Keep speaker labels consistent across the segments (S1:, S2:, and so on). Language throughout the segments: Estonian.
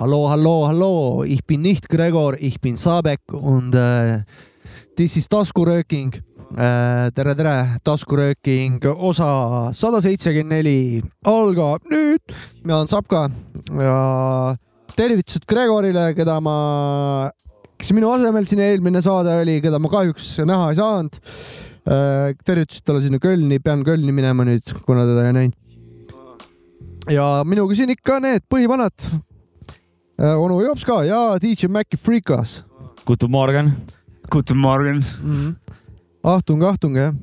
S1: Hallo, hallo, hallo, ich bin nicht Gregor, ich bin Saabek und äh, this is taskurööking äh,. tere, tere, taskurööking osa sada seitsekümmend neli algab nüüd. mina olen Saabka ja tervitused Gregorile, keda ma, kes minu asemel siin eelmine saade oli, keda ma kahjuks näha ei saanud äh,. tervitused talle sinna Kölni, pean Kölni minema nüüd, kuna teda ei näinud. ja minuga siin ikka need põhivanad Äh, onu Jops ka ja DJ Maci Freekas.
S2: Guten Morgen.
S3: Guten Morgen
S1: mm. -hmm. Ahtung, ahtung jah.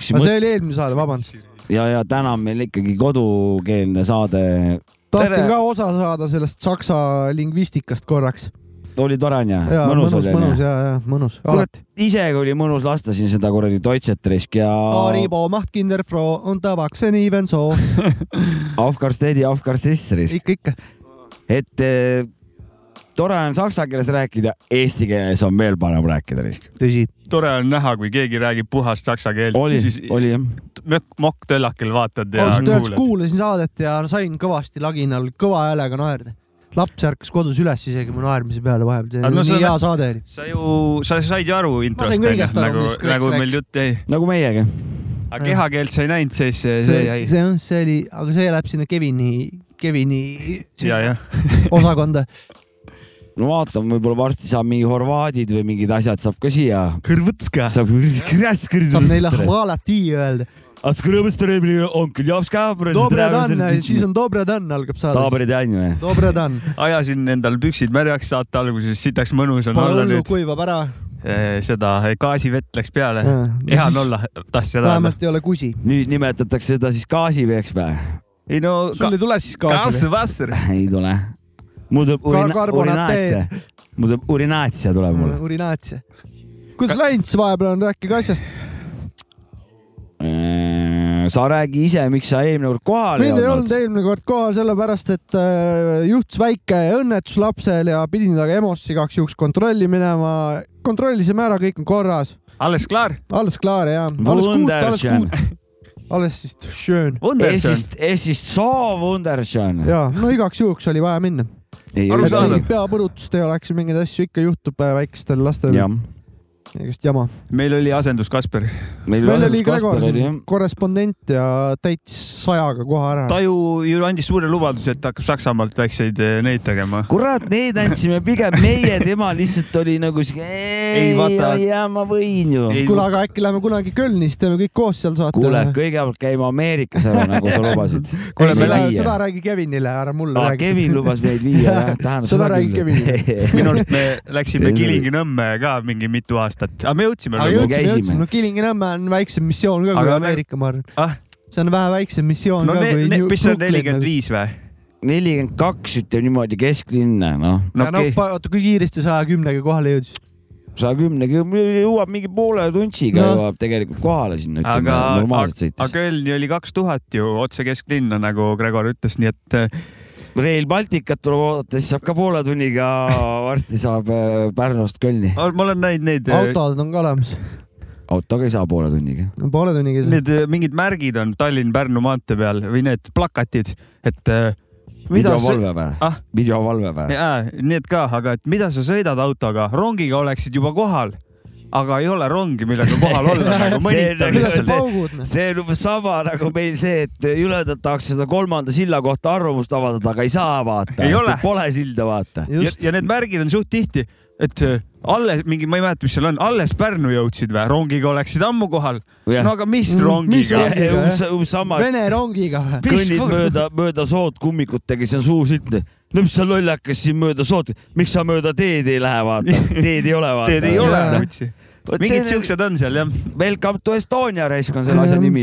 S1: see mõt... oli eelmine saade, vabandust.
S2: ja, ja täna on meil ikkagi kodukeelne saade.
S1: tahtsin Tere. ka osa saada sellest saksa lingvistikast korraks.
S2: oli tore onju?
S1: mõnus, mõnus, mõnus ja, ja mõnus.
S2: kurat, isegi oli mõnus lasta siin seda kuradi Deutschetrisk ja.
S1: Aribo mahtkinder fro und tabakse nii venso
S2: Aufkars teedi, aufkars tistrisk.
S1: ikka, ikka
S2: et eh, tore on saksa keeles rääkida, eesti keeles on veel parem rääkida.
S1: tõsi.
S3: tore on näha, kui keegi räägib puhast saksa keelt.
S2: oli, oli jah.
S3: mokk töllakil vaatad ja
S1: ausalt öeldes kuulasin saadet ja sain kõvasti laginal kõva häälega naerda laps ärkas kodus üles isegi mu naermise peale vahepeal, see oli no, nii hea saade oli.
S3: sa ju, sa said ju aru introst, nagu, nagu meil jutt jäi.
S2: nagu meiegi.
S3: aga kehakeelt sa ei näinud, siis see,
S1: see jäi. see on, see oli, aga see läheb sinna Kevini Kevini
S3: ja, ja.
S1: osakonda.
S2: no vaatame, võib-olla varsti saab mingi horvaadid või mingid asjad saab ka siia.
S1: Kõrvõtska.
S2: saab
S1: kõrvõtska. saab neile hvalati öelda.
S2: A skrõbõstõrõbni onkel Jopska.
S1: Dobre dan, siis on Dobre dan algab saada.
S2: Dobre dan või?
S1: Dobre dan.
S3: ajasin endal püksid märjaks saate alguses, sitaks mõnus on eh,
S1: olla nüüd. kuivab ära.
S3: seda gaasivett läks peale. hea on olla, tahtsin seda.
S1: vähemalt ei ole kusi.
S2: nüüd nimetatakse seda siis gaasiveeks või?
S3: ei no.
S1: sul ei tule siis gaasi?
S3: gaasivasser.
S2: ei tule. mul tuleb urina-, urinaatsia. mul tuleb urinaatsia tuleb mul.
S1: urinaatsia. kuidas läinud siis vahepeal on, rääkige asjast.
S2: sa räägi ise, miks sa eelmine kord kohal
S1: ei olnud. mind ei olnud eelmine kord kohal sellepärast, et äh, juhtus väike õnnetus lapsel ja pidin temaga EMO-sse igaks juhuks kontrolli minema. kontrollisime ära, kõik on korras.
S3: alles klaar?
S1: alles klaar jah. alles kuut, alles kuut alles siis schön.
S2: es ist, es ist so wunderschön.
S1: ja, no igaks juhuks oli vaja minna. peapõrutust ei oleks, mingeid asju ikka juhtub äh, väikestel lastel. igast jama.
S3: meil oli asendus Kasper.
S1: meil, meil oli Gregor, korrespondent ja täitis sajaga koha ära.
S3: ta ju, ju andis suure lubaduse, et hakkab Saksamaalt väikseid eh, neid tegema.
S2: kurat, neid andsime pigem meie, tema lihtsalt oli nagu siuke, ei, ei, ja ma võin ju.
S1: kuule, aga äkki lähme kunagi Kölni, siis teeme kõik koos seal saate.
S2: kuule, kõigepealt käime Ameerikas ära, nagu sa lubasid.
S1: kuule, seda räägi Kevinile, ära mulle
S2: ah, räägi. Kevin lubas meid viia, jah, tähendab.
S1: seda räägi Kevinile.
S3: minu arust me läksime Kilingi-Nõmme ka mingi mitu aastat aastat, aga me jõudsime.
S1: aga jõudsime, jõudsime, no Kilingi-Nõmme on väiksem missioon ka kui Ameerika, ma arvan ah?. see on vähe väiksem missioon
S3: no,
S1: ka
S3: kui. mis see on, nelikümmend viis või?
S2: nelikümmend kaks, ütleme niimoodi, kesklinna, noh.
S1: no oota okay. no,, kui kiiresti saja kümnega kohale jõudis?
S2: saja kümnega, jõuab mingi poole tuntsiga no. jõuab tegelikult kohale sinna, ütleme normaalselt sõites.
S3: aga Kölni oli kaks tuhat ju otse kesklinna, nagu Gregor ütles, nii et eh,
S2: Rail Balticut tuleb oodata, siis saab ka poole tunniga, varsti saab äh, Pärnust Kölni.
S3: ma olen näinud neid. eh,
S1: autod on ka olemas.
S2: autoga ei saa poole tunniga.
S1: poole tunniga ei saa.
S3: Need eh, mingid märgid on Tallinn-Pärnu maantee peal või need plakatid, et eh,
S2: videovalve või ah?? videovalve või?
S3: jaa, need ka, aga et mida sa sõidad autoga, rongiga oleksid juba kohal aga ei ole rongi, millega kohal olla nagu mõnitab.
S2: see on umbes sama nagu meil see, et jüledad tahaks seda kolmanda silla kohta arvamust avaldada, aga ei saa vaata, pole silda vaata.
S3: Ja, ja need märgid on suht tihti, et äh, alles mingi, ma ei mäleta, mis seal on, alles Pärnu jõudsid või, rongiga oleksid ammu kohal. no aga mis rongiga?
S1: Vene rongiga või?
S2: kõnnid mööda, mööda sood kummikutega, siis on suu siltne no mis sa lollakas siin mööda sood, miks sa mööda teed ei lähe vaata, teed ei ole vaata.
S3: teed ei ole, kutsi Võt mingid
S2: nagu-
S3: siuksed Ehm. on seal jah.
S2: Welcome to Estonia raisk on selle asja nimi,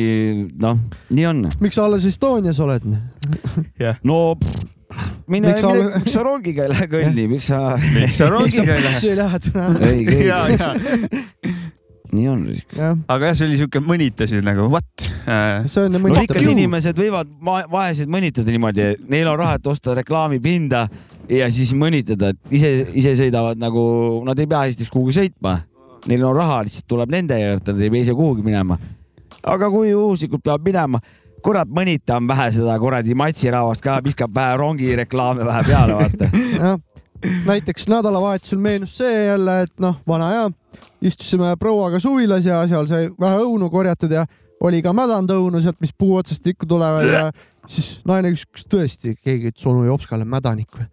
S2: noh, nii on.
S1: miks sa alles Estonias oled
S2: yeah.? no pff, mine, mine, ole... miks sa rongiga ei lähe kõnni, miks sa? nagu
S3: miks sa rongiga ei lähe?
S1: miks sa ei lähe
S2: täna? nii on .
S3: aga jah , see oli siuke mõnitasid nagu what .
S1: see on
S2: no rikkad inimesed võivad ma- vaeseid mõnitada niimoodi , neil on raha , et osta reklaamipinda ja siis mõnitada , et ise , ise sõidavad nagu , nad ei pea esiteks kuhugi sõitma . Neil on raha , lihtsalt tuleb nende juurde , nad ei pea ise kuhugi minema . aga kui juhuslikult peab minema , kurat , mõnita on vähe seda kuradi matsirauast ka , viskab vähe rongireklaame vähe peale , vaata .
S1: jah , näiteks nädalavahetusel meenus see jälle , et noh , vana hea , istusime prouaga suvilas ja seal sai vähe õunu korjatud ja oli ka mädanud õunu sealt , mis puu otsast ikka tulevad ja siis naine küsis , kas tõesti keegi ütles onu Jopskale mädanik või ?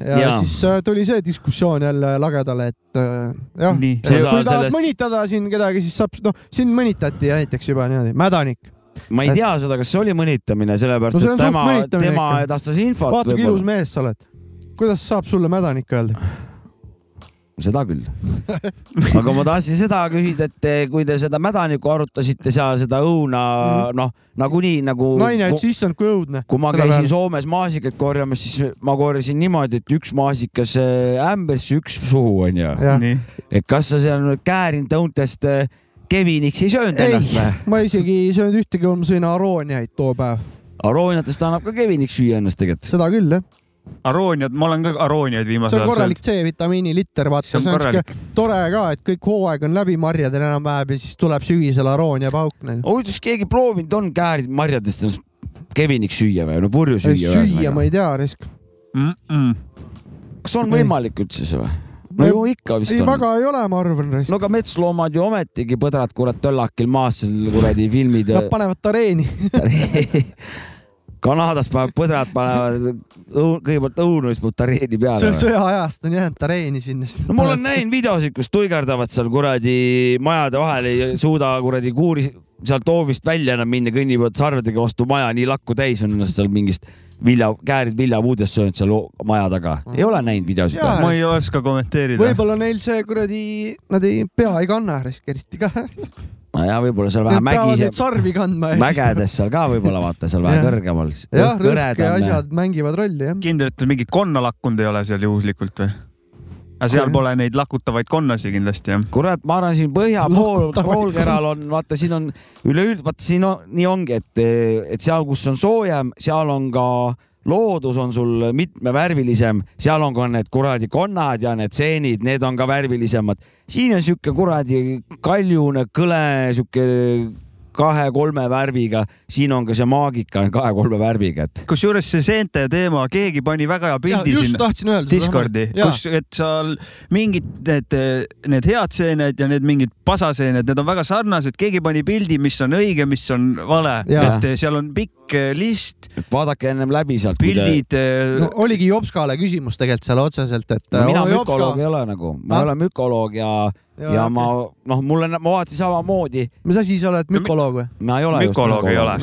S1: ja, ja
S2: Jaa.
S1: siis äh, tuli see diskussioon jälle lagedale , et äh, jah ,
S3: Nii.
S1: kui
S2: See osa
S1: tahad
S2: sellest-
S1: sellest... mõnitada siin kedagi , siis saab , noh , sind mõnitati näiteks juba niimoodi , mädanik .
S2: ma ei tea seda , kas see oli mõnitamine , sellepärast
S1: No see
S2: no,
S1: on
S2: et
S1: suht
S2: tema ,
S1: mõnitamine
S2: tema
S1: ikka.
S2: edastas infot
S1: vaata , kui ilus . mees sa oled . kuidas saab sulle mädanik öelda ?
S2: seda küll . aga ma tahtsin seda küsida , et eh, kui te seda mädanikku arutasite seal , seda õuna
S1: Mhm.
S2: mm. , noh , nagunii nagu .
S1: naine ütles , issand , kui õudne .
S2: kui ma käisin peal. Soomes maasikaid korjamas , siis ma korjasin niimoodi , et üks maasikas eh, ämbrisse , üks suhu onju .
S1: Jah.
S3: nii ,
S2: et kas sa seal nüüd käärinitõuntest eh, keviniks ei söönud
S1: ei
S2: ennast või ?,
S1: ma isegi ei söönud ühtegi , ma sõin arooniaid too päev ,
S2: arooniatest annab ka keviniks süüa ennast tegelikult .
S1: seda küll jah .
S3: arooniad , ma olen ka arooniaid
S1: see
S3: viimasel
S1: on
S3: ajal
S1: korralik . C-vitamiini liter , vaata ,
S3: See
S1: see
S3: on
S1: on
S3: korralik.
S1: siuke tore ka , et kõik hooaeg on läbi marjadel enam-vähem ja siis tuleb sügisel aroonia pauk nagu .
S2: huvitav , kas keegi proovinud on käärid marjadest ennast keviniks süüa või , no purju süüa .
S1: süüa ma ei tea , risk .
S2: kas on
S1: Ei.
S2: võimalik üldse see või ? no ju ikka vist
S1: ei ,
S2: on .
S1: väga ei ole , ma arvan , risk .
S2: no aga metsloomad ju ometigi põdrad , kurat , töllakil maas seal kuradi filmid
S1: Nad panevad tareeni .
S2: Kanadas panevad põdrad , panevad õu- kõigepealt õunu ja siis panevad tareeni
S1: see
S2: peale
S1: on . sõjaajast on jäänud tareeni sinna .
S2: no ma olen . näinud videosid , kus tuigerdavad seal kuradi majade vahel , ei suuda kuradi kuuri sealt hoovist välja enam minna , kõnnivad sarvedega vastu maja , nii lakku täis on ennast seal mingist vilja , käärid viljapuudest söönud seal ho- maja taga . ei ole näinud videosid või ?
S1: Jaa.
S3: Noh, ma ei oska kommenteerida .
S1: võib-olla neil see kuradi , nad ei , pea ei kanna risk eriti ka . Nad
S2: nojah , võib-olla seal vähe
S1: peavad neid
S2: mägis ,
S1: sarvi kandma .
S2: mägedes seal ka võib-olla vaata seal vähe
S1: Jah.
S2: kõrgemal .
S1: jah , rõhk ja . asjad mängivad rolli jah .
S3: kindel , et mingit konna lakkunud ei ole seal juhuslikult või ? aga seal pole neid lakutavaid konnasi kindlasti jah .
S2: kurat , ma arvan , siin põhja
S1: Noh,
S2: pool ,
S1: Lakutavaid
S2: poolkeral on , vaata , siin on üleüld- , vaata siin on , nii ongi , et , et seal , kus on soojem , seal on ka loodus on sul mitmevärvilisem , seal on ka need kuradi konnad ja need seenid , need on ka värvilisemad . siin on sihuke kuradi kaljune , kõle , sihuke kahe-kolme värviga , siin on ka see maagika on kahe-kolme värviga , et
S3: kusjuures see seente teema , keegi pani väga hea
S1: Ja,
S3: pildi
S1: just
S3: sinna
S1: tahtsin öelda .
S3: Discordi , kus , et seal mingid need , need head seened ja need mingid pasaseened , need on väga sarnased , keegi pani pildi , mis on õige , mis on vale ,
S1: Jaa.
S3: et seal on pikk eh, list ,
S2: vaadake ennem läbi sealt .
S3: pildid . eh,
S1: no, . oligi Jopskale küsimus tegelikult seal otseselt , et
S2: no, . mina
S1: "Oo,
S2: mükoloog ei ole nagu , ma
S1: Ah.
S2: ei ole mükoloog ja , ja,
S1: Jaa,
S2: ja
S1: okei.
S2: ma noh , mulle , ma vaatasin samamoodi ,
S1: mis asi sa oled , mükoloog või ?
S2: ma ei ole .
S3: Mükoloog ei ole.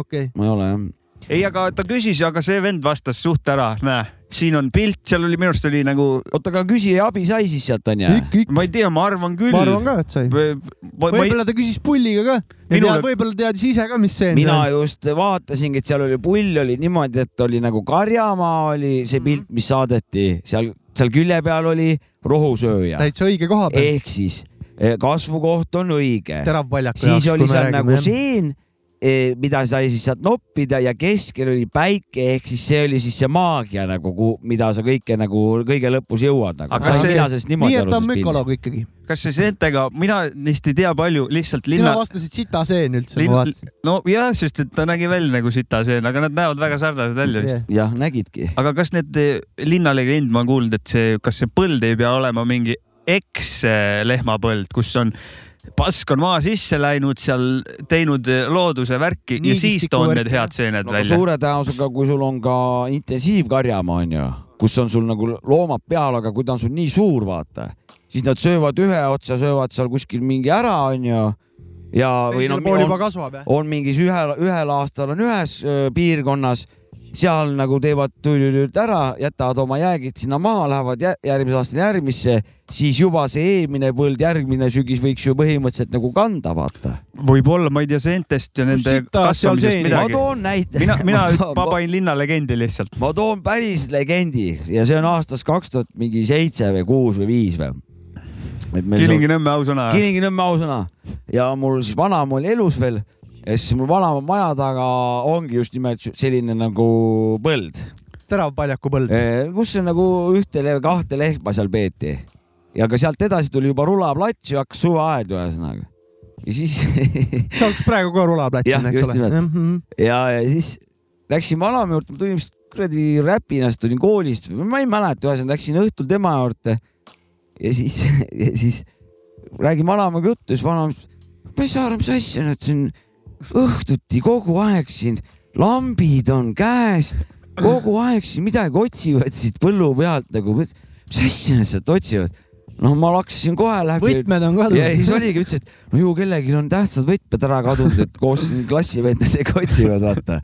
S1: okei ,
S2: ma ei ole jah .
S3: ei , aga ta küsis , aga see vend vastas suht ära , näe , siin on pilt , seal oli minu arust oli nagu ,
S2: oota , aga küsija abi sai siis sealt onju ?
S1: ikka , ikka ,
S3: ma ei tea , ma arvan küll .
S1: ma arvan ka , et sai . võib-olla ta küsis pulliga ka .
S3: Minule-
S1: võib-olla teadis ise ka , mis see on .
S2: mina just vaatasingi , et seal oli pull oli niimoodi , et oli nagu Karjamaa oli see
S1: Mhm.
S2: pilt , mis saadeti seal , seal külje peal oli rohusööja
S1: täitsa õige koha peal ,
S2: ehk siis eh, kasvukoht on õige ,
S1: terav paljak .
S2: siis oli seal nagu . seen eh, mida sai siis sealt noppida ja keskel oli päike , ehk siis see oli siis see maagia nagu , mida sa kõike nagu kõige lõpus jõuad nagu .
S3: Aga kas see-
S2: mina sellest
S1: nii
S2: niimoodi
S1: et ta on
S2: sellest pildist.
S1: mükoloog ikkagi .
S3: kas see seentega , mina neist ei tea palju , lihtsalt
S1: sina
S3: linna ,
S1: vastasid sita seen üldse , ma
S3: linna ,
S1: vaatasin .
S3: nojah , sest et ta nägi välja nagu sitaseen , aga nad näevad väga sarnased välja vist .
S2: jah , nägidki .
S3: aga kas need eh, linnalegend , ma olen kuulnud , et see , kas see põld ei pea olema mingi eks-lehmapõld , kus on pask on maa sisse läinud , seal teinud eh, looduse värki ja siis
S1: Niigistiku
S3: toon
S1: värki,
S3: need head seened
S2: no, aga
S3: välja .
S2: suure tõenäosusega , kui sul on ka intensiivkarjamaa onju , kus on sul nagu loomad peal , aga kui ta on sul nii suur , vaata , siis nad söövad ühe otsa , söövad seal kuskil mingi ära onju ja , või noh ,
S1: pool juba
S2: on,
S1: kasvab jah .
S2: on mingis ühel , ühel aastal on ühes öö, piirkonnas , seal nagu teevad tüüd ära , jätavad oma jäägid sinna maha , lähevad jä- järgmise aasta järgmisse , siis juba see eelmine põld , järgmine sügis võiks ju põhimõtteliselt nagu kanda , vaata .
S3: võib-olla , ma ei tea seentest ja nende
S1: Sita, seal
S3: kasvamisest
S1: seeni.
S2: ma
S3: midagi .
S2: toon näite .
S3: mina , mina ma panin linnalegendi lihtsalt .
S2: ma toon päris legendi ja see on aastast kaks tuhat mingi seitse või kuus või viis või .
S3: Kilingi-Nõmme ausõna.
S2: Kilingi-Nõmme ausõna ja mul siis vanaema oli elus veel ja siis mul vanaema maja taga ongi just nimelt selline nagu põld ,
S1: teravpaljaku põld .
S2: kus nagu ühte le- , kahte lehma seal peeti ja ka sealt edasi tuli juba rulaplats ja hakkas suveaed ühesõnaga . ja siis
S1: see oleks praegu ka rulaplats
S2: Jah,
S1: on , eks
S2: just
S1: ole Mhm,
S2: nimelt. . ja , ja siis läksin vanaema juurde , ma tulin vist kuradi räpinast tulin koolist , ma ei mäleta , ühesõnaga läksin õhtul tema juurde ja siis , ja siis räägin vanaemaga juttu , siis vanaema ütles , ma ei saa aru , mis asja nüüd siin õhtuti kogu aeg siin lambid on käes , kogu aeg siin midagi otsivad siit põllu pealt nagu , mis asja nad sealt otsivad ? no ma laksasin kohe läbi
S1: võtmed on
S2: ja siis
S1: kadunud .
S2: oligi , ütles , et no ju kellelgi on tähtsad võtmed ära kadunud , et koos siin klassivendadega otsivad , vaata .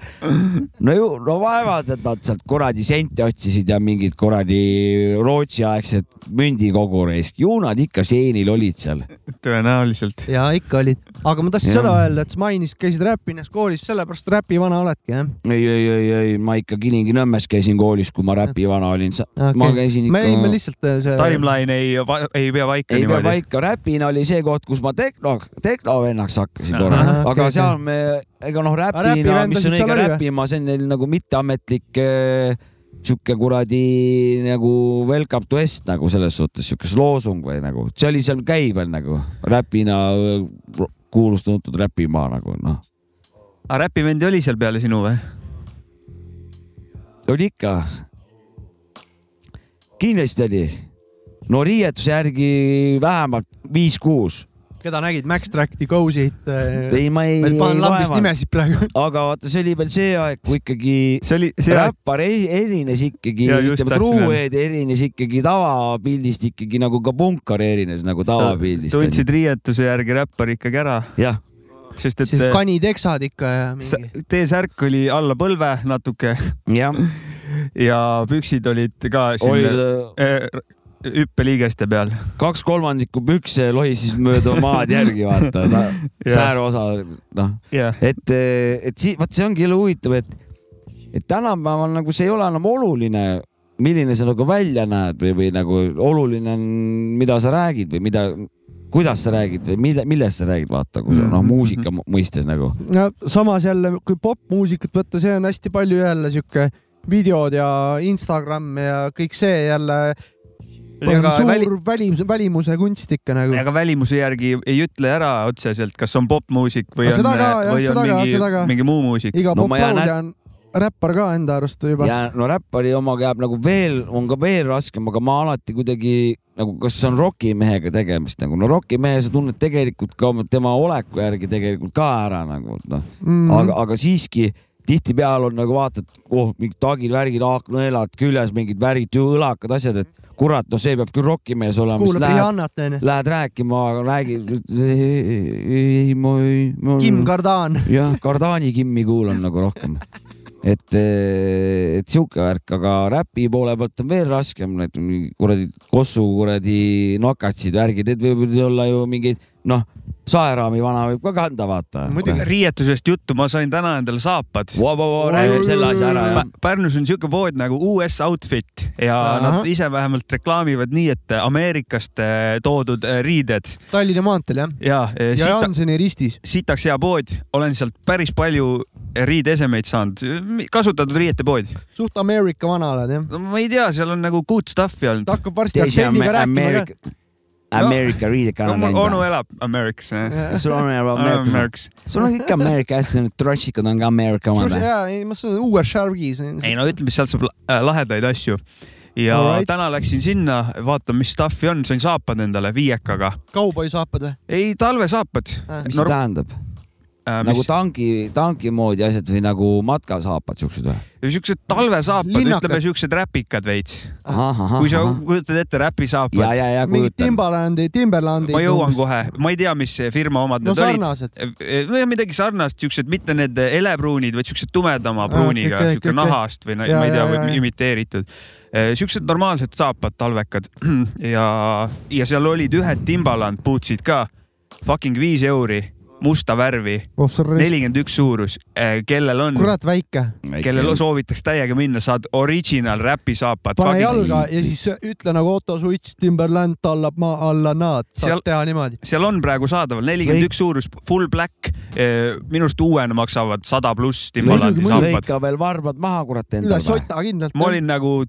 S2: no ju , no vaevalt , et nad sealt kuradi sente otsisid ja mingid kuradi Rootsi-aegset mündikogu reis , ju nad ikka seenil olid seal .
S3: tõenäoliselt .
S1: ja ikka olid , aga ma tahtsin
S2: Jah.
S1: seda öelda , et sa mainisid , käisid räpinas koolis , sellepärast räpivana oledki jah
S2: ei , ei , ei , ei , ma ikka Kilingi-Nõmmes käisin koolis , kui ma räpivana olin okay. . ma
S1: okay. ?
S2: käisin
S1: me ei , me
S2: ikka ,
S1: lihtsalt äh, see ,
S3: Timeline ei , ei pea
S2: ei
S3: paika
S2: pea
S3: niimoodi .
S2: paika , räpina oli see koht , kus ma tekno , teknovennaks hakkasin korra
S1: Ahah, , okei,
S2: aga
S1: okei.
S2: seal me , ega noh , räpina ,
S1: räpivendasid
S2: mis on
S1: seal
S2: õige
S1: oli või?
S2: räpima , see on neil nagu mitteametlik eh, sihuke kuradi nagu welcome to Est nagu selles suhtes , sihuke loosung või nagu , see oli seal käivel nagu räpina eh, kuulus tuntud räpimaa nagu noh ,
S3: aga räpivendi Ah, oli seal peale sinu või ?
S2: oli ikka . kindlasti oli , no riietuse järgi vähemalt viis-kuus ,
S1: keda nägid , Max Tracti , Go-sid äh, ,
S2: ei ma ei .
S1: ma panen lambist nimesid praegu .
S2: aga vaata , see oli veel see aeg , kui ikkagi
S3: see oli , see oli ,
S2: räppar ei- erines ikkagi ,
S3: Jaa, just
S2: ütleme
S3: tahtsin öelda.
S2: truuhead erines ikkagi tavapildist ikkagi nagu ka punkar erines nagu tavapildist .
S3: tundsid riietuse järgi räppari ikkagi ära ,
S2: jah ,
S3: sest et äh,
S1: kaniteksad ikka ja
S3: sa-
S1: mingi .
S3: T-särk oli alla põlve natuke
S2: jah ,
S3: ja püksid olid ka
S2: oli
S3: siin äh, hüppeliigeste peal .
S2: kaks kolmandikku pükse lohises mööda maad järgi , vaata ta,
S3: Jah.
S2: säärosa , noh ,
S3: jah ,
S2: et , et si- , vot see ongi jälle huvitav , et , et tänapäeval nagu see ei ole enam oluline , milline sa nagu välja näed või , või nagu oluline on , mida sa räägid või mida , kuidas sa räägid või mille , millest sa räägid , vaata , kui sa noh , muusika mu- mõistes nagu .
S1: no samas jälle , kui popmuusikat võtta , see on hästi palju jälle sihuke videod ja Instagram ja kõik see jälle on
S3: ega
S1: suur
S3: väli-
S1: väli... , välimuse , välimuse kunst ikka nagu .
S3: ega välimuse järgi ei ütle ära otseselt , kas on popmuusik või
S1: Aga
S3: on
S1: seda , ka, jah,
S3: või on
S1: seda ka, seda
S3: mingi
S1: ka. ,
S3: mingi muu muusik .
S1: iga
S2: no
S1: no,
S2: ma jään
S1: poplaulja on räppar ka enda arust juba .
S2: ja no räppari omaga jääb nagu veel , on ka veel raskem , aga ma alati kuidagi nagu , kas on rokimehega tegemist nagu , no rokimehe sa tunned tegelikult ka oma- tema oleku järgi tegelikult ka ära nagu noh .
S1: Mm.
S2: aga , aga siiski tihtipeale on nagu vaatad , oh , mingid tagid , värgid , haaknõelad küljes , mingid värgid , õlakad , asjad , et kurat , no see peab küll rokimees olema , siis
S1: kuulab
S2: lähed ,
S1: Rihannat onju .
S2: lähed rääkima , räägid , ei , ei , ei , ma ei ma... .
S1: Kim Kardan .
S2: jah , Kardani Kimmi kuulan nagu rohkem . et , et sihuke värk , aga räpi poole pealt on veel raskem , need mingi kuradi kossu kuradi nokatsid , värgid , need võivad olla ju mingid , noh , saeraami vana võib ka kanda , vaata .
S1: Muidugi.
S3: riietusest juttu , ma sain täna endale saapad .
S2: vau , vau , vau , räägime selle asja ära , jah .
S3: Pärnus on siuke pood nagu US Outfit ja Aha.
S1: Ahah.
S3: nad ise vähemalt reklaamivad nii , et äh, Ameerikast eh, toodud eh, riided
S1: Tallinna maanteel jah ?
S3: ja, eh,
S1: ja
S3: sita,
S1: Janseni ristis .
S3: sitaks hea pood , olen sealt päris palju äh, riideesemeid saanud , kasutatud riietepood .
S1: suht Ameerika vana oled jah ?
S3: ma ei tea , seal on nagu good stuff'i olnud
S1: ta . hakkab varsti
S2: teise
S1: aktsendiga
S2: Ameerika ,
S1: rääkima ka .
S2: Ameerika , Ameerika riidekana
S3: no mul onu
S2: näinud .
S3: elab Ameerikas .
S2: sul on Ameerika ,
S3: Ameerikas .
S2: sul on ikka Ameerika asjad , need trotsikud on ka Ameerika omad või ?
S1: jaa , ei ma saan , uue Shargis .
S3: ei no ütleme , sealt saab la- äh, lahedaid asju . ja
S1: Alright.
S3: Alright. täna läksin sinna , vaatan , mis stuff'i on , sain saapad endale viiekaga .
S1: kauboisaapad või ?
S3: ei , talvesaapad
S1: Ah.
S2: mis see
S3: Nor-
S2: tähendab ?
S3: äh,
S2: nagu
S3: mis-
S2: tanki , tanki moodi asjad või nagu matkasaapad , siuksed või ?
S3: siuksed talvesaapad ,
S1: Linnakad.
S3: ütleme siuksed räpikad veits . Ah, kui sa kujutad ette räpisaapad ,
S2: ja , ja , ja
S1: mingid
S2: kujutan .
S1: Timbalandi , Timberlandi .
S3: ma jõuan kohe , ma ei tea , mis firma omad
S1: no
S3: need olid .
S1: sarnased .
S3: või midagi sarnast , siuksed , mitte need elepruunid , vaid siuksed tumedama
S1: Ah,
S3: pruuniga ,
S1: kõik-
S3: siuke
S1: kõik-
S3: nahast või na-
S1: Jaa,
S3: ma ei tea
S1: jaa, , jaa.
S3: või imiteeritud . Siuksed normaalsed saapad , talvekad ja , ja seal olid ühed Timbaland bootsid ka , fucking viis euri musta värvi ,
S1: oh sa raisk ,
S3: nelikümmend üks suurus , kellel on ,
S1: kurat väike .
S3: kellel soovitaks täiega minna , saad original räpi saapad .
S1: pane jalga ja siis ütle nagu Otto Suits , Timberland tallab maa alla nad , saab
S3: Seal-
S1: Seal... teha niimoodi .
S3: seal on praegu saadaval nelikümmend üks suurus , full black , minust uuena maksavad sada pluss Timbalandi
S1: Muidugi, muidugi.
S3: saapad .
S2: lõika veel varbad maha , kurat
S1: üle
S2: endal .
S1: sota kindlalt .
S3: ma olin nagu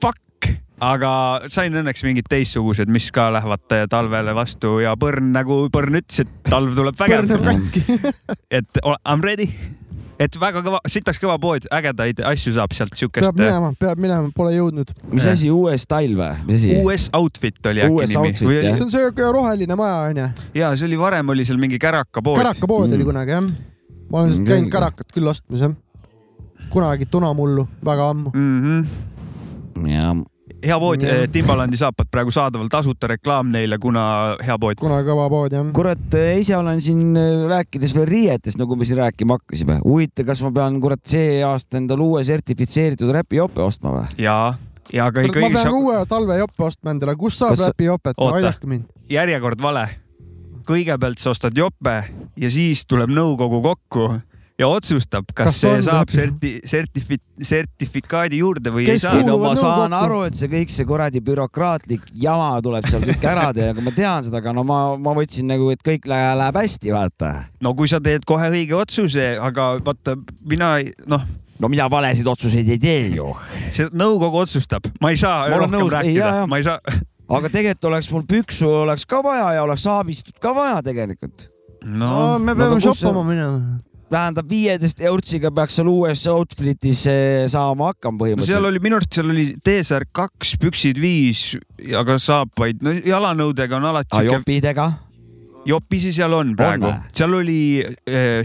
S3: fuck , aga sain õnneks mingid teistsugused , mis ka lähevad eh, talvele vastu ja Põrn nagu Põrn ütles , et talv tuleb vägev ,
S1: põrnab katki .
S3: et o- I m ready . et väga kõva , sitaks kõva pood , ägedaid asju saab sealt
S1: peab
S2: eh?
S3: siukest .
S1: minema , peab minema , pole jõudnud .
S2: mis asi , US Style või , mis asi ?
S3: US eh, Outfit oli äkki
S2: US
S3: nimi
S2: Outfit,
S3: või
S2: jah.
S3: oli
S1: see on see roheline maja onju .
S3: ja see oli varem oli seal mingi kärakapood .
S1: kärakapood
S2: Mm.
S1: oli kunagi jah . ma olen
S2: Mm,
S1: sealt käinud
S2: küll.
S1: kärakat küll ostmas jah . kunagi tunamullu , väga ammu .
S3: Mm -hmm.
S2: ja
S3: hea pood eh,
S1: Jah. ,
S3: Timbalandi saapad praegu saadaval , tasuta reklaam neile , kuna hea pood .
S1: kunagi kõva pood jah .
S2: Mm. kurat , ise olen siin äh, rääkides veel riietest , nagu me siin rääkima hakkasime . huvitav , kas ma pean kurat see aasta endale uue sertifitseeritud räpijope ostma või ?
S3: ja , ja aga
S1: ma
S3: ikkagi
S1: pean
S3: sa...
S1: sa... uue talvejope ostma endale , kus saab
S2: Kas sa-
S1: räpijopet ,
S3: Oota.
S1: aidake mind .
S3: järjekord vale . kõigepealt sa ostad jope ja siis tuleb nõukogu kokku ja otsustab , kas,
S1: Kas
S3: kas see
S1: on
S3: saab
S1: läbi-
S3: serti- , sertifi- , sertifikaadi juurde või
S1: Kes
S3: Kes ei
S2: ei
S3: saa .
S2: no
S1: Kuuluvad
S2: ma
S1: nõukokku.
S2: saan aru , et see kõik see kuradi bürokraatlik jama tuleb seal kõik ära teha , aga ma tean seda , aga no ma , ma võtsin nagu , et kõik läheb, läheb hästi , vaata .
S3: no kui sa teed kohe õige otsuse , aga vaata , mina , noh ,
S2: no mina valesid otsuseid ei tee ju .
S3: see nõukogu otsustab , ma ei saa
S2: Ma olen
S3: rohkem
S2: nõus.
S3: nõus.
S2: Ei, jaa,
S3: rääkida
S2: jaa. ,
S3: ma ei saa .
S2: aga tegelikult oleks mul püksu oleks ka vaja ja oleks saabistut ka vaja tegelikult .
S3: no
S2: no
S1: me peame
S2: aga kus
S1: shoppama minema .
S2: tähendab , viieteist eurtsiga peaks seal uues outfit'is eh, saama hakkama
S3: no seal
S2: põhimõtteliselt .
S3: oli minu arust , seal oli T-särk kaks , püksid viis , aga saab vaid , no jalanõudega on alati
S2: aga
S3: siuke ,
S2: jopidega ?
S3: jopisi seal on praegu
S2: vä? ,
S3: seal oli ,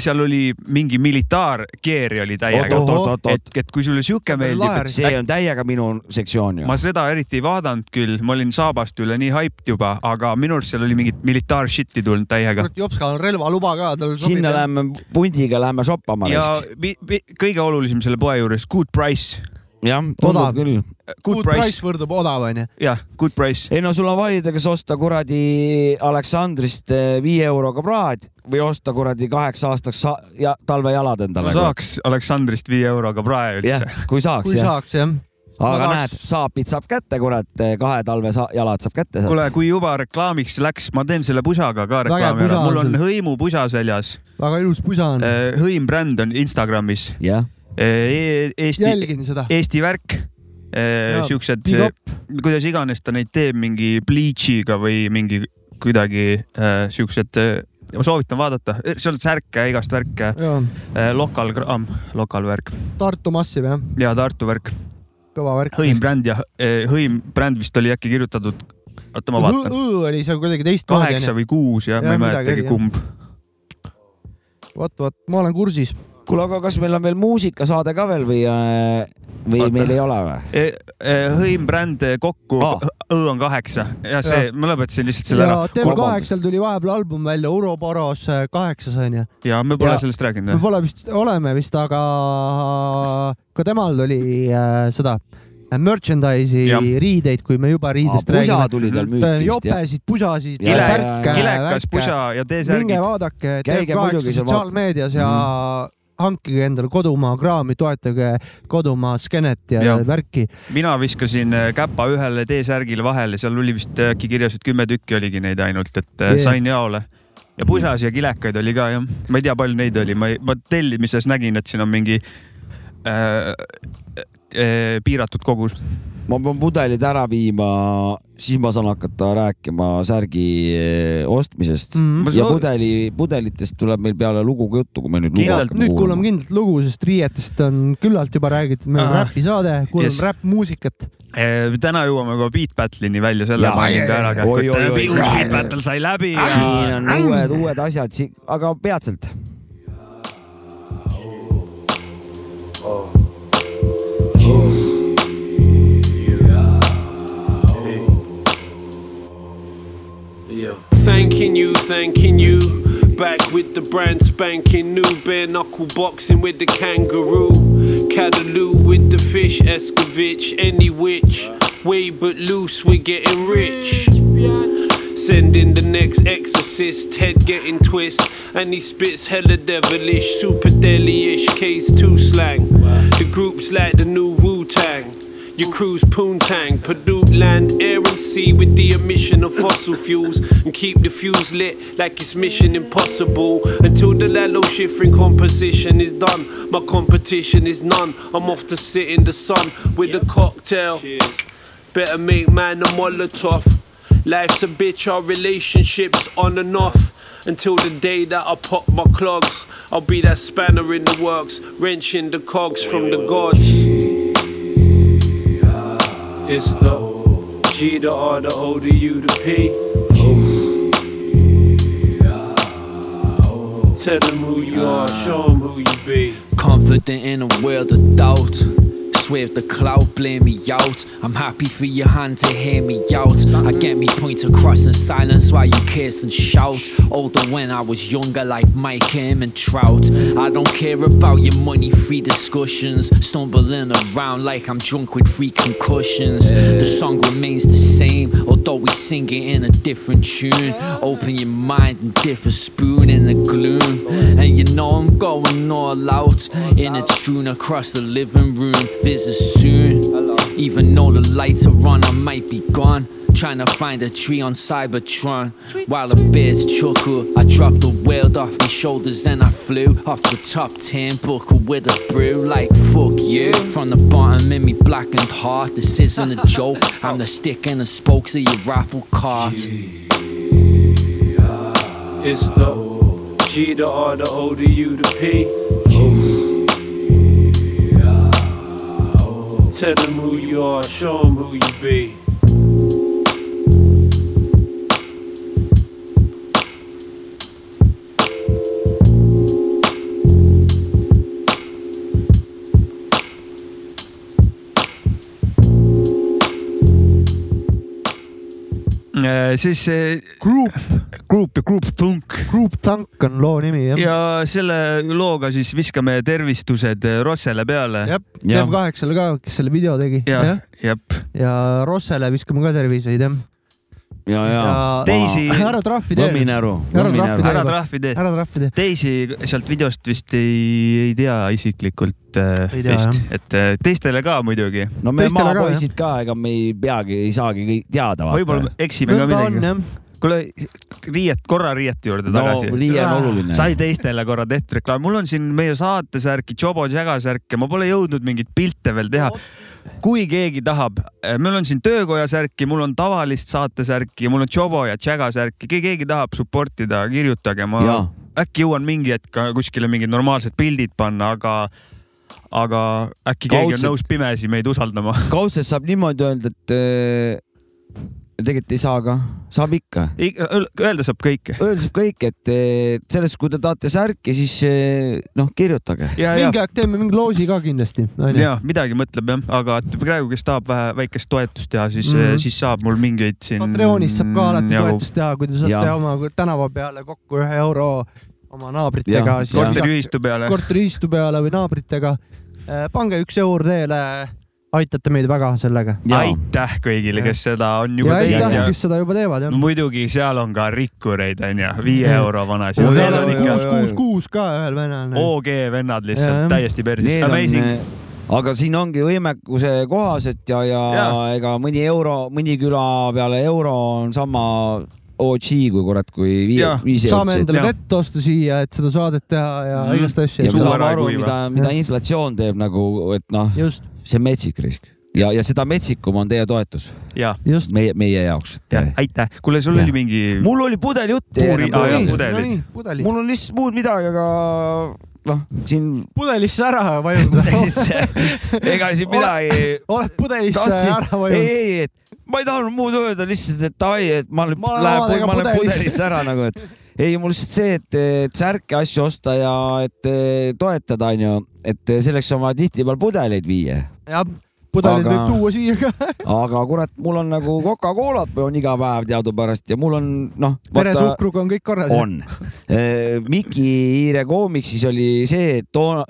S3: seal oli mingi militaarkeeri oli täiega
S1: Oot, oot, .
S3: et , et kui sulle siuke meeldib ,
S1: Laer.
S3: et
S2: see on täiega minu sektsioon ju
S3: ma . seda eriti ei vaadanud küll , ma olin saabast üle nii hyped juba , aga minu arust seal oli mingit militaar shit'i tulnud täiega .
S1: kurat , Jopskal on relvaluba ka , tal
S2: sinna
S1: sobib .
S2: läheme pundiga , läheme shoppama .
S3: ja mi- mi- kõige olulisem selle poe juures , good price ,
S2: jah ,
S1: Odav.
S2: tundub küll .
S3: good price ,
S1: võrdub odav onju .
S3: jah , good price .
S2: ei no sul on valida , kas osta kuradi Aleksandrist eh, viie euroga praad või osta kuradi kaheks aastaks sa- ja talvejalad
S3: ma
S2: endale .
S3: saaks Aleksandrist viie euroga prae
S2: nagu- jah
S3: üldse .,
S2: kui saaks
S1: kui
S2: jah .
S1: saaks jah .
S2: aga
S1: ma
S2: näed
S1: tahaks- ,
S2: saapid saab kätte , kurat , kahe talve sa- jalad saab kätte .
S3: kuule , kui juba reklaamiks läks , ma teen selle pusaga ka
S1: Väga
S3: reklaami
S1: pusa
S3: ära ,
S1: on
S3: mul on
S1: sul.
S3: hõimu pusa seljas .
S1: väga ilus pusa on .
S2: Äh,
S3: hõim bränd on Instagramis
S2: jah ,
S3: E- Eesti ,
S1: jälgin seda .
S3: Eesti värk . siuksed ,
S1: big up .
S3: kuidas iganes ta neid teeb , mingi bleach'iga või mingi kuidagi eh, siuksed , ma soovitan vaadata , seal on särke , igast värke ,
S2: E-
S3: Äh, lokalgramm , lokalvärk
S1: Tartu Massiv jah ,
S3: ja Tartu värk ,
S1: kõva värk .
S3: hõim bränd ja eh, hõim bränd vist oli äkki kirjutatud , oota ma vaatan ,
S1: Õ oli seal kuidagi teistmoodi
S3: kaheksa
S1: onju .
S3: või kuus jah , ma
S1: Jah,
S3: ei
S1: midagi
S3: mäletagi
S1: oli, jah.
S3: kumb .
S1: vot , vot , ma olen kursis .
S2: kuule , aga kas meil on veel muusikasaade ka veel või , või
S3: Oota.
S2: meil ei ole või ?
S3: E- e- hõimbränd kokku
S2: Aa.
S3: ah. , Õ on kaheksa ja see , ma lõpetasin lihtsalt selle
S1: ja
S3: ära
S1: TV8-l tuli vahepeal album välja , Uroboros äh, kaheksas onju .
S3: ja me pole ja.
S1: Ja-
S3: sellest
S1: me
S3: rääkinud .
S1: pole vist , oleme vist , aga ka temal tuli äh, seda äh, merchandise'i
S3: Jah.
S1: riideid , kui me juba riidest
S2: pusa
S1: räägime .
S2: tuli tal müüki
S1: Ta on
S2: vist jah .
S1: jopesid , pusasid ,
S2: Kile-
S1: särke ,
S3: kilekas
S1: värke .
S3: pusa ja
S1: minge
S3: T-särgid .
S1: vaadake
S2: Käige
S1: TV8
S2: muidugi, see vaat- Mhm.
S1: sotsiaalmeedias ja hankige endale kodumaa kraami , toetage kodumaa skeenet ja, ja
S3: Jah.
S1: värki .
S3: mina viskasin äh, käpa ühele T-särgile vahele , seal oli vist e, äkki kirjas , et kümme tükki oligi neid ainult , et
S1: Jee.
S3: yeah. sain jaole . ja pusas ja kilekaid oli ka jah , ma ei tea , palju neid oli , ma ei , ma tellimises nägin , et siin on mingi äh, äh, piiratud kogus .
S2: ma pean pudelid ära viima , siis ma saan hakata rääkima särgi eh, ostmisest mm. .
S3: Mhm.
S2: ja pudeli , pudelitest tuleb meil peale lugu ka juttu , kui me nüüd lugu
S3: Kindlalt.
S2: hakkame
S1: nüüd kuulame . kindlalt lugu , sest riietest on küllalt juba räägitud , meil on
S3: Ah.
S1: räpisaade , kuulame
S3: Yes.
S1: yes. räppmuusikat .
S3: Eh, täna jõuame ka Beat Battle'ini välja , selle
S2: Jaa,
S3: ma olin ka ära
S2: jaa, jaa. Oi, oi,
S3: käinud
S2: oi. .
S3: Beat Battle sai läbi
S2: siin
S3: ja
S2: on uued , uued asjad , aga peatselt .
S4: Thanking you, thanking you. Back with the brand spanking new bare knuckle boxing with the kangaroo. Cadaloo with the fish, Escovitch, any witch. Way but loose, we're getting rich. Send in the next exorcist, head getting twist. And he spits hella devilish, super deli-ish, case two slang. The group's like the new Wu Tang. You cruise Poontang, Purdue land, air and sea with the emission of fossil fuels and keep the fuse lit like it's mission impossible until the Lalo shift in composition is done. My competition is none. I'm off to sit in the sun with a cocktail. Better make man a Molotov. Life's a bitch, our relationships on and off. Until the day that I pop my clogs, I'll be that spanner in the works, wrenching the cogs from the gods. It's the G, the R, the O, the U, the P. Tell them who you are, show them who you be.
S5: Confident in a world of doubt. Swift the cloud, blare me out. I'm happy for your hand to hear me out. I get me point across in silence while you kiss and shout. Older when I was younger, like Mike Kim and Trout. I don't care about your money free discussions. Stumbling around like I'm drunk with free concussions. The song remains the same, although we sing it in a different tune. Open your mind and dip a spoon in the gloom. And you know I'm going all out in a tune across the living room. Visit soon. Even though the lights are on, I might be gone. Trying to find a tree on Cybertron. While the bears chuckle, I dropped the world off my shoulders and I flew off the top 10 buckle with a brew. Like, fuck you. From the bottom in me blackened heart, this isn't a joke. I'm the stick and the spokes of your apple cart.
S4: It's the G, the R, the O, the U, the P. Tell them who you are, show them who you be.
S3: siis eh,
S1: Group ,
S3: Group ja Group Thunk
S1: Group Tank on loo nimi jah ja. ?
S3: ja selle looga siis viskame tervistused eh, Rossele peale .
S1: jah ,
S2: jah.
S1: Dev8-le ka , kes selle video tegi .
S3: jah , jep .
S1: ja Rossele viskame ka terviseid jah .
S2: ja , ja, ja. .
S3: teisi-
S1: ära trahvi tee ,
S2: Võmminäru ,
S1: Ära trahvi
S2: Võmminäru .
S3: ära
S1: juba.
S3: trahvi tee .
S1: ära trahvi tee .
S3: teisi sealt videost vist ei , ei tea isiklikult äh,
S1: Ei tea,
S3: vist , et äh, teistele ka muidugi ,
S2: no me
S1: Teistele ka,
S2: maapoisid ka , ega me ei peagi , ei saagi kõik teada .
S3: võib-olla eksime ka
S1: nõnda on
S3: midagi .
S1: jah .
S3: kuule , riiet , korra riiete juurde
S2: no
S3: tagasi no, .
S2: Riie on oluline .
S3: sai teistele korra tehtud reklaam , mul on siin meie saatesärki , Jobo Jaga särke , ma pole jõudnud mingeid pilte veel teha . kui keegi tahab , mul on siin töökoja särki , mul on tavalist saatesärki , mul on Jobo ja Jaga särki , kui keegi tahab support ida , kirjutage , ma
S2: ja ,
S3: äkki jõuan mingi hetk ka kuskile mingid normaalsed pildid panna , aga , aga äkki keegi on
S2: Kaudselt-
S3: nõus pimesi meid usaldama .
S2: kaudselt saab niimoodi öelda , et äh, tegelikult ei saa ka , saab ikka .
S3: Öelda saab kõike .
S2: Öeldes kõik , et äh, sellest , kui te tahate särki , siis äh, noh , kirjutage .
S3: ja , ja ,
S1: mingi aeg teeme mingi loosi ka kindlasti , onju .
S3: ja midagi mõtleb jah , aga et praegu , kes tahab vähe väikest toetust teha , siis mm ,
S1: Mhm.
S3: -hmm. siis saab mul mingeid siin .
S1: Patreonis saab ka alati toetust teha , kui te
S2: Ja.
S1: saate oma tänava peale kokku ühe euro oma naabritega
S2: Ja. .
S3: korteriühistu peale .
S1: korteriühistu peale või naabritega . pange üks eur teele , aitate meid väga sellega .
S3: aitäh kõigile , kes seda on
S1: ja
S3: juba teinud
S1: aitäh
S3: ja ,
S1: kes seda juba teevad jah .
S3: muidugi seal on ka rikkureid onju , viie
S1: Mhm.
S3: euro vanas .
S2: Oi,
S1: seal
S2: oi,
S1: oli
S2: oi,
S1: kuus ,
S2: oi,
S1: kuus
S2: oi. ,
S1: kuus ka ühel noh. venelane .
S3: OG vennad
S1: Jah.
S3: lihtsalt täiesti persis ,
S2: Need
S3: amazing .
S2: on , äh, aga siin ongi võimekuse kohaselt ja , ja, ja.
S3: Jaa.
S2: ega mõni euro , mõni küla peale euro on sama OG kui kurat , kui viie
S3: Jaa. ,
S2: viis
S1: saame
S2: eurot .
S1: endale
S3: jah.
S1: vett osta siia , et seda saadet teha ja
S3: Mhm.
S1: igast asju
S2: Mm. ja me
S3: suur
S1: teha .
S2: saame
S3: ära ei
S2: aru ,
S3: kuiva.
S2: mida , mida inflatsioon teeb nagu , et noh ,
S1: just ,
S2: see on metsik risk ja , ja seda metsikum on teie toetus
S3: ja ,
S1: just .
S2: meie , meie jaoks .
S3: ja aitäh . kuule , sul
S2: Jah.
S3: oli mingi .
S2: mul oli pudeljutt .
S3: Puuri- aa, jah, pudelid.
S1: pudelid .
S2: nagu, mul on lihtsalt muud midagi , aga noh , siin
S1: pudelisse ära vajuda .
S2: ega siin midagi .
S1: oled pudelisse
S2: tahtsin ,
S1: ära
S2: ei ,
S1: vajunud .
S2: ei , et ma ei tahtnud muud öelda , lihtsalt , et ai , et ma nüüd
S1: Ma olen
S2: lähen ,
S1: omadega
S2: ma lähen
S1: pudelis.
S2: pudelisse ära nagu , et ei , mul lihtsalt see , et , et särke asju osta ja et eh, toetada , onju , et eh, selleks on vaja tihtipeale pudeleid viia .
S1: jah , pudelid
S2: Aga-
S1: võib tuua siia ka .
S2: aga kurat , mul on nagu Coca-Colat on iga päev teadupärast ja mul on noh , vaata ,
S1: veresuhkruga on kõik korras .
S2: on . Miki Hiire koomiksis oli see , et toona ,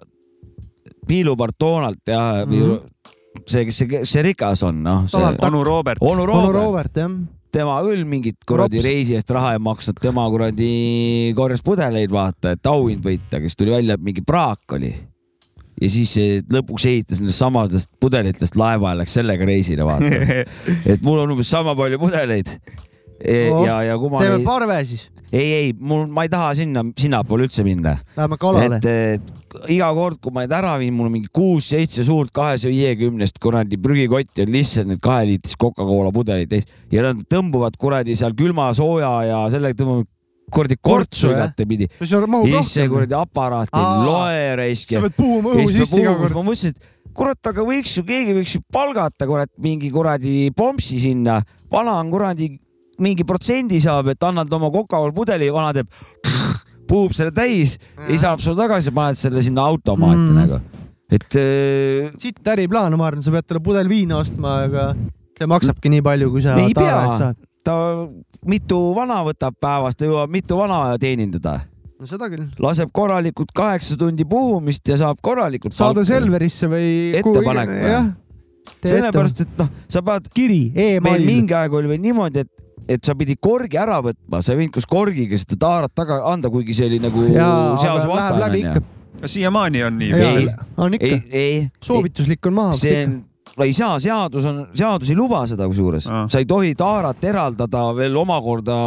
S2: piilupart Donald ja mm ,
S1: Mhm.
S2: -hmm. see , kes see , see rikas on , noh , see
S1: Donald Tuck.
S3: onu Robert .
S2: onu
S1: onu
S2: Robert
S1: Robert jah .
S2: tema küll mingit kuradi
S1: Props.
S2: reisi eest raha ei maksnud , tema kuradi korjas pudeleid , vaata , et auhind võita , kes tuli välja , et mingi praak oli . ja siis eh, lõpuks ehitas nendest samadest pudelitest laeva ja läks sellega reisile , vaata . et mul on umbes sama palju pudeleid .
S1: Oh,
S2: ja , ja kui ma
S1: teeme
S2: ei ,
S1: parve siis ,
S2: ei , ei , mul , ma ei taha sinna , sinnapoole üldse minna
S1: läheme kalale .
S2: et, et iga kord , kui ma need ära viin , mul on mingi kuus-seitse suurt kahesaja viiekümnest kuradi prügikotti on lihtsalt need kaheliitrist Coca-Cola pudelid täis ja nad tõmbuvad kuradi seal külma , sooja ja sellega tõmbavad kuradi
S1: Kortsu,
S2: kortsu
S1: jah?
S2: igatepidi .
S1: sul mahub
S2: ja siis see
S1: rohkem .
S2: kuradi aparaat
S1: Aa,
S2: ei loe raisk .
S1: sa pead puhuma õhu sisse iga kord .
S2: ma mõtlesin , et kurat , aga võiks ju , keegi võiks ju palgata kurat mingi kuradi pompsi sinna , vana on kuradi , mingi protsendi saab , et annad oma Coca-Cola pudeli , vana teeb , puhub selle täis , lisab sulle tagasi , paned selle sinna automaati
S1: Mm.
S2: mm. nagu , et äh, öö,
S1: sitt äriplaan , ma arvan , sa pead talle pudel viina ostma , aga see maksabki nii palju , kui sa
S2: Ei pea.
S1: taeva eest saad .
S2: ta mitu vana võtab päevas , ta jõuab mitu vana teenindada ,
S1: no seda küll .
S2: laseb korralikult kaheksa tundi puhumist ja saab korralikult .
S1: saada . Selverisse või .
S2: Ettepanek või?
S1: jah .
S2: sellepärast , et noh , sa pead
S1: kiri
S2: meil
S1: e-mail .
S2: mingi aeg oli veel niimoodi , et , et sa pidid korgi ära võtma , sa ei võinud koos korgiga seda taarat taga anda , kuigi see oli nagu
S1: Jaa,
S2: seaduse
S1: aga läheb läbi
S2: vastane
S1: ikka.
S2: onju .
S3: siiamaani on nii .
S2: Ei,
S1: on ikka
S2: ei , ei ,
S1: soovituslik on maha .
S2: see on , no ei saa , seadus on , seadus ei luba seda kusjuures
S3: Aa. ,
S2: sa ei tohi taarat eraldada veel omakorda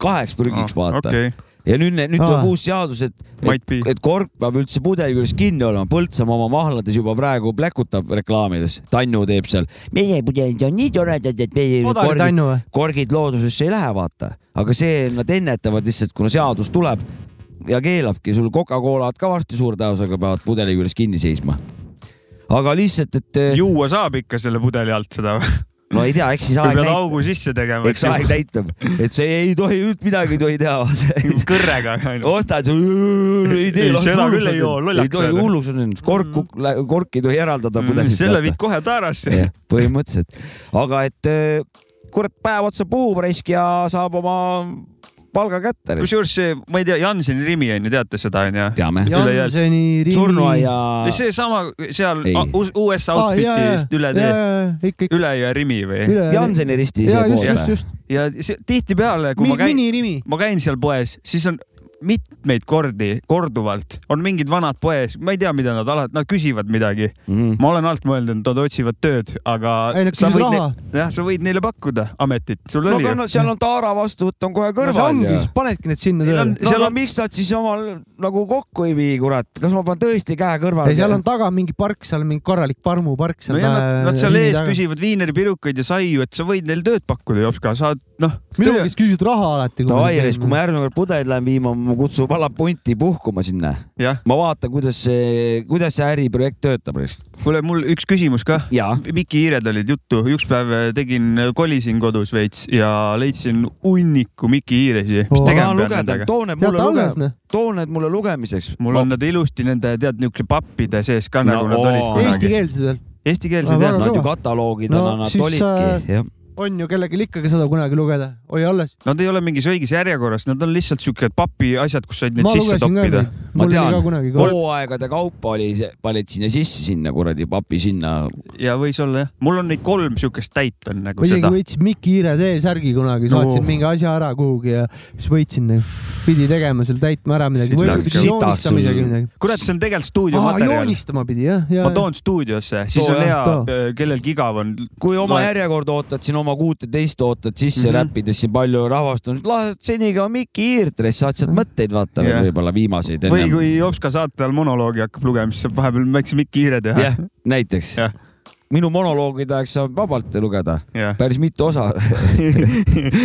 S2: kaheks prügiks , vaata okay. .
S3: okei ,
S2: ja nüüd , nüüd
S1: Aa.
S2: tuleb uus seadus , et ,
S3: Might
S2: et,
S3: be.
S2: et kork peab üldse pudeli küljes kinni olema , Põltsamaa oma mahlades juba praegu pläkutab reklaamides , Tannu teeb seal , meie pudelid on nii toredad , et meie
S1: Padari
S2: korgid
S1: Tannu või ?
S2: korgid loodusesse ei lähe , vaata , aga see nad ennetavad lihtsalt , kuna seadus tuleb ja keelabki sul Coca-Colat ka varsti suure tõenäosusega peavad pudeli küljes kinni seisma . aga lihtsalt , et Ju
S3: juua saab ikka selle pudeli alt seda või ?
S2: no ei tea , eks siis aeg
S3: pead
S2: näitab ,
S3: augu sisse tegema ,
S2: eks aeg näitab , et see ei tohi , midagi ei tohi teha .
S3: kõrrega ainult .
S2: ostad , ei tee
S3: Ei, seda küll ei joo, lollaks
S2: ei tohi
S3: ajada.
S2: hulluks on , kork , kork ei tohi eraldada pudelist .
S3: Mm, selle viid kohe taarasse .
S2: Jah, põhimõtteliselt , aga et eh, kurat , päev otsa puhub raisk ja saab oma palga kätte .
S3: kusjuures see , ma ei tea , Janseni Rimi on ju , teate seda on ju ?
S2: teame ,
S3: Ülejäänud-
S1: Janseni rivi .
S2: surnuaia .
S3: seesama seal
S2: Ei.
S3: a- us- US outfit'i eest üle tee ,
S1: ikka , ikka .
S3: üle jõe Rimi või ?
S1: üle .
S2: Janseni risti ise
S1: ja just , just ,
S2: poole .
S1: just .
S3: ja see- tihtipeale , kui ma käin ,
S1: minirimi .
S3: ma käin seal poes , siis on mitmeid kordi , korduvalt on mingid vanad poes , ma ei tea , mida nad alati , nad küsivad midagi .
S2: Mhm.
S3: ma olen alt mõelnud , nad otsivad tööd , aga .
S1: Ei, nad
S3: sa
S1: küsivad
S3: võid
S1: raha.
S3: ne- jah , sa võid neile pakkuda ametit , sul
S2: no
S3: oli
S2: aga
S3: ju .
S2: no seal on Taara vastuvõtt on kohe
S1: no see
S2: kõrval
S1: ongi
S2: ju .,
S1: panedki need sinna
S3: Neil
S1: tööle
S3: on- .
S2: seal
S3: seal
S2: on , miks nad siis omal nagu kokku ei vii , kurat , kas ma panen tõesti käe
S1: ja
S2: kõrvale ?
S1: seal on taga mingi park , seal on mingi korralik parmupark seal .
S3: nojah , nad , nad seal ees . küsivad viineripirukaid ja saiu , et sa võid neil tööd pakkuda , Jopska , saad noh .
S1: minu käest küsivad raha alati .
S2: Davai , kui ma järgmine kord pudelid lähen viima , ma kutsun valla punti puhkuma sinna .
S3: jah ,
S2: ma vaatan , kuidas see , kuidas see äriprojekt töötab .
S3: kuule , mul üks küsimus ka .
S2: jaa .
S3: Miki hiired olid juttu , üks päev äh, tegin , kolisin kodus veits ja leidsin hunniku Miki hiiresi . mis
S1: Oo.
S2: ma tahan
S3: tegema peab
S2: lugeda ,
S3: nendega ?
S2: too need
S1: jäta
S2: mulle
S1: alles
S2: luge- ,
S1: noh .
S2: too need mulle lugemiseks .
S3: mul on nad ilusti nende , tead , niisuguse pappide sees ka , nagu
S2: No
S3: nad olid
S2: oo.
S3: kunagi .
S1: Eestikeelsed veel .
S3: Eestikeelsed
S1: väga
S3: jah ,
S2: Nad ju
S1: kõva.
S2: kataloogidena no,
S1: No
S2: nad
S1: siis, äh,
S2: olidki , jah .
S1: on ju kellelgi ikkagi seda kunagi lugeda . oi alles .
S3: nad ei ole mingis õiges järjekorras , nad on lihtsalt siuke papi asjad , kus said neid
S1: ma
S3: sisse
S1: lugesin ka
S3: toppida
S1: neid ., mul oli
S2: tean.
S1: ka kunagi .
S2: hooaegade kaupa oli see , panid sinna sisse , sinna kuradi papi sinna .
S3: ja võis olla jah , mul on neid kolm siukest täit on nagu
S1: ma isegi
S3: seda .
S1: võitsin Mikki Hiire T-särgi kunagi ,
S3: No.
S1: saatsin mingi asja ära kuhugi ja siis võitsin , pidi tegema seal , täitma ära midagi ,
S3: Sitas ka.
S1: võib-olla pidi
S2: Sitas sul.
S1: joonistama isegi midagi .
S3: kurat , see on tegelikult stuudiomaterjal .
S1: joonistama pidi jah , ja
S3: ma , toon stuudiosse , siis
S1: Too,
S3: on
S1: jah,
S3: hea
S1: too. ,
S3: kellelgi igav on .
S2: kui oma
S3: Ma-
S2: järjekorda ootad , siin oma kuuteteist ootad sisse mm
S3: Mhm.
S2: -hmm. räppides siin palju rahvastamist , lased senikaua Mikki Hiirtress , saad
S1: Mhm.
S2: sealt mõtteid vaata
S3: Jah.
S2: yeah. võib-olla viimaseid
S3: või
S2: ennem .
S3: kui Jopska saate ajal monoloogi hakkab lugema , siis saab vahepeal väikse Miki hiire teha
S2: jah , näiteks
S3: Jah. .
S2: minu monoloogide aeg saab vabalt lugeda ,
S3: jah ,
S2: päris mitu osa .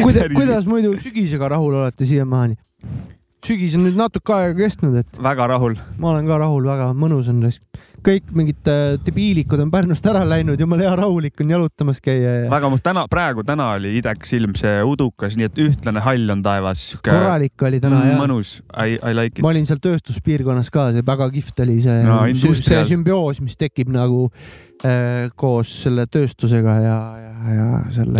S1: kuida- , kuidas muidu sügisega rahul olete siiamaani ? sügis on nüüd natuke aega kestnud , et
S3: väga rahul .
S1: ma olen ka rahul , väga mõnus on . kõik mingid äh, debiilikud on Pärnust ära läinud , jumala hea rahulik on jalutamas käia ja
S3: väga mu- täna , praegu täna oli idekas ilm , see udukas , nii et ühtlane hall on taevas .
S1: korralik oli täna ja
S3: mõnus , I , I like it .
S1: ma olin seal tööstuspiirkonnas ka , see väga kihvt oli see
S3: No,
S1: no, , see
S3: industrial.
S1: sümbioos , mis tekib nagu äh, koos selle tööstusega ja , ja , ja selle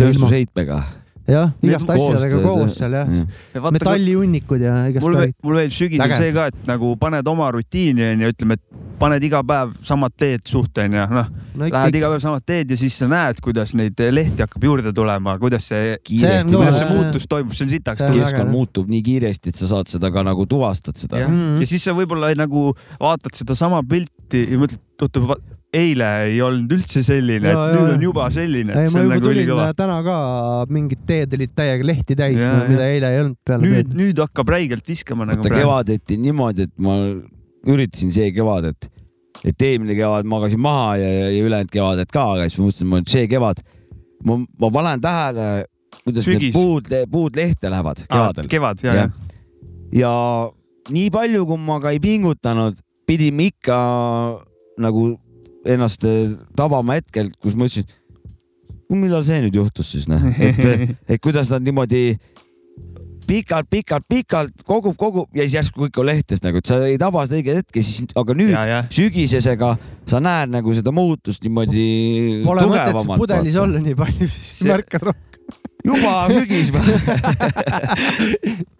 S2: tööstusheitmega .
S1: ilma- jah , igast
S3: Need
S1: asjadega
S2: koostööd,
S1: koos seal jah , metallihunnikud ja igast
S3: mul
S1: asjad .
S3: veel , mul veel sügis on
S1: Äge.
S3: see ka , et nagu paned oma rutiini onju , ütleme , et paned iga päev samad teed suhte onju , noh
S1: No ikka-
S3: lähed iga päev samad teed ja siis sa näed , kuidas neid lehti hakkab juurde tulema , kuidas see ,
S1: See on
S2: kiiresti
S1: ka-
S3: kuidas see
S1: Äh,
S3: muutus toimub , see on sitaks
S1: see on
S3: tuus .
S1: väga-
S2: keskkond muutub nii kiiresti , et sa saad seda ka nagu tuvastad seda .
S1: Mhm.
S3: ja siis sa võib-olla nagu vaatad sedasama pilti ja mõtled , oota , eile ei olnud üldse selline ,
S1: Jaa,
S3: et nüüd
S1: jaa.
S3: on juba selline ,
S1: ei ,
S3: et
S1: ma
S3: see on
S1: juba
S3: nagu
S1: tulin äh,
S3: ülikõva .
S1: täna ka , mingid teed olid täiega lehti täis ,
S3: Jaa,
S1: mida
S3: jah.
S1: eile ei olnud peale
S3: nüüd
S1: teed .,
S3: nüüd hakkab räigelt viskama nagu
S2: vaata . kevadeti niimoodi , et ma üritasin see kevad , et , et eelmine kevad magasin maha ja, ja, ja ülejäänud kevadet ka , aga siis mõtlesin , et see kevad , ma , ma panen tähele , kuidas Sügis.
S3: Sügis.
S2: need puud , puud lehte lähevad
S3: kevad,
S2: kevadel .
S3: kevad ja , ja
S2: Jah. ja nii palju , kui ma ka ei pingutanud , pidime ikka nagu ennast eh, tabama hetkel , kus ma ütlesin , millal see nüüd juhtus siis noh , et , et kuidas nad niimoodi pikalt-pikalt-pikalt kogub , kogub ja siis järsku kõik on lehtes nagu , et sa ei taba seda õiget hetke , siis aga nüüd
S3: ja , ja
S2: sügisesega sa näed nagu seda muutust niimoodi
S1: Pole mõtet siis
S2: tugevamalt .
S1: pudelis olla nii palju , siis
S3: See-
S1: märkad rohkem .
S2: juba sügis ,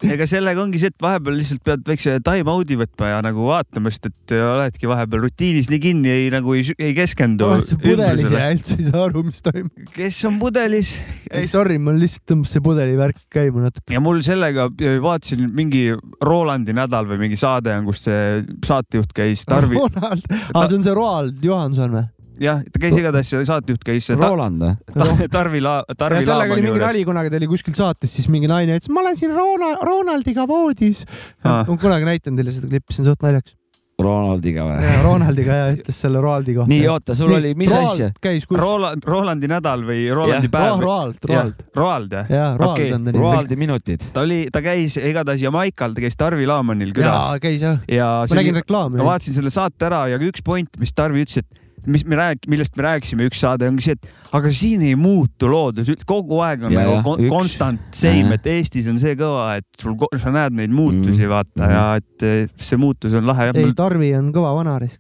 S3: ega sellega ongi see , et vahepeal lihtsalt pead väikse time out'i võtma ja nagu vaatama , sest et oledki vahepeal rutiinis nii kinni , ei nagu ei , ei keskendu .
S1: oled sa pudelis ja üldse ei saa aru , mis toimub .
S3: kes on pudelis
S1: ei , sorry , mul lihtsalt tõmbas see pudelivärk käima natuke .
S3: ja mul sellega , vaatasin mingi Rolandi nädal või mingi saade on , kus see saatejuht käis , Tarvi ,
S1: Ronald , aa , see on see Roald Johanson või ?
S3: jah , ta käis igatahes , saatejuht käis ta,
S2: Roland või ?
S3: ta, Tarvi La- ,
S1: ja
S3: Tarvi
S1: sellega oli
S3: Laamani
S1: mingi
S3: juures .
S1: nali kunagi , ta oli kuskil saates , siis mingi naine ütles , ma olen siin Roona- , Ronaldiga voodis . ma
S3: Aa.
S1: olen kunagi näitanud teile seda klippi , see on suht naljakas .
S2: Ronaldiga või ?
S1: Ronaldiga ja ütles selle Roaldi kohta .
S2: nii , oota , sul oli , mis asja ??
S1: käis kus ?
S3: Roland , Rolandi nädal või Rolandi
S2: Jah.
S3: päev
S1: Roald ,? Roald ,
S3: jah
S1: Roald ,,
S3: Roald jah ?
S1: jaa , Roald
S3: Okei,
S1: on ta nimi .
S2: Roaldi minutid .
S3: ta oli , ta käis igatahes Jamaikal , ta käis Tarvi Laamanil külas
S1: jaa , käis jah .
S3: ja, ja
S1: ma nägin reklaami
S3: ma . vaatasin selle saate ära ja üks point , mis Tarvi ütles , et mis me rääk- , millest me rääkisime , üks saade ongi see , et aga siin ei muutu loodus , kogu aeg on
S2: Ja,
S3: nagu
S2: jah,
S3: kon-
S2: üks.
S3: constant same ,
S2: Jah.
S3: et Eestis on see kõva , et sul , sa näed neid muutusi mm. , vaata
S2: Mhm.
S3: ja et eh, see muutus on lahe
S1: ei , Tarvi on kõva vanaris .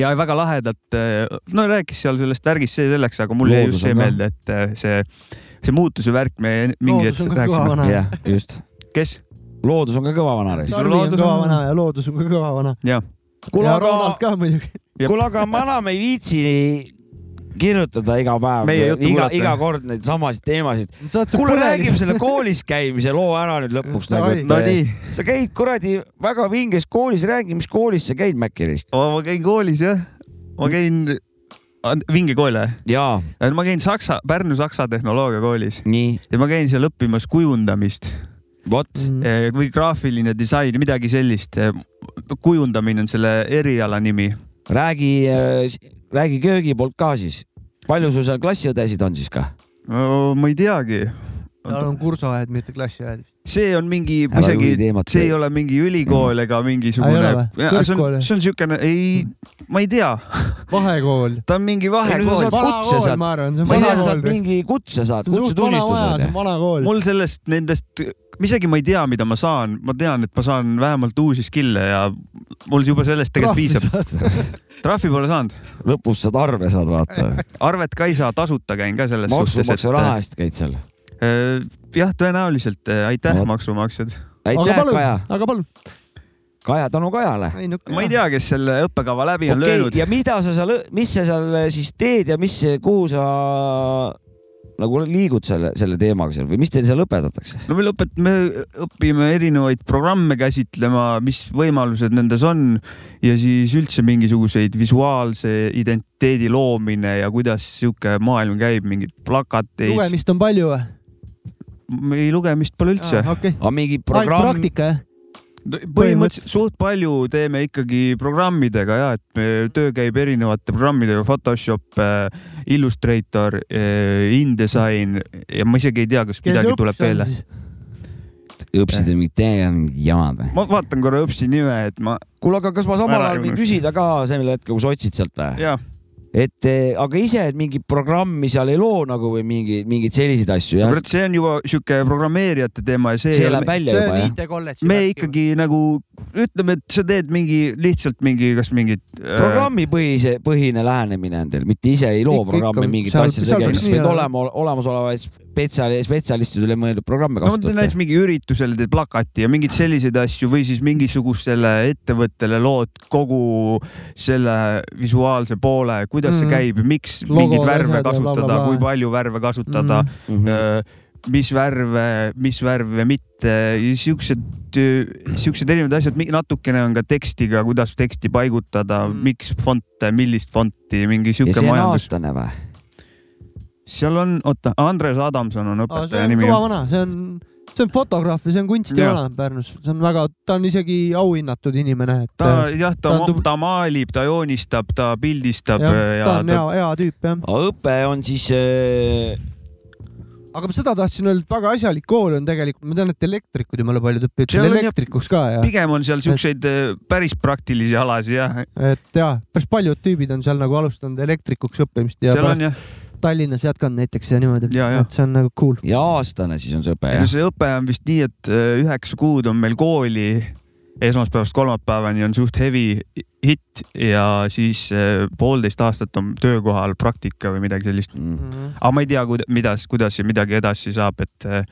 S3: ja väga lahedalt , no rääkis seal sellest värgist , see selleks , aga mulle jäi
S2: Loodus
S3: just
S2: on
S3: see
S2: ka.
S3: meelde , et eh, see , see muutuse värk , me mingi
S1: loodus on
S3: hetk
S1: ka kõva
S3: rääkisime .
S1: vana .
S2: jah , just .
S3: kes ?
S2: loodus on ka kõva vanareis .
S1: Tarvi on
S3: Loodus
S1: kõva
S3: on-
S1: vana ja loodus on ka kõva vana .
S2: kuule ,
S1: ja
S2: aga
S1: Ronald , ka muidugi .
S3: Jep.
S2: kuule , aga me enam ei viitsi kirjutada iga päev
S3: Meie , juttu
S2: iga ,
S3: kuulata.
S2: iga kord neid samasid teemasid .
S1: sa oled see
S2: kuule , räägime
S1: põdelis .
S2: selle koolis käimise loo ära nüüd lõpuks
S1: Davai.
S2: nagu .
S1: No
S3: Nonii ,
S2: sa käid kuradi väga vinges koolis , räägi , mis koolis sa käid , Mäkkeri ?
S3: ma käin koolis jah , ma käin , Ah, vinge kool jah ?
S2: jaa ,
S3: ma käin Saksa , Pärnu Saksa tehnoloogiakoolis
S2: nii ,
S3: ja ma käin seal õppimas kujundamist
S2: vot .
S3: eh, või graafiline disain , midagi sellist . kujundamine on selle eriala nimi .
S2: räägi , räägi köögi poolt ka siis . palju sul seal klassiõdesid on siis ka ?
S3: ma ei teagi .
S1: tal on kursuaed , mitte klassiaed .
S3: see on mingi
S2: Ära juhi
S3: isegi ,
S2: teemat. Mm.
S3: see ei ole mingi ülikool ega
S1: Aa, ei
S3: mingisugune
S1: ole või? ,
S3: see
S1: Kõrgkool,
S3: on ,
S1: jah?
S3: see on siukene , ei , ma ei tea ,
S1: vahekool .
S3: ta on mingi
S2: Ei, no sa
S3: vahekool
S2: saad- . kutse
S1: vanakool ,
S2: saad.
S1: ma arvan , see on
S2: ma tean , et sa
S1: vanakool .
S2: mingi kutse saad ,
S1: see on suht vana maja ,
S2: kutsetunnistused
S1: see . on vana kool .
S3: mul sellest , nendest , isegi ma ei tea , mida ma saan , ma tean , et ma saan vähemalt uusi skill'e ja mul juba sellest tegelikult piisab .
S1: piisab .
S3: trahvi pole saanud ,
S2: lõpus saad arve , saad vaata .
S3: arvet ka ei saa , tasuta käin ka selles suhtes ,
S2: maksumaksja raha eest käid seal .
S3: et jah , tõenäoliselt eh, aitäh
S2: Vot.
S3: no. , maksumaksjad .
S1: aga
S2: aitäh ,
S1: palun
S2: Kaja .,
S1: aga palun .
S2: Kaja , tänu Kajale .
S3: ma ei tea , kes selle õppekava läbi on
S2: okei
S3: löönud ,
S2: ja mida sa seal , mis sa seal eh, siis teed ja mis , kuhu sa nagu liigud selle , selle teemaga seal või mis teil seal õpetatakse ?
S3: no me lõpetame , õpime erinevaid programme käsitlema , mis võimalused nendes on ja siis üldse mingisuguseid visuaalse identiteedi loomine ja kuidas sihuke maailm käib , mingid plakateid ,
S1: lugemist on palju või ?
S3: ei lugemist pole üldse .
S1: okei .
S2: aga mingi
S1: ainult
S2: programm ,
S1: praktika jah ?
S3: põhimõtteliselt suht palju teeme ikkagi programmidega ja et me- töö käib erinevate programmidega , Photoshop , Illustrator , InDesign ja ma isegi ei tea , kas midagi tuleb veel .
S2: õppisid või mingit tee , mingid jamad või ?
S3: ma vaatan korra õpsi nime , et ma ,
S2: kuule , aga kas ma samal
S3: Ära
S2: ajal võin
S3: unusta.
S2: küsida ka sel hetkel , kui sa otsid sealt või ?
S3: jaa ,
S2: et eh, aga ise mingit programmi seal ei loo nagu või mingi , mingeid selliseid asju jah ?
S3: kurat , see on juba sihuke programmeerijate teema ja see,
S2: see läheb välja
S1: see
S2: juba
S1: on
S2: jah ?
S1: IT-kolledž .
S3: me ikkagi nagu ütleme , et sa teed mingi lihtsalt mingi , kas mingit äh,
S2: programmipõhise , põhine lähenemine on teil , mitte ise ei loo
S1: Ikka,
S2: programmi
S1: ikka.
S2: mingit
S1: Seal-
S2: asja
S1: seal peaks
S2: tegemist ,
S1: nii
S2: vaid
S1: olema.
S2: olema , olemasolevaid spetsiali- , spetsialistidele mõeldud programme
S3: no te näiteks
S2: kasutate .
S3: mingi üritusele teed plakati ja mingeid selliseid asju või siis mingisugustele ettevõttele lood kogu selle visuaalse poole , kuidas see
S1: Mhm.
S3: käib , miks
S1: Logo
S3: mingeid
S1: asjad ja
S3: värve kasutada
S1: blablabla. ,
S3: kui palju värve
S1: Mm.
S3: kasutada , mm-hmm. Äh, mis värve , mis värve mitte , siuksed , siuksed erinevad asjad , natukene on ka tekstiga , kuidas teksti paigutada ,
S1: Mhm.
S3: miks fonte , millist fonti , mingi
S2: ja
S3: siuke
S2: see on
S3: Äh, majandus .
S2: aastane või ?
S3: seal on , oota , Andres Adamson on
S1: see
S3: õpetaja
S1: on
S3: nimi .
S1: kõva vana , see on , see on fotograaf ja see on kunstivana Pärnus , see on väga , ta on isegi auhinnatud inimene , et äh,
S3: ta jah , ta
S1: ta on , tubli-
S3: ta maalib , ta joonistab , ta pildistab
S1: jah,
S3: ja, ja
S1: ta on hea , hea tüüp jah .
S2: õpe on siis äh,
S1: aga ma seda tahtsin öelda , et väga asjalik kool on tegelikult , ma tean , et elektrikud jumala paljud õpivad
S3: Seal
S1: seal
S3: on jah-
S1: elektrikuks ka ja ,
S3: pigem on seal siukseid eh, päris praktilisi alasid jah ,
S1: et ja päris paljud tüübid on seal nagu alustanud elektrikuks õppimist ja
S3: seal
S1: pärast
S3: on jah ,
S1: Tallinnas jätkanud näiteks ja niimoodi ,
S3: Ja, ja.
S1: et see on nagu cool .
S2: ja aastane siis on see õpe jah ?
S3: see õpe on vist nii , et eh, üheksa kuud on meil kooli , esmaspäevast kolmapäevani on suht heavy hitt ja siis eh, poolteist aastat on töökohal praktika või midagi sellist .
S2: Mm.
S3: aga ma ei tea , mida , kuidas ja midagi edasi saab , et eh,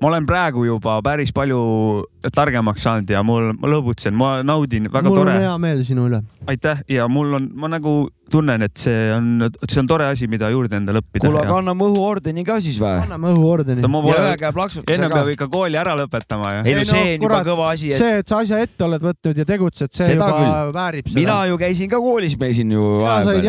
S3: ma olen praegu juba päris palju targemaks saanud ja mul , ma lõbutsen , ma naudin , väga
S1: mul
S3: tore
S1: on hea meel sinu üle .
S3: aitäh ja mul on , ma nagu tunnen , et see on , see on tore asi , mida juurde endale õppida .
S2: kuule , aga anname õhuordeni ka siis
S3: Äh.
S2: või ?
S1: anname õhuordeni .
S2: ja
S3: ma pole
S2: ühe , käe plaksutusega
S3: enne
S2: ka
S3: peab . ikka kooli ära lõpetama ja .
S2: ei no
S1: Ei no
S2: see on juba
S1: kurat,
S2: kõva asi , et
S1: see , et sa asja ette oled võtnud ja tegutsed , see
S2: Seda
S1: seda juba
S2: küll.
S1: küll. väärib seda .
S2: mina ju käisin ka koolis meil siin ju
S1: mina sain
S2: vahepeal .
S3: Mul-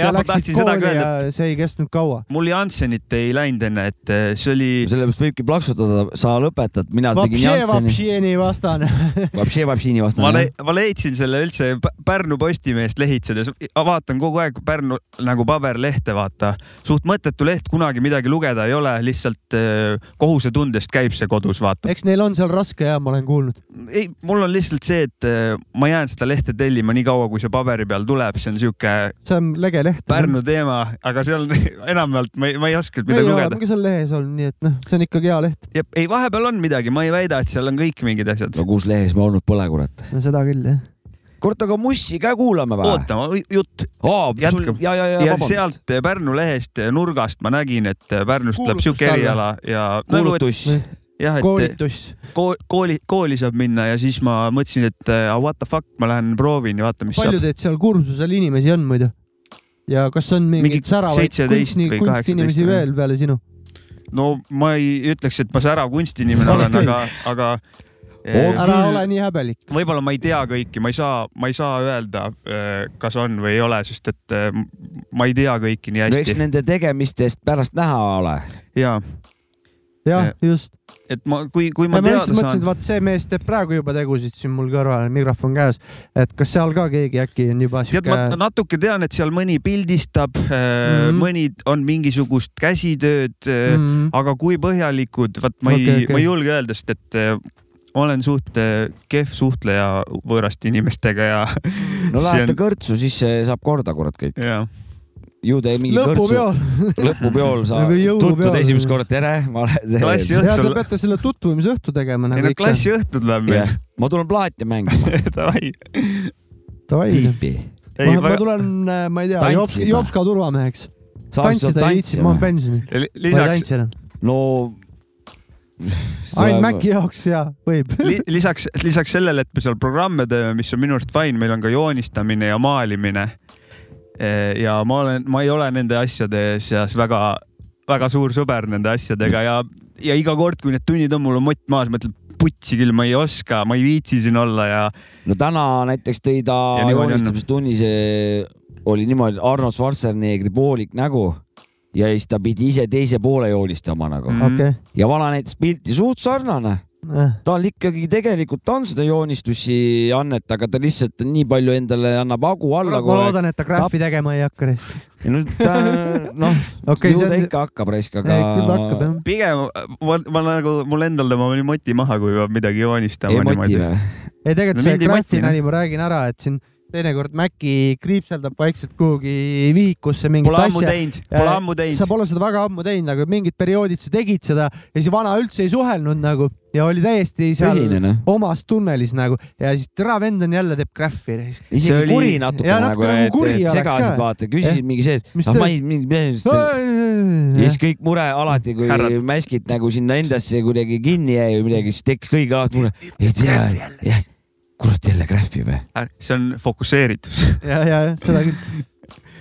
S3: jah,
S1: ja
S3: ma
S1: läksid
S3: tahtsin seda ka
S1: kooli ja
S3: öelda,
S1: see ei kestnud kaua .
S3: mul Jansenit ei läinud enne , et eh, see oli ,
S2: sellepärast võibki plaksutada , sa lõpetad , mina tegin
S1: Vapšje
S2: Jansseni ,
S1: Vapšjeni vastane .
S2: Vapšje Vapšini
S3: ma
S2: vastane
S3: le- ,, ma leidsin selle üldse P- Pärnu Postimehest lehitsedes , vaatan kogu aeg Pärnu nagu paberlehte , vaata . suht mõttetu leht , kunagi midagi lugeda ei ole , lihtsalt eh, kohusetundest käib see kodus , vaata .
S1: eks neil on seal raske ja ma olen kuulnud .
S3: ei , mul on lihtsalt see , et eh, ma jään seda lehte tellima nii kaua , kui see paberi peal tuleb , see on sihuke
S1: see on lege leht .
S3: Pärnu teema , aga seal enamjaolt ma ei , ma ei osanud midagi lugeda .
S1: midagi seal lehes olnud , nii et noh , see on ikkagi hea leht .
S3: ei , vahepeal on midagi , ma ei väida , et seal on kõik mingid asjad
S2: no . kus lehes ma olnud pole , kurat .
S1: no seda küll jah .
S2: kurat , aga Mussi ka kuulame või ?
S3: oota , ma jutt
S2: aa
S3: jätkab. ,
S2: ja , ja , ja
S3: ja
S2: vabandust .
S3: sealt Pärnu lehest nurgast ma nägin , et Pärnust tuleb
S1: Kuulutus
S3: sihuke
S1: talle.
S3: eriala ja nagu, et,
S2: kuulutus .
S3: jah , et
S1: koolitus .
S3: kooli , kooli , kooli saab minna ja siis ma mõtlesin , et ah, what the fuck , ma lähen proovin ja vaatan , mis
S1: palju teid seal kursusel inimesi on muidu ? ja kas on mingeid
S3: Mingi
S1: säravaid
S3: 17
S1: kunstni-
S3: või , 18
S1: kunstinimesi
S3: või?
S1: veel peale sinu ?
S3: saab . no ma ei ütleks , et ma särav kunstiinimene olen , aga , aga
S2: On.
S3: eh,
S1: ära
S2: küll.
S1: ole nii häbelik .
S3: võib-olla ma ei tea kõiki , ma ei saa , ma ei saa öelda , kas on või ei ole , sest et eh, ma ei tea kõiki nii
S2: no eks
S3: hästi
S2: nende tegemistest pärast näha ole .
S3: ja
S1: jah , just .
S3: et ma , kui , kui
S1: ma,
S3: ma
S1: ma
S3: teada
S1: lihtsalt mõtlesin ,
S3: saan
S1: et , vaat see mees teeb praegu juba tegusid siin mul kõrval , mikrofon käes , et kas seal ka keegi äkki on juba
S3: tead , ma
S1: siuke ,
S3: natuke tean , et seal mõni pildistab mm , -hmm.
S1: Mhm.
S3: mõni on mingisugust käsitööd mm , -hmm. aga kui põhjalikud , vaat ma ei
S1: Okei,
S3: okay, ,
S1: okei.
S3: okay. ma ei julge öelda , sest et eh, ma olen suht eh, kehv suhtleja võõraste inimestega ja ,
S2: no
S3: See
S2: lähete
S3: on-
S2: kõrtsu , siis eh, saab korda , kurat kõik .
S3: ja
S2: ju te mingi kõrtsu ,
S1: lõpupeol ,
S2: lõpupeol sa
S1: Või Nagu jõulupeol.
S2: tutvud esimest korda , tere , ma olen
S3: Klassi
S2: see .
S3: õhtul-
S1: ja te peate selle tutvumisõhtu tegema
S3: ei
S1: nagu
S3: no
S1: ikka .
S3: klassiõhtud läheb meil
S2: jah , ma tulen plaati mängima ,
S3: davai .
S1: davai ,
S2: tiipi .
S1: ma,
S3: ei ,
S1: ma
S3: ma
S1: tulen , ma ei tea ,
S2: Tantsima.
S1: jops , jopska turvameheks . tantsida ei viitsi , ma olen pensionil . ma ei
S3: lisaks ,
S1: tantsi enam .
S2: no .
S1: ainult . Maci jaoks ja võib .
S3: lisaks , lisaks sellele , et me seal programme teeme , mis on minu arust fine , meil on ka joonistamine ja maalimine . ja ma olen , ma ei ole nende asjade seas väga , väga suur sõber nende asjadega ja , ja iga kord , kui need tunnid on , mul on mott maas , ma ütlen , putsi küll , ma ei oska , ma ei viitsi siin olla ja
S2: no täna näiteks tõi ta
S3: Ja niimoodi on.
S2: joonistamistunnis , oli niimoodi Arnold Schwarzeneggeri poolik nägu ja siis ta pidi ise teise poole joonistama nagu
S3: Mhm.
S1: okei . Äh.
S2: ja vana näitas pilti suht sarnane . tal ikkagi tegelikult on seda joonistusi annet , aga ta lihtsalt nii palju endale annab hagu alla
S1: ma
S2: kogu aeg .
S1: loodan , et ta graafi tegema ei hakka .
S2: ja nüüd ta noh ,
S1: Okei,
S2: ju
S1: see
S2: ta
S1: on-
S2: ikka hakkab raisk , aga
S1: Eh, küll ta hakkab jah .
S3: pigem ma, ma nagu , mul endal tõmbab nii moti maha , kui peab midagi joonistama
S2: ei moti
S3: niimoodi .
S2: või ?
S1: ei , tegelikult
S3: No
S1: see
S3: mind ei mati,
S1: graafi
S3: noh.
S1: nali , ma räägin ära , et siin teinekord Maci kriipseldab vaikselt kuhugi vihikusse mingit
S3: Pole ammu
S1: asja .
S3: teinud , pole ammu
S1: sa
S3: teinud .
S1: pole seda väga ammu teinud , aga mingid perioodid sa tegid seda ja siis vana üldse ei suhelnud nagu ja oli täiesti seal
S2: tõsine noh .
S1: omas tunnelis nagu ja siis türa vend on jälle teeb kräffi .
S2: isegi
S3: oli-
S2: oli... kuri natuke
S1: Jaa,
S2: nagu
S1: natuke , nagu
S2: et,
S1: kuri
S2: et
S1: oleks
S2: segasid
S1: ka.
S2: vaata , küsisid
S1: Jah.
S2: mingi see ,
S1: Mis
S2: et ah, ma
S1: te-
S2: ei , ja siis
S1: ja
S2: kõik mure alati , kui
S3: Härrad.
S2: mäskid nagu sinna endasse kuidagi kinni jäi või midagi , siis tekkis kõigil alati mure . ei tea , jah , kurat jälle krähvi või ?
S3: Äh, see on fokusseeritus .
S1: ja , ja seda küll .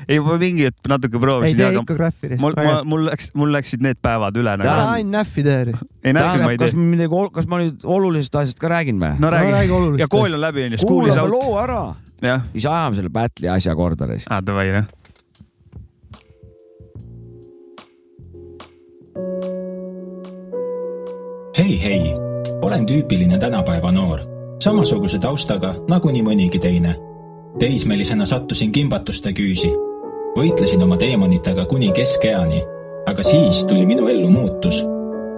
S3: ei , ma mingi hetk natuke
S1: ei
S3: proovisin ,
S1: tee
S3: aga
S1: ikka kräffi .
S3: mul , ma , mul läks , mul läksid need päevad üle
S1: ära
S2: Tänan.
S3: nagu .
S1: ainult näffi tee .
S3: ei näe , ma ei
S2: kas
S3: tee .
S2: ma midagi , kas ma nüüd olulisest asjast ka räägin või ?
S3: no räägi . ja
S1: olulist
S3: kool on läbi onju , school is
S2: kuulame
S3: out .
S2: loo ära ,
S3: jah ,
S2: siis ajame selle battle'i asja korda siis .
S3: aa davai noh .
S6: hei , hei , olen tüüpiline tänapäeva noor , samasuguse taustaga nagu nii mõnigi teine . teismelisena sattusin kimbatuste küüsi , võitlesin oma teemonitega kuni keskeani , aga siis tuli minu ellu muutus .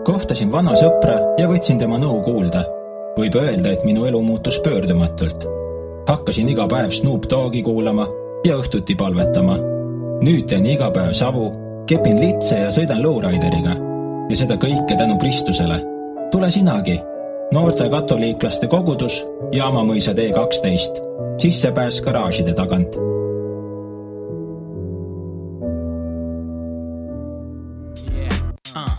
S6: kohtasin vana sõpra ja võtsin tema nõu kuulda . võib öelda , et minu elu muutus pöördumatult . hakkasin iga päev Snoop Dogi kuulama ja õhtuti palvetama . nüüd teen iga päev savu , kepin litse ja sõidan lowrideriga ja seda kõike tänu Kristusele tule sinagi , noorte katoliiklaste kogudus , Jaamamõisa tee kaksteist , sissepääs garaažide tagant .
S7: Uh,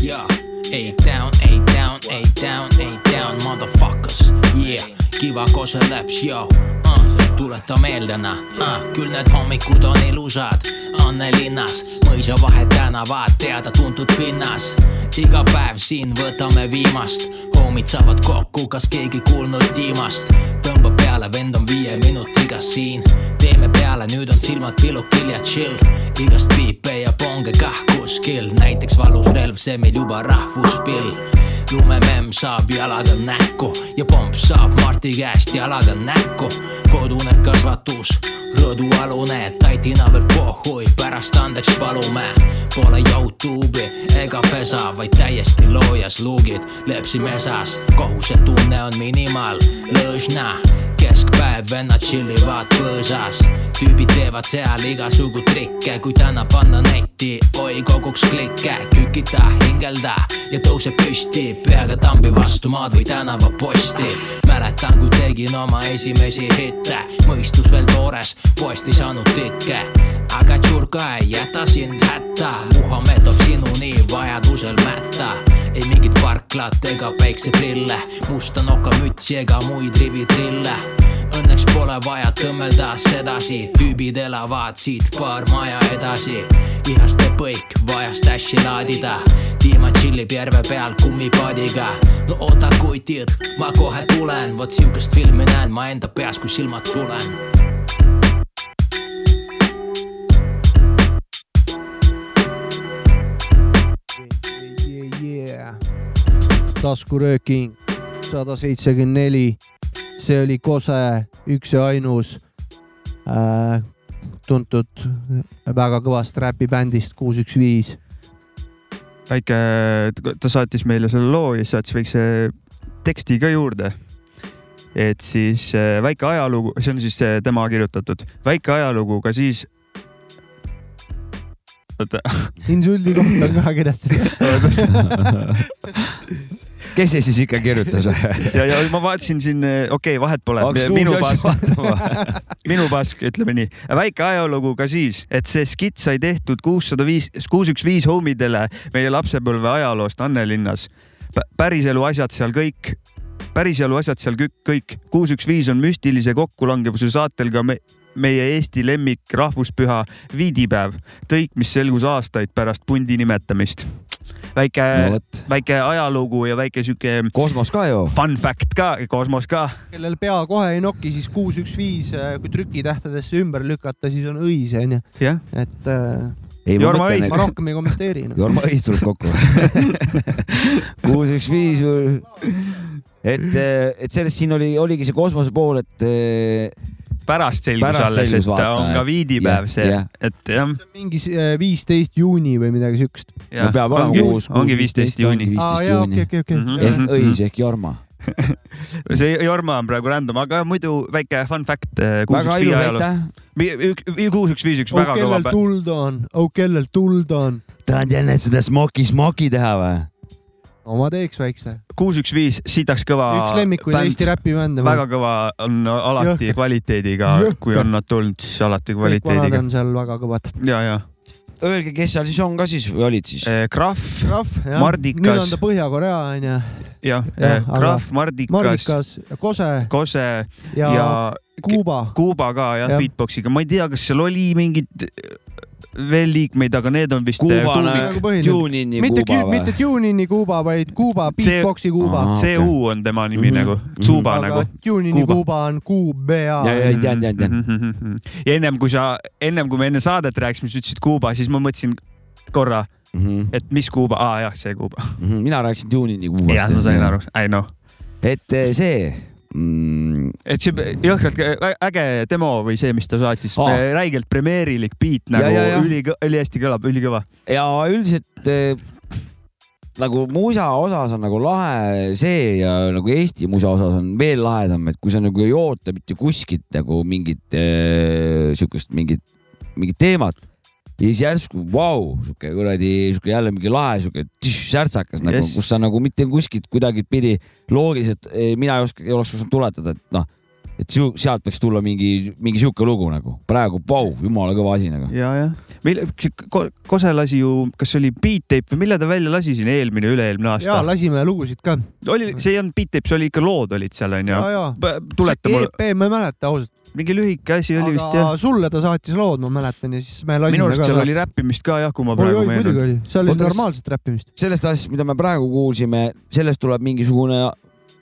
S7: yeah. Eight down, eight down, eight down, eight down, motherfuckers. Yeah, kiva koos läps , joo uh, . tuleta meelde , noh uh, , küll need hommikud on ilusad . Uh, Annelinnas , mõisavahet tänavad , teada-tuntud pinnas . iga päev siin võtame viimast , homid saavad kokku , kas keegi kuulnud Diimast ? tõmba peale , vend on viie minutiga siin . teeme peale , nüüd on silmad pilukil ja chill . igast piipe ja ponge kah kuskil , näiteks valus relv , see meil juba rahvuspill . lumememm saab jalaga näkku ja pomp saab Marti käest jalaga näkku . kodune kasvatus , rõdualune , tatina veel pohhui , pärast andeks palume . Pole Youtube'i ega pesa , vaid täiesti loojas luugid , lepsi mesas , kohusetunne on minimaal , lõõsna keskpäev vennad chillivad põõsas , tüübid teevad seal igasugu trikke , kui täna panna netti , oi koguks klikke , kükita , hingelda ja tõuse püsti , peaga tambi vastu maad või tänavaposti . mäletan , kui tegin oma esimesi hitte , mõistus veel toores , poest ei saanud tikke , aga tšurka ei jäta sind hätta , Muhamed toob sinuni vajadusel mätta ei mingit parklat ega päikseprille , musta nokamütsi ega muid rivitrille . Õnneks pole vaja tõmmelda sedasi , tüübid elavad siit paar maja edasi . ihaste põik , vajast äsja laadida , Dima tšillib järve peal kummipaadiga . no oota , kui tead , ma kohe tulen , vot siukest filmi näen ma enda peas , kui silmad sulen
S1: taskurööking sada seitsekümmend neli , see oli Kose üks ja ainus äh, tuntud väga kõvast räpibändist kuus , üks , viis .
S3: väike , ta saatis meile selle loo ja siis saatis väikse teksti ka juurde . et siis äh, väike ajalugu , see on siis äh, tema kirjutatud , väike ajalugu ka siis . oota ,
S1: insuldi kohta on ka kirjas .
S2: kes see siis ikka kirjutas ?
S3: ja , ja ma vaatasin siin , okei okay, , vahet pole .
S2: hakkas
S3: minu
S2: uusi asju
S3: paas ,
S2: vaatama .
S3: minu paas , ütleme nii . väike ajalugu ka siis , et see skits sai tehtud kuussada viis , kuus üks viis homidele meie lapsepõlve ajaloost Annelinnas . päriselu asjad seal kõik , päriselu asjad seal kõik , kõik . kuus üks viis on müstilise kokkulangevuse saatel ka me, meie Eesti lemmik rahvuspüha viidipäev . tõik , mis selgus aastaid pärast pundi nimetamist . väike
S2: no
S3: no, ,
S2: vot ,
S3: väike ajalugu ja väike sihuke
S2: kosmos ka ju .
S3: fun fact ka , kosmos ka .
S1: kellel pea kohe ei noki , siis kuus , üks , viis , kui trükitähtedesse ümber lükata , siis on õis , onju .
S3: jah ,
S1: et äh,
S2: ei , ma
S3: Jorma
S2: mõtlen ,
S3: Õis-
S2: et
S1: ma rohkem ei kommenteeri noh. no. .
S2: Jorma Õis tuleb kokku . kuus , üks , viis . et , et sellest siin oli , oligi see kosmose pool , et eh,
S3: pärast selgus
S2: Pärast
S3: alles ,
S2: selgus,
S3: et ta
S2: vaata,
S3: on ka
S2: et-
S3: viidipäev
S2: jah,
S3: see
S2: jah. ,
S3: et jah .
S1: mingi äh, viisteist juuni või midagi siukest .
S2: no peab olema kuus .
S3: ongi viisteist juuni .
S1: aa
S2: viisteist
S1: jaa , okei ,
S2: juuni
S1: okei , okei .
S3: Mhm.
S2: ehk Õis ehk Jorma .
S3: see Jorma on praegu random , aga muidu väike fun fact . eh,
S2: väga ilus , aitäh .
S3: kuus , üks , viis , üks ,
S1: oh
S3: väga kõva
S1: kellel
S3: päev .
S1: tuld on , oh kellel tuld on .
S2: tahad jälle seda Smoki Smoki teha või ?
S1: no ma teeks väikse .
S3: kuus , üks , viis , sitaks kõva .
S1: üks lemmikuid Eesti räpibände .
S3: väga kõva on alati
S1: Jõhker.
S3: kvaliteediga , kui
S1: Jõhker.
S3: on nad tulnud , siis alati
S1: kõik vanad
S3: kvaliteediga .
S1: on seal väga kõvad .
S3: ja , ja .
S2: Öelge , kes seal siis on ka siis või olid siis ?
S3: Krahv ,
S1: Krahv , jah .
S3: Mardikas.
S1: nüüd on ta Põhja-Korea onju .
S3: jah ,
S1: Jah, aga-
S3: Krahv , Mardikas ,
S1: Mardikas , Kose
S3: Kose
S1: ja, ja
S3: ja
S1: Kuuba .
S3: Kuuba ka jah ja. ,
S1: Jah.
S3: beatboxiga , ma ei tea , kas seal oli mingid eh, veel liikmeid , aga need on vist eh,
S2: Kuubana
S1: nagu põhiline.
S2: Tunini
S1: mitte ,
S2: Kuuba
S1: mitte
S2: või ?
S1: Tune'ini Kuuba , vaid Kuuba ,
S3: See-
S1: Beatboxi Kuuba
S2: Ahah. .
S3: CU
S2: Ah, okei.
S3: okay. on tema nimi mm
S2: Mhm,
S3: -hmm. nagu ,
S2: mhm.
S3: Zuba mm -hmm.
S1: aga
S3: nagu .
S1: Tune'ini
S2: Kuuba.
S1: Kuuba on
S2: ja ,
S1: QBA .
S2: ja tean , tean , tean .
S3: Mhm, tean . ja ennem kui sa , ennem kui me enne saadet rääkisime , sa ütlesid Kuuba , siis ma mõtlesin korra , et mis Kuuba , aa jah , see Kuuba .
S2: Mhm. mina rääkisin Tunini Kuubast .
S3: jah , ma sain aru , I know .
S2: et eh, see mm, ,
S3: et see jõhkralt ä- äge demo või see , mis ta saatis
S2: Aa.
S3: oh. , räigelt premeerilik beat nagu
S2: ja, ja.
S3: üli , ülihästi kõlab , ülikõva .
S2: ja üldiselt eh, nagu musa osas on nagu lahe see ja nagu Eesti musa osas on veel lahedam , et kui sa nagu ei oota mitte kuskilt nagu mingit eh, siukest mingit , mingit teemat ja siis järsku vau , siuke kuradi siuke jälle mingi lahe siuke tšš, särtsakas nagu
S3: Yes.
S2: yes. , kus sa nagu mitte kuskilt kuidagipidi loogiliselt , mina ei oska , ei oleks osanud tuletada , et noh , et siu- sealt võiks tulla mingi , mingi siuke lugu nagu praegu vau , jumala kõva asi nagu .
S3: ja , jah . meil see Ko- Kose lasi ju , kas see oli Beat Tape või mille ta välja lasi siin eelmine , üle-eelmine
S1: ja
S3: aasta ?
S1: lasime lugusid ka .
S3: oli , see ei olnud Beat Tape , see oli ikka lood olid seal onju
S1: ja , ja .
S3: tuleta mulle ,
S1: EP E ma ei mäleta ausalt ,
S3: mingi lühike asi oli vist jah
S1: aga . sulle ta saatis lood , ma mäletan ja siis me lasime .
S3: minu arust seal oli . räppimist ka jah , kui ma
S1: oi ,
S3: praegu
S1: oi muidugi
S3: meenun .
S1: oli , seal oli
S2: Oota, kas-
S1: normaalset räppimist .
S2: sellest asjast , mida me praegu kuulsime , sellest tuleb mingisugune